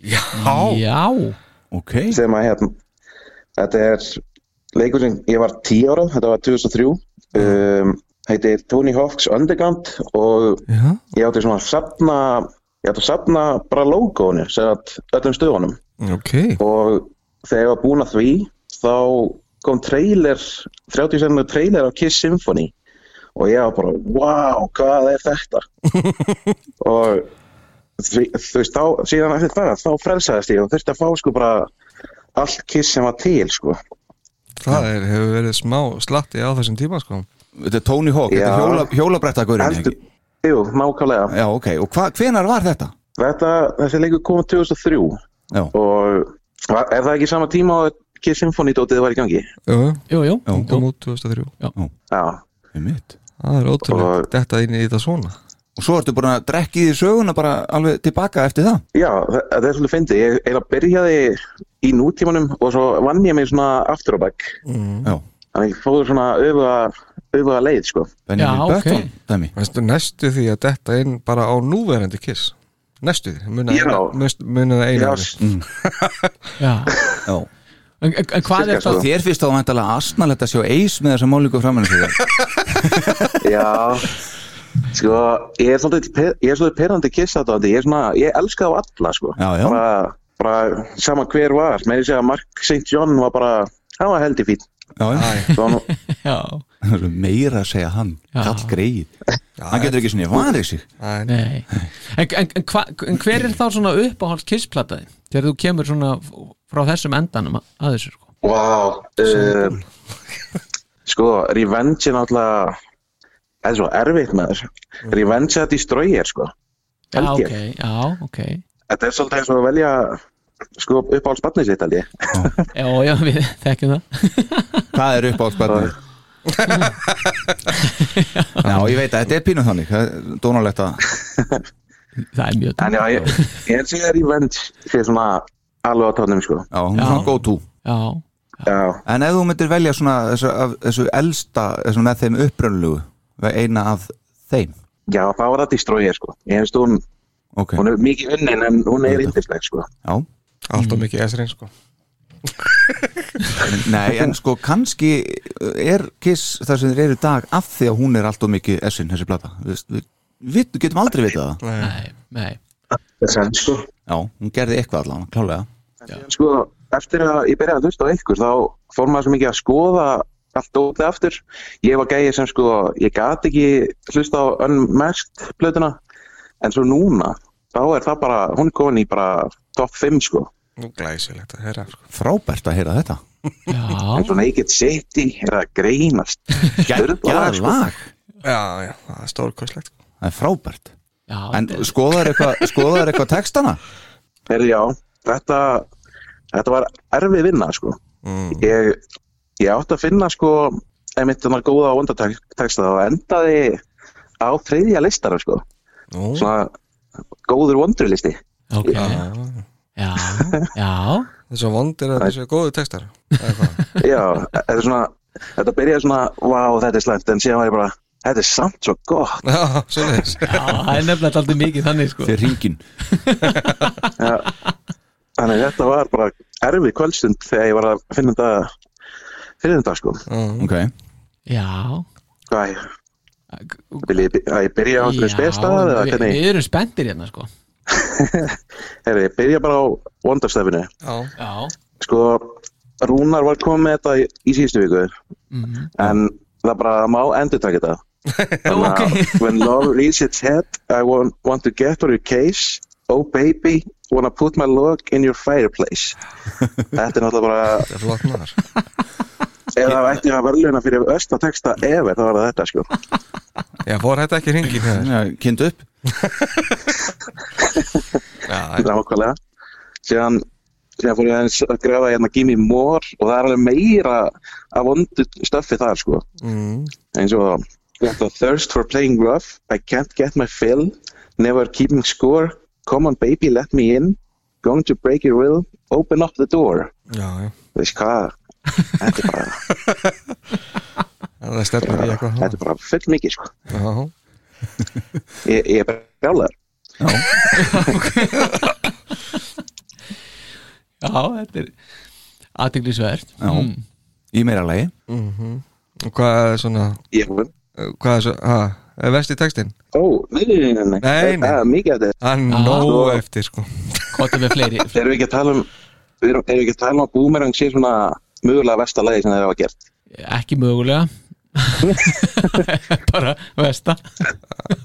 Speaker 5: Já,
Speaker 3: Já,
Speaker 2: Ok,
Speaker 6: sem að hérna þetta er leikur sem ég var 10 ára þetta var 2003 um, heitir Tony Hawk's Underground og
Speaker 5: já
Speaker 6: ég átti svona að safna ég átti að safna bara logoinu sem sagt, öllum stöðunum
Speaker 5: Ok
Speaker 6: og þegar ég var búin að því þá kom trailer 30 semnur trailer af Kiss Symphony og ég var bara, wow, hvað er þetta og því, þú veist, þá, síðan eftir það þá frelsaðist ég og þurfti að fá sko bara allt Kiss sem var til sko
Speaker 5: Það er, hefur verið smá slatti á þessum tíma sko
Speaker 2: þetta er Tony Hawk Þetta
Speaker 6: Já.
Speaker 2: er hjóla, hjólabrætta
Speaker 6: Heldur- Jú, nákvæmlega
Speaker 2: Já, ok, og hva, hvenar var þetta?
Speaker 6: þetta, þessi leikur kom 2003
Speaker 2: Já,
Speaker 6: og var- er það ekki sama tíma og Kiss Symphony dótið var í gangi?
Speaker 5: Jú, jú,
Speaker 3: jú, jú
Speaker 2: Já.
Speaker 5: hún kom út 2003
Speaker 6: Já,
Speaker 2: við mitt
Speaker 5: Það er ótrúlega
Speaker 6: Og-
Speaker 5: Þetta inn í þetta svona
Speaker 2: Og svo ertu búin að drekki því söguna bara alveg tilbaka eftir það
Speaker 6: Já, þa- þetta er svolítið fyndið. Ég eiginlega byrjaði í nútímanum og svo vann ég mig svona aftur á bakk.
Speaker 2: Já,
Speaker 6: Þannig að ég fóður svona öfuga, öfuga leið, sko.
Speaker 2: Benjamin
Speaker 3: Já, ok.
Speaker 2: Button, dæmi
Speaker 5: Veistu, næstu því að þetta inn bara á núverandi kiss Næstu því, muna,
Speaker 6: Já.
Speaker 5: muna, muna það
Speaker 6: Já,
Speaker 5: einu ári.
Speaker 6: s-
Speaker 3: Já.
Speaker 2: Já
Speaker 3: En, en, en hvað er
Speaker 6: Cirka,
Speaker 3: það?
Speaker 6: sko.
Speaker 2: Þér finnst þá vantalega astnalegt að sjá eis með þessa málíku framann fyrir þér
Speaker 6: já. Sko, ég er svolítið, pe- ég er svolítið perandi kissatátti. Ég er svona, ég elska á alla, sko.
Speaker 2: Já, já.
Speaker 6: Bara, bara sama hver var. Meir ég segja að Mark St. John var bara, hann var heldig fín.
Speaker 2: Já, já.
Speaker 6: Svo hann,
Speaker 3: Já,
Speaker 2: Það eru meira að segja hann,
Speaker 3: Já.
Speaker 2: kall greið Hann getur ekki svona varið sig
Speaker 5: Æ, nei.
Speaker 3: nei En, en, en, hva, en hver er þá svona uppáhalds kissplataði? Þegar þú kemur svona f- frá þessum endanum að að þessu sko
Speaker 6: wow. Uh, Sko, Revenge er náttúrulega eða svo erfitt maður
Speaker 2: Mm.
Speaker 6: Revenge er að destroyer, sko
Speaker 3: Já,
Speaker 6: Held ég.
Speaker 3: ok, já, ok
Speaker 6: Þetta er svolítið eins og að velja sko, uppáhalds barnið sitt, held ég
Speaker 3: Já, já, við þekkjum það
Speaker 2: Hvað er uppáhaldsbarnið? Já, ég veit að þetta er pínu þannig Það er Dónalegt að
Speaker 3: Það er mjög
Speaker 6: En já, ég, ég er sér Revenge sé svona alveg á tónum, sko
Speaker 2: Já, hún er svona go to
Speaker 3: Já,
Speaker 6: Já,
Speaker 2: En ef þú myndir velja svona þessu, af, þessu elsta, þessu með þeim upprönnlugu eina af þeim
Speaker 6: já þá er það destroyer, sko Ég finnst hún,
Speaker 2: Ok,
Speaker 6: hún er mikið unnin en hún er yndisleg, sko
Speaker 2: já
Speaker 5: Alltaf mikið S-rein sko
Speaker 2: Nei, en sko kannski eh, er Kiss þar sem þeir eru í dag af því að hún er alltof mikið essin, þessi plata Við, við, við getum aldrei vitað það
Speaker 3: nei, nei
Speaker 6: Þess að, sko
Speaker 2: Já, hún gerði eitthvað allan, klálega
Speaker 6: sko, eftir að ég byrjaði að hlusta á ykkur þá fór maður svo mikið að skoða allt ótið aftur ég var gæið sem sko, ég gat ekki hlusta á Unmasked plötuna en svo núna, þá er það bara hún er komin í bara top 5 sko
Speaker 5: Nú glæsilegt að herra sko
Speaker 2: Frábært að heyra þetta
Speaker 3: Já,
Speaker 6: en svo Naked City er að greinast Sturlað,
Speaker 2: Gæðar
Speaker 6: sko.
Speaker 2: lag,
Speaker 5: Já, já, það er stórkostlegt sko.
Speaker 2: það er frábært
Speaker 3: já,
Speaker 2: En skoðar eitthvað, skoðar eitthvað textana?
Speaker 6: Heyrðu, já, þetta, þetta var erfið vinna sko. ég, ég átti að finna sko, einmitt þannig góða og vondateksta og endaði á þriðja listar sko.
Speaker 5: Nú,
Speaker 6: svona góður vondurlisti
Speaker 3: ok Já,
Speaker 5: já, já.
Speaker 3: já,
Speaker 5: Þessi vondir að þessi góðu textar eða hvað?
Speaker 6: já, þetta er svona þetta byrjaði svona, vá þetta er slæmt en síðan var ég bara, þetta er samt svo gott
Speaker 5: Já, svoleiðis
Speaker 3: já Það er nefnilega alltaf mikið þannig, sko
Speaker 2: Fyrir ringin
Speaker 6: þannig að þetta var bara erfið kvöldstund þegar ég var að finna þetta fyrir þetta sko
Speaker 2: Ok,
Speaker 3: Já
Speaker 6: hvað, ég- vil ég, að ég byrja á einhverju spyrstað eða
Speaker 3: við,
Speaker 6: hvernig,
Speaker 3: við erum spenntir hérna, sko
Speaker 6: herri, ég byrja bara á vondarstefinu
Speaker 5: Já,
Speaker 3: Já,
Speaker 6: sko, Rúnar var komið með þetta í, í síðustu viku en það bara má endur taka þetta
Speaker 3: ok
Speaker 6: When love reaches its head, I want, want to get on your case. Oh baby, wanna put my log in your fireplace. Þetta er náttúrulega bara,
Speaker 5: það er flott maður
Speaker 6: ef það ætti að verðluna fyrir östa texta efer, þá var það þetta sko.
Speaker 5: Já, fór þetta ekki hringin hér
Speaker 2: Já, kynnt upp
Speaker 5: Já,
Speaker 6: Þetta var okkarlega. Síðan, síðan fór ég aðeins að grafa hérna Gimme More og það er alveg meira að vondu stöffi þar sko.
Speaker 5: mm,
Speaker 6: Eins og got a thirst for playing rough, I can't get my fill, never keeping score, come on baby let me in, going to break your will, open up the door.
Speaker 5: já, já
Speaker 6: þú veist hvað þetta er bara,
Speaker 5: Það stefnir í eitthvað
Speaker 6: þetta er bara full mikið sko.
Speaker 5: Já,
Speaker 6: ég, ég er bara brjálæður
Speaker 3: Já, þetta er Mm. aðteglisvert
Speaker 2: Já, í meira lagi
Speaker 5: og hvað er svona
Speaker 6: ég,
Speaker 5: Hvað er svona, hæ, er vesti textin?
Speaker 6: ó, nei, nei, nei, nei,
Speaker 5: Nei, nei.
Speaker 6: Það er mikið af þetta
Speaker 5: Hann
Speaker 3: Já.
Speaker 5: nógu eftir sko
Speaker 3: Hvort er með fleiri
Speaker 6: erum við ekki að tala um við erum, erum við ekki að tala um að boomerang sé svona mögulega versta lagi sem þeir hafa gert
Speaker 3: Ekki mögulega Bara vesta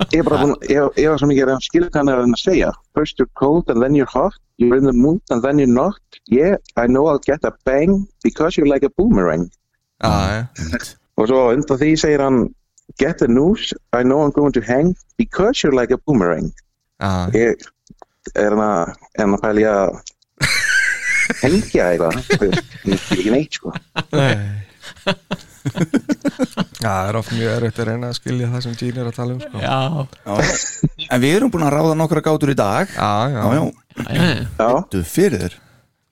Speaker 6: ég er bara búin, ég, ég var svo mikið að reyna að skilja hvað hann er að reyna að segja first you're cold and then you're hot you're in the mood and then you're not yeah, I know I'll get a bang because you're like a boomerang
Speaker 5: Já, já,
Speaker 6: og svo undan því segir hann get the news, I know I'm going to hang because you're like a boomerang
Speaker 5: já
Speaker 6: ég er hann að er hann að pælja að hengja eitthvað þú veist, ég skil ekki neitt sko
Speaker 5: Nei Já, það er oft mjög erfitt að reyna að skilja það sem Gene er að tala um sko Já,
Speaker 3: Já,
Speaker 2: En við erum búin að ráða nokkra gátur í dag
Speaker 5: já,
Speaker 2: Já, já,
Speaker 3: já,
Speaker 6: já,
Speaker 2: þú fyrir þér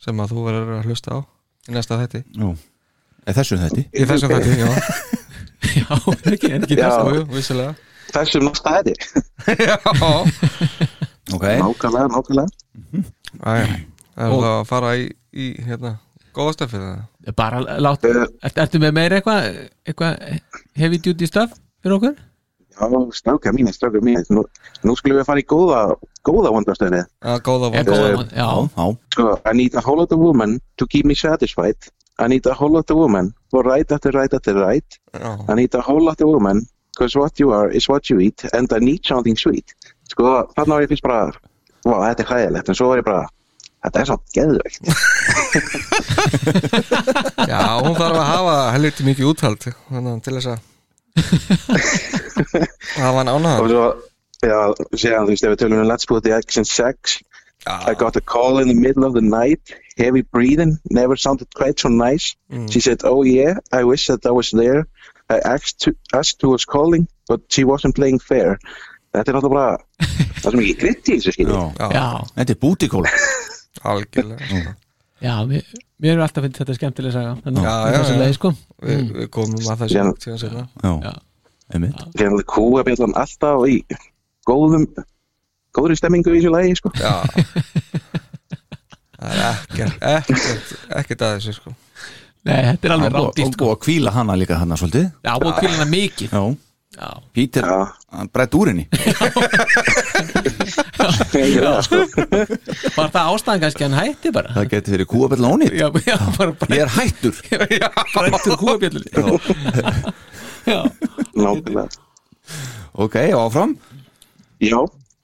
Speaker 5: sem að þú verður að hlusta á í næsta þetti
Speaker 2: Jú, eða þessum um þetta
Speaker 5: Í þessum þetti, já,
Speaker 3: já, ekki, ekki
Speaker 6: Já.
Speaker 5: jú, jú, vissulega
Speaker 6: þessum næsta þetta
Speaker 5: Já,
Speaker 2: Ok,
Speaker 6: nákvæmlega, nákvæmlega
Speaker 5: já, það er
Speaker 3: Og-
Speaker 5: það að fara í, í hérna, góða stöfið það
Speaker 3: Bara látt ert, Ertu með meira eitthvað eitthvað heavy duty stuff fyrir okkur?
Speaker 6: já, stráka mínir, stráka mínir nú, nú skulum við fara í góða góða vondastöðni
Speaker 5: Já, góða
Speaker 3: Eða
Speaker 5: vonda
Speaker 3: góða mál- Já,
Speaker 2: já,
Speaker 6: sko, I need a whole lot of woman to keep me satisfied I need a whole lot of woman for right after right after right
Speaker 5: Já,
Speaker 6: I need a whole lot of woman because what you are is what you eat and I need something sweet sko, þannig var ég fyrst bara vá, þetta er hæðilegt, en svo var ég bara þetta er svo geðveikt
Speaker 5: Já, hún þarf að hafa helviti mikið úthald þannig að til þess að hafa hann
Speaker 6: og
Speaker 5: ánaðan
Speaker 6: svo, já, séðan þú veist, ef við tölum um Let's Put the Action 6 I got a call in the middle of the night heavy breathing, never sounded quite so nice
Speaker 5: Mm.
Speaker 6: she said, oh yeah, I wish that I was there I asked, to, asked who was calling but she wasn't playing fair þetta er náttúrulega bara það er svo mikið gritt í þessu skilja
Speaker 3: Já,
Speaker 2: Þetta er bútikóla
Speaker 5: algjörlega sko.
Speaker 3: já, mér, mér er alltaf finnst þetta skemmtileg saga Þannig, í
Speaker 5: Já, já,
Speaker 3: þessu
Speaker 5: já.
Speaker 3: leið, sko.
Speaker 5: við, við komum að þessu
Speaker 6: Síðan-
Speaker 5: tíðan sérna
Speaker 2: Já, einmitt
Speaker 6: þegar það kúa bjallan alltaf í góðum góðri stemmingu í þessu lagi sko.
Speaker 5: Já Það er ekkert, ekkert, ekkert að þessu sko
Speaker 3: Nei, þetta er sko. alveg rátt
Speaker 2: Hún búið að kvíla hana líka hana svolítið
Speaker 3: Já, búið að kvíla hana mikið
Speaker 2: Já,
Speaker 3: Já,
Speaker 2: Pítur,
Speaker 6: Já.
Speaker 2: hann brett úr henni
Speaker 6: Já, sko.
Speaker 3: var það ástæðan kannski að hann hætti bara
Speaker 2: Það geti verið kúabell ónýtt
Speaker 3: Já, já, bara bara
Speaker 2: Ég er hættur
Speaker 3: Já, bræntur kúabjöllin Já,
Speaker 6: nákvæmlega
Speaker 2: Ok, og áfram
Speaker 6: Já,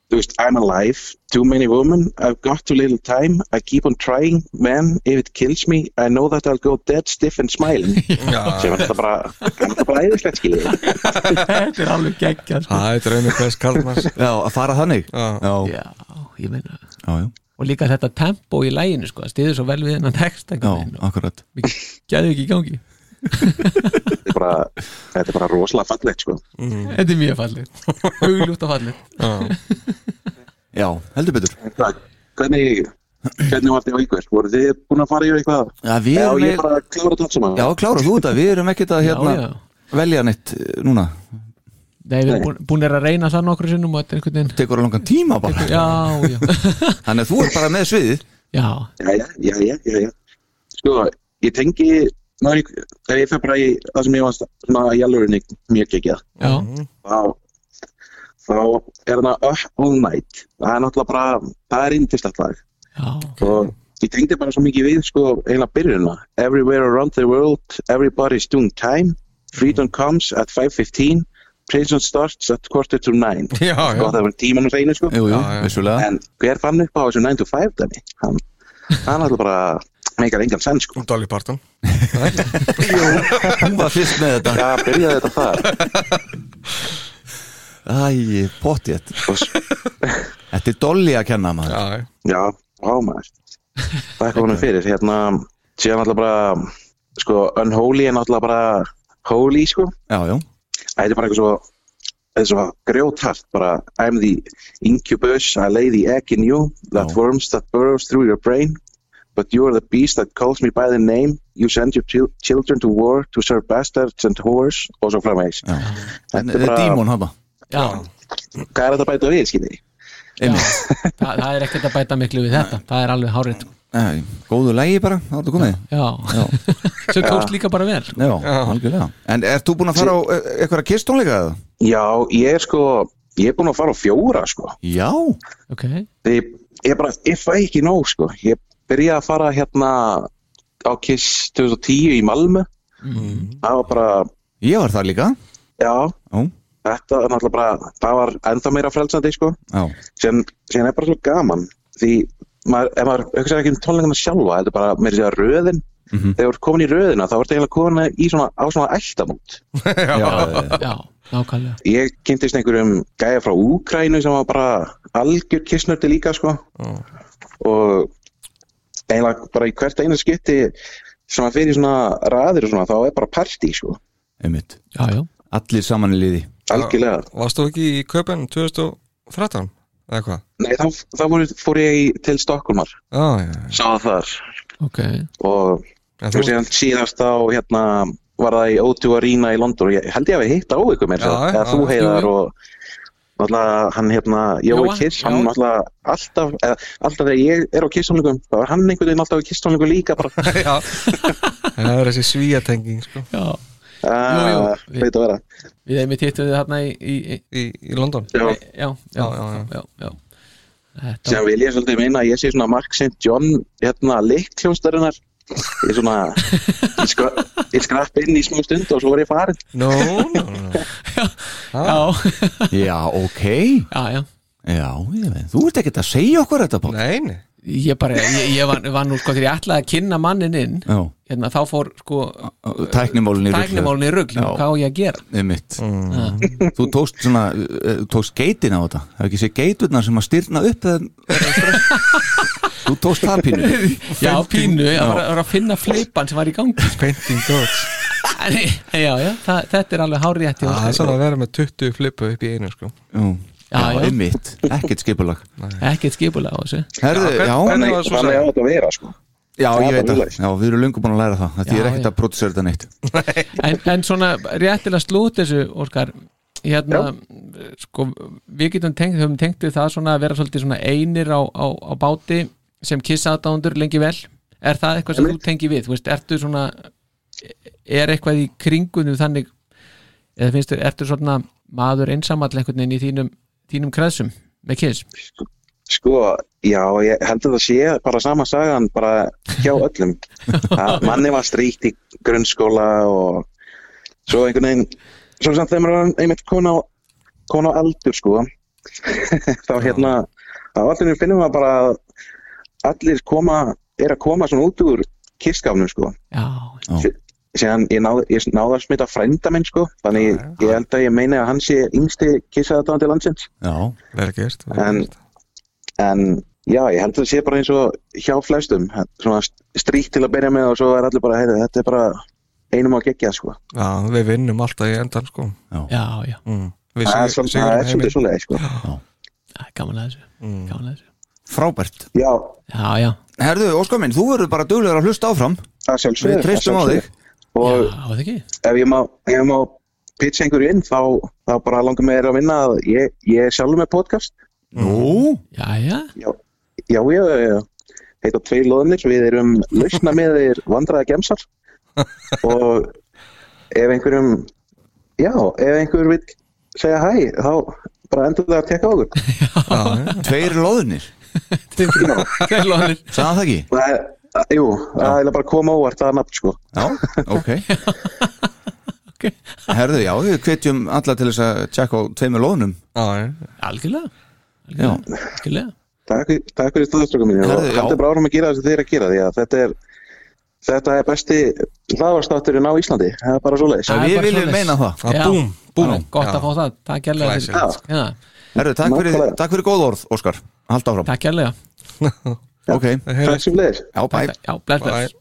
Speaker 6: þú veist, I'm alive, too many women, I've got too little time, I keep on trying, man, if it kills me, I know that I'll go dead stiff and smiling. Sem er þetta bara, er þetta bara æðislegt skiljið.
Speaker 3: þetta er alveg geggja sko.
Speaker 5: Það er draumir hvers kallmanns
Speaker 2: Já, að fara þannig
Speaker 5: Já.
Speaker 2: já,
Speaker 3: Já, ég meina
Speaker 2: já, já,
Speaker 3: Og líka þetta tempo í læginu sko, það stiður svo vel við hennan text
Speaker 2: já
Speaker 3: Gæði
Speaker 2: akkurat
Speaker 3: ekki í gangi
Speaker 6: Þetta er bara, þetta er bara rosalega fallegt, sko.
Speaker 3: Þetta er mjög fallið, hugljúft og fallið
Speaker 2: Já, heldur betur
Speaker 6: Það, hvernig, hvernig var þetta á ykkur? Voru þið búin að fara yfir eitthvað?
Speaker 2: Já, við
Speaker 6: Já,
Speaker 2: erum
Speaker 6: ég er
Speaker 2: með
Speaker 6: bara að klára þetta allt saman.
Speaker 2: Já, klára þú þetta, við erum ekkert að hérna
Speaker 3: já.
Speaker 2: velja neitt eh, núna
Speaker 3: Nei, við erum búin að reyna það nokkru sinnum og þetta er einhvern veginn
Speaker 2: Tekur að langan tíma bara
Speaker 3: Já, já,
Speaker 2: Þannig að þú er bara með sviðið
Speaker 3: já,
Speaker 6: Já, já, já, já, já, já. Sko, ég tengi, náður ég, þegar ég fer bara í það sem ég var svona í alvörinni mjög gekkjað.
Speaker 3: já
Speaker 6: þá, þá er það Up All Night það er náttúrulega bara, það er indislegt lag
Speaker 3: Já,
Speaker 6: og ég tengdi bara svo mikið við sko eiginlega byrjunna Everywhere around the world, everybody's doing time Freedom comes at 5.15 Prison starts at quarter to 9
Speaker 5: Já, já,
Speaker 6: og það var tímanum seginu sko
Speaker 2: Jú, jú,
Speaker 5: Já, já.
Speaker 2: vissulega
Speaker 6: en hver fann upp á þessu 9 to 5 dæmi hann, hann er náttúrulega bara meikar engan senn sko
Speaker 5: um Dolly Parton
Speaker 2: Hún var fyrst með þetta
Speaker 6: það byrjaði þetta þar
Speaker 2: Æ, pottjétt Þetta er dolli að kenna maður
Speaker 5: Já, já,
Speaker 6: Já, ámæður Það er komin fyrir hérna, síðan alltaf bara sko, unholy en alltaf bara holy, sko,
Speaker 2: Já, já,
Speaker 6: það er bara eitthvað svo þetta er svo grjótart, bara I'm the incubus, I lay the egg in you
Speaker 2: Já.
Speaker 6: that worms that burrows through your brain but you are the beast that calls me by the name you send your chil children to war to serve bastards and whores og svo framvegis
Speaker 2: já. En
Speaker 6: Þetta er
Speaker 2: þetta er
Speaker 6: bara-
Speaker 2: dímon hana
Speaker 3: já,
Speaker 6: Hvað er þetta að bæta við, skiljiði?
Speaker 3: já. Þa, Það er ekkert að bæta miklu við þetta Það er alveg hárið
Speaker 2: Nei, góðu lægi bara, þá ertu komið
Speaker 3: Já, sem tókst líka bara vel
Speaker 2: Já, algjörlega En ert þú búin að fara á eh, eitthvað kistónleika eða?
Speaker 6: Já, ég er sko ég er búin að fara á fjóra, sko
Speaker 2: Já,
Speaker 3: Ok,
Speaker 6: ég, ég bara, ég fæ ekki nóg sko. ég byrjaði að fara hérna á Kiss 2010 í Malmö það var bara
Speaker 2: ég var það líka
Speaker 6: já,
Speaker 2: Já,
Speaker 6: þetta er náttúrulega bara það var ennþá meira frelsandi sko.
Speaker 2: já,
Speaker 6: sem, sem er bara svo gaman því maður, ef maður hugsaði ekki um tónleikana sjálfa þetta er bara meira sér að segja röðin þegar þú ert komin í röðina þá ertu eiginlega komin í svona, á svona ættamót
Speaker 2: já, já,
Speaker 3: já, nákvæmlega
Speaker 6: ég kynntist einhverjum gæja frá Úkrænu sem var bara algjör kissnördi líka sko. og eiginlega bara í hvert einu skipti sem að fyrir svona raðir og svona þá er bara partí sko.
Speaker 2: einmitt
Speaker 3: Já, já,
Speaker 2: Allir saman í liði
Speaker 6: algjörlega
Speaker 5: varst þú ekki í Köpen 2013? Eða hvað?
Speaker 6: Nei, þá, þá fór, fór ég í- til Stokkólmar
Speaker 5: Já, já, já.
Speaker 6: sá það þar
Speaker 3: ok
Speaker 6: og
Speaker 5: En
Speaker 6: þú
Speaker 5: þú-
Speaker 6: séðan síðast þá hérna var það í O2 Arena í London og ég held ég að við hitta á ykkur mér
Speaker 5: Já, já,
Speaker 6: eða þú
Speaker 5: já,
Speaker 6: heiðar
Speaker 3: jú,
Speaker 6: og náttúrulega hann hérna Jói
Speaker 3: Jóa,
Speaker 6: Kiss,
Speaker 3: já.
Speaker 6: hann náttúrulega alltaf, eða, alltaf þegar ég er á kisstónleikum þá er hann einhvern veginn alltaf á kisstónleikum líka bara,
Speaker 5: Já, það er þessi svíjatenging sko
Speaker 3: Já,
Speaker 6: uh,
Speaker 3: jú.
Speaker 6: veit að vera
Speaker 3: við einmitt hittum við þarna í, í, í
Speaker 5: Í, í London
Speaker 6: já,
Speaker 3: já, já, já,
Speaker 5: Já, já, já.
Speaker 3: já, já. Þetta,
Speaker 6: sem vil ég svolítið meina að ég sé svona Mark St. John, hérna leikkljónstarinnar ég svona ég, skra, ég skrapp inn í smá stund og svo var ég farin
Speaker 5: No, no, no
Speaker 3: já,
Speaker 2: Já, ok
Speaker 3: já, já
Speaker 2: Já, ég veit, þú ert ekkert að segja okkur þetta bók
Speaker 5: Nei, nei
Speaker 3: ég bara, ég, ég var, var nú sko þegar ég ætlaði að kynna mannin inn
Speaker 2: Já.
Speaker 3: hérna þá fór sko
Speaker 2: Tæknimálin í rugl.
Speaker 3: tæknimálun í Mm. rugl,
Speaker 2: Já.
Speaker 3: hvað á ég að gera
Speaker 2: Einmitt. Þú tókst svona eh, tókst geitin á þetta Það er ekki sé geiturnar sem að styrna upp eða- eða stress. Þú tókst það pínu
Speaker 3: já, pínu, ég
Speaker 2: Já.
Speaker 3: var, var að finna fleipan sem var í gangi
Speaker 5: Painting dots
Speaker 3: En- já, já, það, þetta er alveg hárið rétt hjá
Speaker 5: Það
Speaker 3: þér.
Speaker 5: er svona að vera með 20 flipu upp í einu sko
Speaker 2: Jú.
Speaker 3: Já,
Speaker 2: Já,
Speaker 3: já.
Speaker 2: einmitt, ekkert skipulag
Speaker 3: ekkert skipulega á þessu
Speaker 2: Herðu, já,
Speaker 5: Þannig
Speaker 6: Þannig
Speaker 5: var svo
Speaker 6: þannig
Speaker 5: sem.
Speaker 6: á þetta að vera sko
Speaker 2: já,
Speaker 6: það
Speaker 2: ég
Speaker 6: er
Speaker 2: veit
Speaker 6: bara
Speaker 2: að Já, við erum löngu búin að læra það Það
Speaker 3: Já,
Speaker 2: þýðir ekkert
Speaker 3: já.
Speaker 2: að prótisera þetta neitt
Speaker 3: en, en svona réttilega slút þessu Óskar hérna, sko, við getum tengt, höfum tengt við það svona að vera svolítið svona einir á, á, á báti sem kissaðdándur lengi vel er það eitthvað sem þú tengi við Þú veist, ertu svona er eitthvað í kringunum þannig eða finnst þér, ertu svona maður einsamall einhvern veginn í þínum, þínum kreðsum með kiss
Speaker 6: Sko, já, ég heldur það sé bara sama sagan bara hjá öllum að manni var stríkt í grunnskóla og svo einhvern veginn svo samt þegar maður var einmitt konu á, konu á aldur sko þá hérna á allir finnum maður bara að allir koma, er að koma svona út úr kirskafnum sko
Speaker 3: já,
Speaker 6: síðan ég náði, ég náði að smita frænda minn sko, þannig ég held að ég meini að hann sé yngsti kissaðatáðandi landsins
Speaker 2: Já,
Speaker 5: Vel gert vel
Speaker 6: En-
Speaker 5: gert.
Speaker 6: en já, ég held að það sé bara eins og hjá flestum, svona stríkt til að byrja með og svo er allir bara, heyrðu, þetta er bara einum á gegja, sko
Speaker 5: Já, við vinnum alltaf í endan sko
Speaker 3: já, já,
Speaker 5: mm. Við
Speaker 6: það er
Speaker 5: sigur-
Speaker 6: svona-
Speaker 5: sigurum
Speaker 6: það er svolítið
Speaker 5: heiminn
Speaker 6: svoleið, sko
Speaker 3: Æ, gaman að þessu gaman að þessu,
Speaker 2: frábært
Speaker 6: já,
Speaker 3: já, já,
Speaker 2: Herðu, Óskar minn, þú verður bara duglegur að hlusta áfram
Speaker 6: það sjálfsögur
Speaker 2: Við treystum á þig.
Speaker 6: og
Speaker 3: já, það ekki
Speaker 6: ef ég má, ef ég má pitcha einhverju inn, þá, þá bara langar mér að vinna að ég, ég er sjálfur með podcast
Speaker 2: Nú,
Speaker 3: já, já,
Speaker 6: já, já, já, já, já. heita Tveir Lóðinir, við erum lausna með þeir vandraða gemsar og ef einhverjum já, ef einhver vill segja hæ, þá bara endur það að tekka okkur
Speaker 2: tveir loðnir
Speaker 3: Tveir loðnir.
Speaker 2: Sagði það ekki?
Speaker 6: það er, að- jú, það er bara að koma óvart það nafn sko,
Speaker 2: Já, ok Herðu, já, við hvetjum alla til þess að tjekka á tveimur loðnum
Speaker 5: Já, já.
Speaker 3: algjörlega algjörlega, algjörlega.
Speaker 6: takk, takk fyrir stöðustökum mínu og
Speaker 2: Herðu, já.
Speaker 6: heldur bara árum að gera það sem þeir eru að gera því að þetta er þetta er besti hlaðarstátturinn á Íslandi það er bara svo leiðis
Speaker 3: Það er
Speaker 2: Við
Speaker 3: bara
Speaker 2: viljum
Speaker 3: svoleiðis.
Speaker 2: meina það
Speaker 5: Já,
Speaker 3: Já.
Speaker 5: búm, búm.
Speaker 3: Já, gott að
Speaker 5: Já.
Speaker 3: fá það, takk kærlega fyrir,
Speaker 6: Glæsilegt.
Speaker 3: já,
Speaker 2: Herðu, takk fyrir,
Speaker 6: Nákvæmlega.
Speaker 2: takk fyrir góð orð, Óskar Halda áfram,
Speaker 3: takk kærlega
Speaker 2: ok
Speaker 6: takk sem leiðis
Speaker 2: Já, bæ,
Speaker 3: já, bless, bless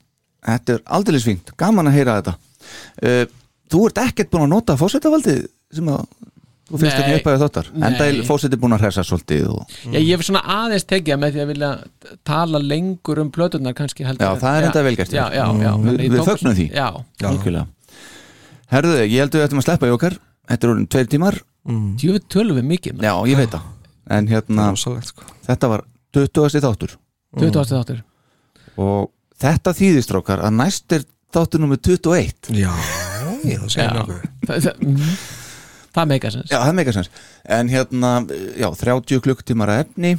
Speaker 2: þetta er aldrei svingt, gaman að heyra þetta uh, Þú ert ekkert búin að nota fósettavaldið sem að þú finnst
Speaker 3: Nei.
Speaker 2: ekki upphæðu þáttar
Speaker 3: Nei.
Speaker 2: en það er fósetti búin að hressa svolítið og,
Speaker 3: ég, ég hef svona aðeins tekið með því að vilja tala lengur um plötunar kannski heldur
Speaker 2: Já,
Speaker 3: en-
Speaker 2: það er enda vel gert,
Speaker 3: já,
Speaker 2: já.
Speaker 3: já, já,
Speaker 2: Mm.
Speaker 3: þannig ég
Speaker 2: Við
Speaker 3: tók-
Speaker 2: fögnum því.
Speaker 3: já,
Speaker 2: Algjörlega Herðu, ég heldur við ættum að sleppa í okkar Þetta er orðin tveir tímar
Speaker 3: djúið tölum við mikið
Speaker 2: Já, ég veit það En hérna,
Speaker 5: Rosalegt sko
Speaker 2: þetta var 20. þáttur
Speaker 3: 20. þáttur,
Speaker 2: og þetta þýðistrókar að næst er þáttur nummer 21
Speaker 5: Já, ég það segir
Speaker 3: Já.
Speaker 5: nokkuð
Speaker 3: það, það, mm, það meika sens
Speaker 2: Já, það er meikasens En hérna, já, 30 klukktímar að efni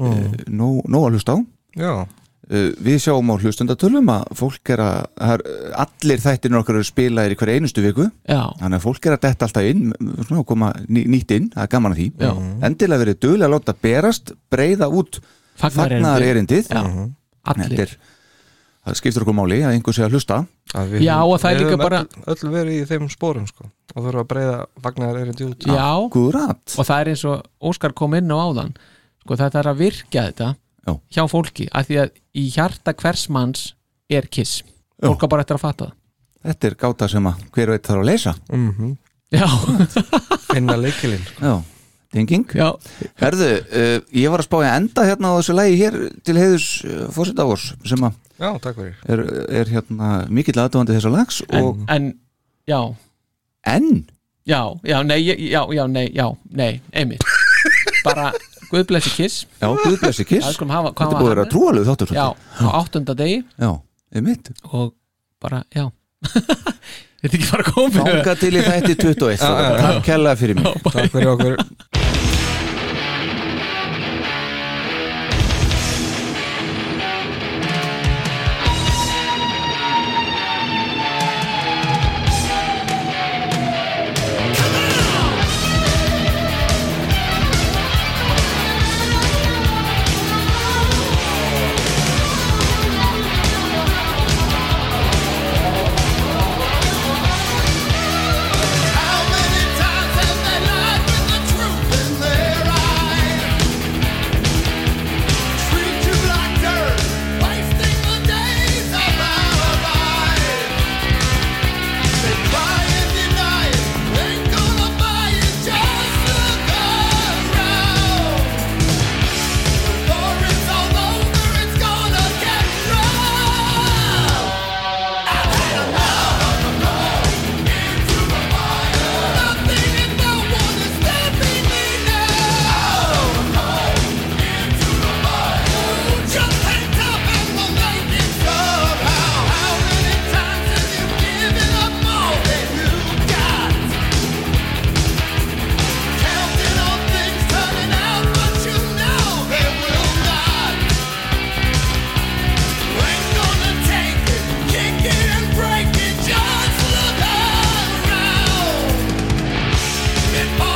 Speaker 2: mm. Nó nó að hlusta á
Speaker 5: Já,
Speaker 2: Uh, við sjáum á hlustendatölum að fólk er að har, allir þættirnir okkar eru spilaðir í hverja einustu viku
Speaker 3: já,
Speaker 2: þannig að fólk er að detta alltaf inn m- svona, og koma ný, nýtt inn, það er gaman að því
Speaker 3: Já.
Speaker 2: endilega verið duglega að láta berast breyða út
Speaker 3: Fagnaðarerindið.
Speaker 2: fagnar erindið
Speaker 3: já,
Speaker 2: Mhm. þetta
Speaker 3: allir
Speaker 2: er, það skiptir okkur máli að einhver sé að hlusta
Speaker 5: að við,
Speaker 3: Já, og það er
Speaker 5: við
Speaker 3: líka
Speaker 5: höfum
Speaker 3: bara-
Speaker 5: öll, öll verið í þeim spórum sko og þurfa að breyða vagnar erindi út
Speaker 3: já,
Speaker 2: Gurat,
Speaker 3: og það er eins og Óskar kom inn á áðan sko, þetta er að virkja þetta
Speaker 2: Já.
Speaker 3: hjá fólki, af því að í hjarta hvers manns er kiss fólk á bara eftir að fatta það
Speaker 2: þetta er gáta sem að hver veit þarf að leysa
Speaker 5: mm -hmm.
Speaker 3: já,
Speaker 5: finna leikilinn sko.
Speaker 2: Já. Tenging.
Speaker 3: já,
Speaker 2: Herðu, uh, ég var að spá í að enda hérna á þessu lægi hér til heiðus uh, fósita árs sem að
Speaker 5: Já, takk fyrir
Speaker 2: er, er hérna mikill aðdóðandi þessa lags
Speaker 3: en,
Speaker 2: og
Speaker 3: en já,
Speaker 2: enn
Speaker 3: já, já, nei ég- já, já, nei, já, nei, einmitt bara, guð blessi kiss
Speaker 2: Já, Guð blessi kiss
Speaker 3: Já, við skulum hafa- hvað
Speaker 2: Þetta er
Speaker 3: var
Speaker 2: búið að vera
Speaker 3: hann?
Speaker 2: trúalegu þáttur
Speaker 3: já, á áttunda degi
Speaker 2: Já, um mitt
Speaker 3: og bara, já þetta er ekki bara komið
Speaker 2: Fanga til í þætti 21 strákar. Takk kærlega fyrir mig
Speaker 5: Takk fyrir okkur
Speaker 7: Come
Speaker 6: it all.